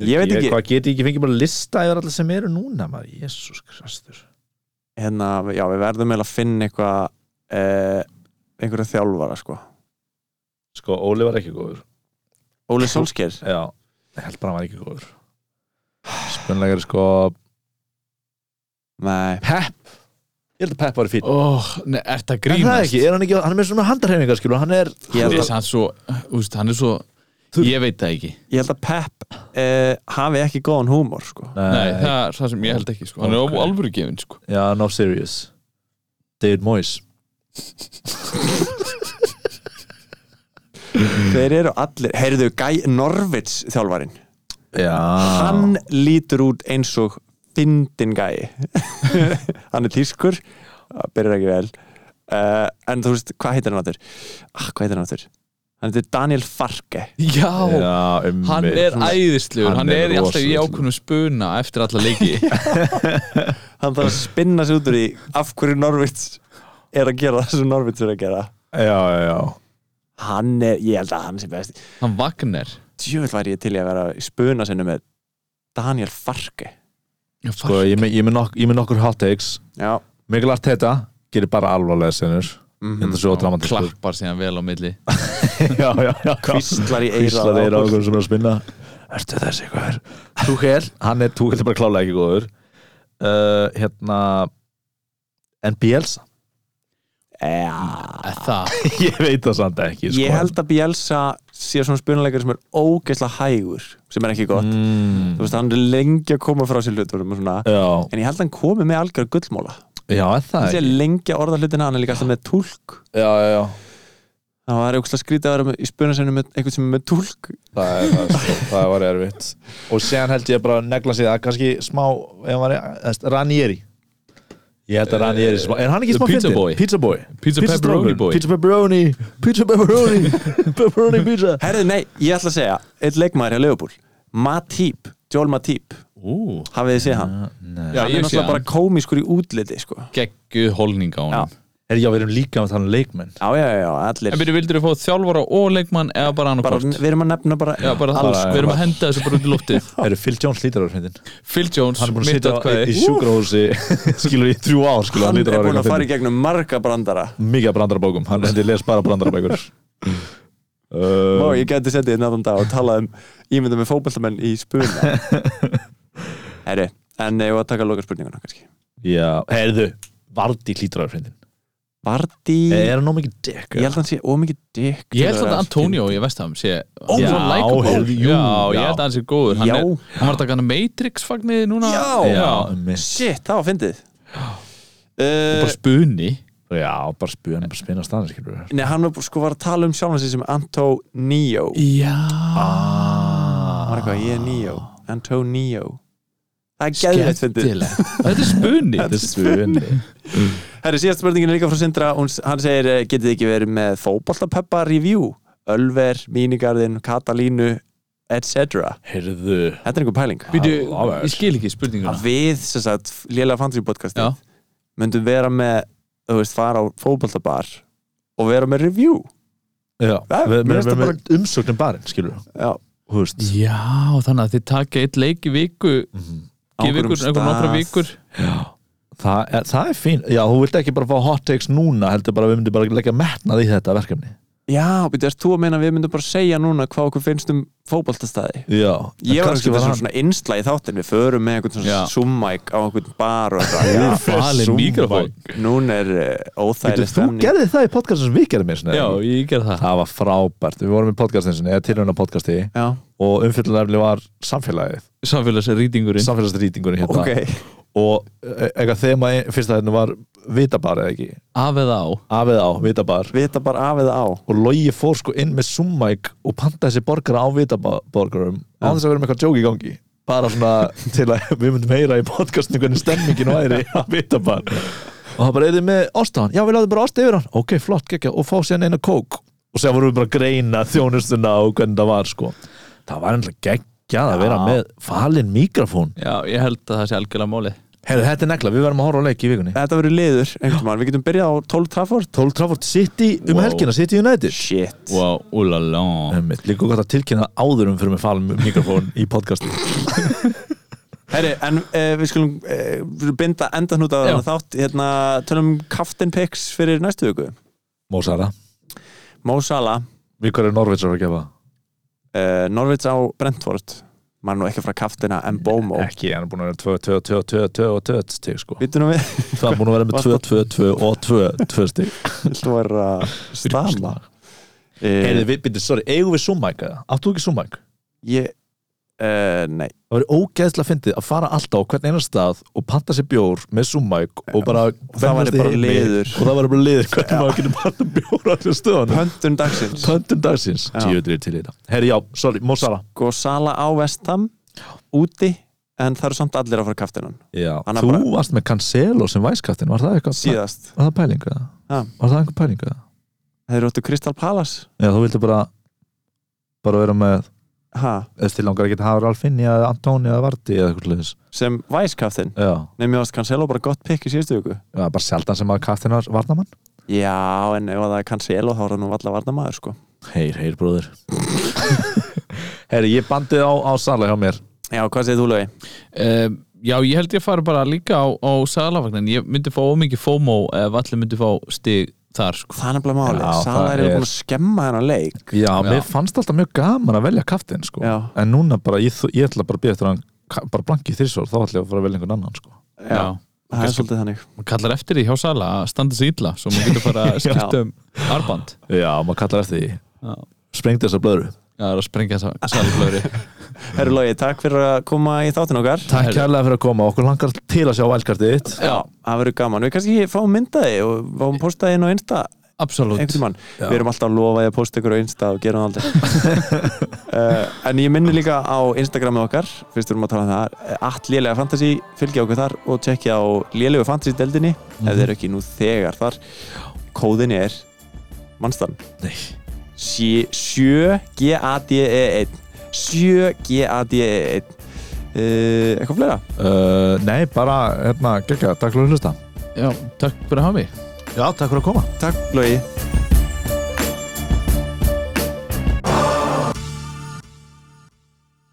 C: Ég veit ekki,
D: hvað get ég ekki fengið bara lista yfir allir sem eru núna maður, jésús krastur
C: hérna, já, við verðum eiginlega að finna eitthvað eh, einhverja þjálfara, sko
D: sko, Óli var ekki góður
C: Óli Solskjær
D: já, ég held bara hann var ekki góður spunlegar sko
C: Nei,
D: Pep, ég held að Pep var fín
E: oh, ne, Er það
D: er það
E: grínast?
D: ekki, er hann ekki, hann er með svona handarhefingar skilur, hann er
C: ég
E: Hann
C: held
E: er
C: að,
E: samt svo, úst, hann er svo
D: Þurr.
E: Ég veit það ekki
C: ég held að Pep eh, hafi ekki góðan húmor, sko
E: Nei, það er það sem ég held ekki sko. Hann er
D: Ok.
E: okay. alvöru gefin sko.
D: já, no serious David Moyes
C: Þeir eru allir, heyrðu, Guy Norvits þjálfarin
D: já,
C: Hann lítur út eins og fyndin gæi Hann er tískur það Byrjar ekki vel uh, En þú veist, hvað heitir hann áttur? Ah, hvað heitir hann áttur? Hann heitir Daniel Farke
E: Já,
D: já, um
E: hann er æðislegur
D: Hann
E: Hann
D: er
E: er alltaf í
D: rosalega.
E: ákveðnum spuna eftir alla leiki
C: Hann þarf að spinna sig út úr því Af hverju Norvits er að gera það sem Norvits er að gera
D: já, já, já
C: Hann er, ég held að hann sé best
E: Hann Wagner
C: Djöfull væri ég til í að vera í spuna sinni með Daniel Farke
E: Já,
D: Sko, ég er með- ég er með nok ég er með nokkur hot takes
C: Já
D: Mikkel Arteta gerir bara alvarlega senur mm -hmm. þetta er svo dramatiskur
E: klappar síðan vel á milli
D: já, já, já,
C: Hvíslar í eyrað
D: Hvíslar
C: á
D: í eira
C: okkur.
D: okkur sem er að spinna Ertu þessi hver? Túkel, hann er Túkel er bara klálega ekki góður uh, hérna en Bielsa
C: Já
E: Er Það,
D: ég veit það samt ekki sko.
C: Ég held að Bielsa sé svona spunaleikari sem er ógeðslega hægur sem er ekki gott
D: mm,
C: þú veist, hann er lengi að koma frá sér hlutunum og svona
D: já,
C: en ég held að hann komi með algjör gullmóla
D: já, er það
C: hann sé
D: ekki
C: lengi að orða hlutina, hann er líka alltaf með tólk
D: já, já, já.
C: það var eitthvað skrítið að vera með, í spunasinu með einhvern sem er með tólk
D: Það, er, það, er, það var erfitt og séðan held ég bara að negla sig það kannski smá, ef hann var eðst, Ranieri ég held að Ranieri sé smá, er hann ekki
E: The
D: smá
E: Pizza
D: fyndinn?
E: Boy.
D: pizza boy
E: Pizza Pepperoni
D: strákur.
E: Boy.
D: pizza pepperoni pizza pepperoni pepperoni pizza
C: Herði, nei, ég ætla að segja, eitt leikmaður hjá Leopold Matip, Joel Matip
E: ú,
C: hafið þið séð hann, hann
E: já,
C: er
E: ég sé
C: náttúrulega
E: hann
C: bara komiskur í útliti sko.
E: geggu holning á hann
D: er já, við erum líka með þannig leikmenn
C: já, já, já, allir
E: En byrju, vildur þú fá þjálfara og leikmann eða bara
C: bara,
E: annarkort?
C: við erum að nefna bara,
E: Já, bara
C: alls
E: alls,
D: bara-
E: við erum að henda þessu bara út í lóttið
D: eru Phil Jones lítarar fyndin
E: Phil Jones,
D: hann er búin að
E: mitt
D: sitja á- í
E: atkvæði
D: sjúkrahúsi skilur í þrjú ár skilur
C: hann er búin að fara í
D: fyndinn.
C: gegnum marga brandara
D: mikið af brandarabókum, hann hendur les bara brandarabækur
C: Má,
D: uh,
C: ég geti sendið þér náttúrulega dag og talað um ímyndum með fótballtamenn í spuna Herri, en ég var að taka loka spurninguna kannski
D: já, heyrðu, Vardi lítarar fyndin
C: Vardí,
D: er hann nóg mikið dekk
C: ég held að hann sé ómikið dykk
E: Ég held að Antonio í Vestham sé
D: Ó,
E: Já,
D: já, heyrðu, jú,
E: Já, ég
D: já.
E: held að hann sé góður Hann
C: Já.
E: er- hann var að taka hann Matrix fagnið núna
C: Já.
E: já.
D: um
C: Shit, það var fyndið
E: Bara
C: uh,
E: spuni
D: Já, bara spila, hann er bara að spila staðan skilur við
C: Nei, hann var sko var að tala um sjálfan sig sem Antonio
E: Já,
C: Hann var eitthvað, ég er Neo
E: Ah.
C: Antonio Það er geðvægt fyndið
E: Þetta er spuni
D: Þetta er spuni
C: Herri, síðast spurningin er líka frá Sindra hún, hann segir, eh, getið þið ekki verið með fótballtapeppa review, Ölver, Mínigarðin Katalínu, etc
D: Heyrðu
C: Þetta er einhver pæling
E: Býtu,
D: Alveg.
E: ég skil ekki spurninguna
C: að við, sem sagt, lélega fantasy podcasti
E: Já.
C: myndum vera með, þú veist, fara á fótboltabar og vera með review
D: Já,
C: Það-
D: við
C: mér
D: erum
C: finnst það
D: bara umsögnum barinn skilur við
C: Já,
D: Þú veist
E: Já, þannig að þið taka eitt leik í viku
C: Á
E: Gif
C: einhverjum
E: ykkur einhverjum nokkra
C: stað.
E: vikur
D: Það er, það er fín Já, þú vilt ekki bara fá hot takes núna heldur bara að við myndum bara leggja metnað í þetta verkefni
C: já, býttu, erst þú að meina að við myndum bara segja núna hvað okkur finnst um fótboltastæði
D: já,
C: ég
D: en
C: var
D: kannski
C: ekki
D: var
C: svona,
D: hann
C: svona innsla í þáttin við förum með einhvern svona
E: Já.
C: summæk á einhvern bar og eitthvað Já,
E: Valin
C: Zoom-mæk.
E: mikrofón.
C: núna er uh,
D: Býtu,
C: óþægileg
D: þú
C: stemning
D: gerði það í podcastin sem við gerðum eins og
E: Já, ég ger það
D: það var frábært, við vorum í podcastin sinni eða tilhörna podcasti
C: já,
D: og umfyllunarfli var samfélagið
E: Samfélagsrýtingurinn
D: samfélagsrýtingurinn hérna
C: ok
D: og e- eitthvað þema í- fyrsta þetta var vitabar eða ekki,
E: Af eða á
D: af eða á vitabar
C: við þetta bara af eða á
D: og Logi fór sko inn með summæk og pantaði sér borgara á vitaborgarum á þess að vera með eitthvað djók í gangi bara svona til að við myndum heyra í podcastinu hvernig stemmingin væri á vitabar og það bara eða með ost á hann já við láðum bara ost yfir hann, ok flott gekkja og fá sér eina kók og sér vorum við bara að greina þjónustuna og hvernig það var sko það var ennlega geggjað að vera
E: Já.
D: með falin mikrofón
E: Já, ég held að það sé algjörlega máli
D: Herðu, þetta er negla, við verðum að horfa á leik í vikunni
C: þetta verður liður, einhvern veginn, við getum byrjað á 12 Trafford
D: 12 Trafford City um
E: Wow.
D: helgina, City United
C: shit
E: Wow, úlalá
D: Einmitt, Líka gott að tilkynna áðurum fyrir mig falum mikrofón í podcast
C: Heri, en uh, við skulum uh, binda endan út á
E: Já.
C: þennan þátt hérna, tölum Captain Picks fyrir næstu viku
D: Mósara,
C: Mo Salah,
D: við hverju Norveits að vera að gefa?
C: uh, Norvits á Brentford maður nú ekki frá Captaina en Bomo
D: Ekki, hann er búin að vera 2, 2, 2, 2, 2 og 2 stig sko
C: Vittu nú við,
D: Það er búin að vera með 2, 2, 2 og 2 2 stig
C: þú er eh, að stama uh,
D: Heyrðu, við byrjum, sorry, eigum við Zoom-mæk eða? Áttu ekki Zoom-mæk?
C: Ég, uh, nei
D: Það verið ógeðslega fyndið að fara alltaf á hvern einan stað og panta sér bjór með Zoom-mæk Eh, og bara
C: það væri bara
D: heimi
C: liður.
D: og það var bara liður hvernig maður getur panta bjór á allir stöðan
C: Pöntun dagsins
D: Pöndun dagsins
C: Já.
D: Tjóður er til í þetta Herri já, sorry, Mósara
C: Sko Sala á Vestam úti, en það eru samt allir að fara Captainan
D: Já,
C: Hann er
D: þú
C: bara-
D: varst með Cancelo sem væskattin, var það eitthvað?
C: síðast
D: Var það pælinga?
C: Ha.
D: Var það einhver pælinga?
C: Þeir eru áttu Crystal Palace
D: Já, þú vildi bara bara vera með,
C: ha,
D: eða til langar að geta hafa Ralf Inni eða Antoni eða Varti eða eitthvað leiðis
C: sem væskaftin
D: Já,
C: Nefnum ég varst Cancelo bara gott pikk í síðustu viku
D: það er bara sjaldan sem að kaftin var varnamann
C: Já, en ef það er Cancelo þá er það nú allar varna maður sko
D: Heyr, heyr, bróður Herri, ég bandið á, á Sala hjá mér
C: Já, hvað segir þú lögi?
E: um, Já, ég held ég fari bara líka á, á salavagnin Ég myndi fá ómikið FOMO ef allir myndi fá stig þar sko.
C: Það er nefnilega máli,
D: Já,
C: Sala
D: það
C: er, er
D: er-
C: búin að skemma hennar leik
D: Já, mér fannst alltaf mjög gaman að velja kaftin sko.
C: Já.
D: en núna bara, ég, þ- ég ætla bara að býja eftir að hann ka- bara blanki þrísvör, þá ætla ég að fara að velja einhvern annan sko.
E: Já.
C: það er svolítið þannig
E: maður kallar eftir því hjá Sala að standa sig illa svo maður getur bara að skipta um arband
D: Já, maður kallar eftir því
E: Já.
D: Sprengdi þessa blöðru
E: það er að sprengja saliflöðri
C: Herru Lógi, takk fyrir að koma í þáttin okkar
D: Takk
E: Herri.
D: kærlega fyrir að koma, okkur langar til að sjá valkartið þitt
E: Já.
C: það verður gaman, við kannski fáum myndaði og fáum postaði inn á Insta
E: absolutt
C: einhvern mann, við erum alltaf að lofa að posta ykkur á Insta og gera það aldrei uh, en ég minni líka á Instagramið okkar, fyrst við erum að tala um það allt lélega fantasy, fylgja okkur þar og tjekkja á lélegu fantasy deldinni ef þið eru ekki nú þegar þar kóðin er mannstan
D: Nei.
C: 7GADE1 7GADE1 uh, E eitthvað fleira
D: uh, Nei, bara, hérna, geggja, takk fyrir að hlusta
E: Já, takk fyrir að hafa mig
D: Já, takk fyrir að koma
C: takk Lói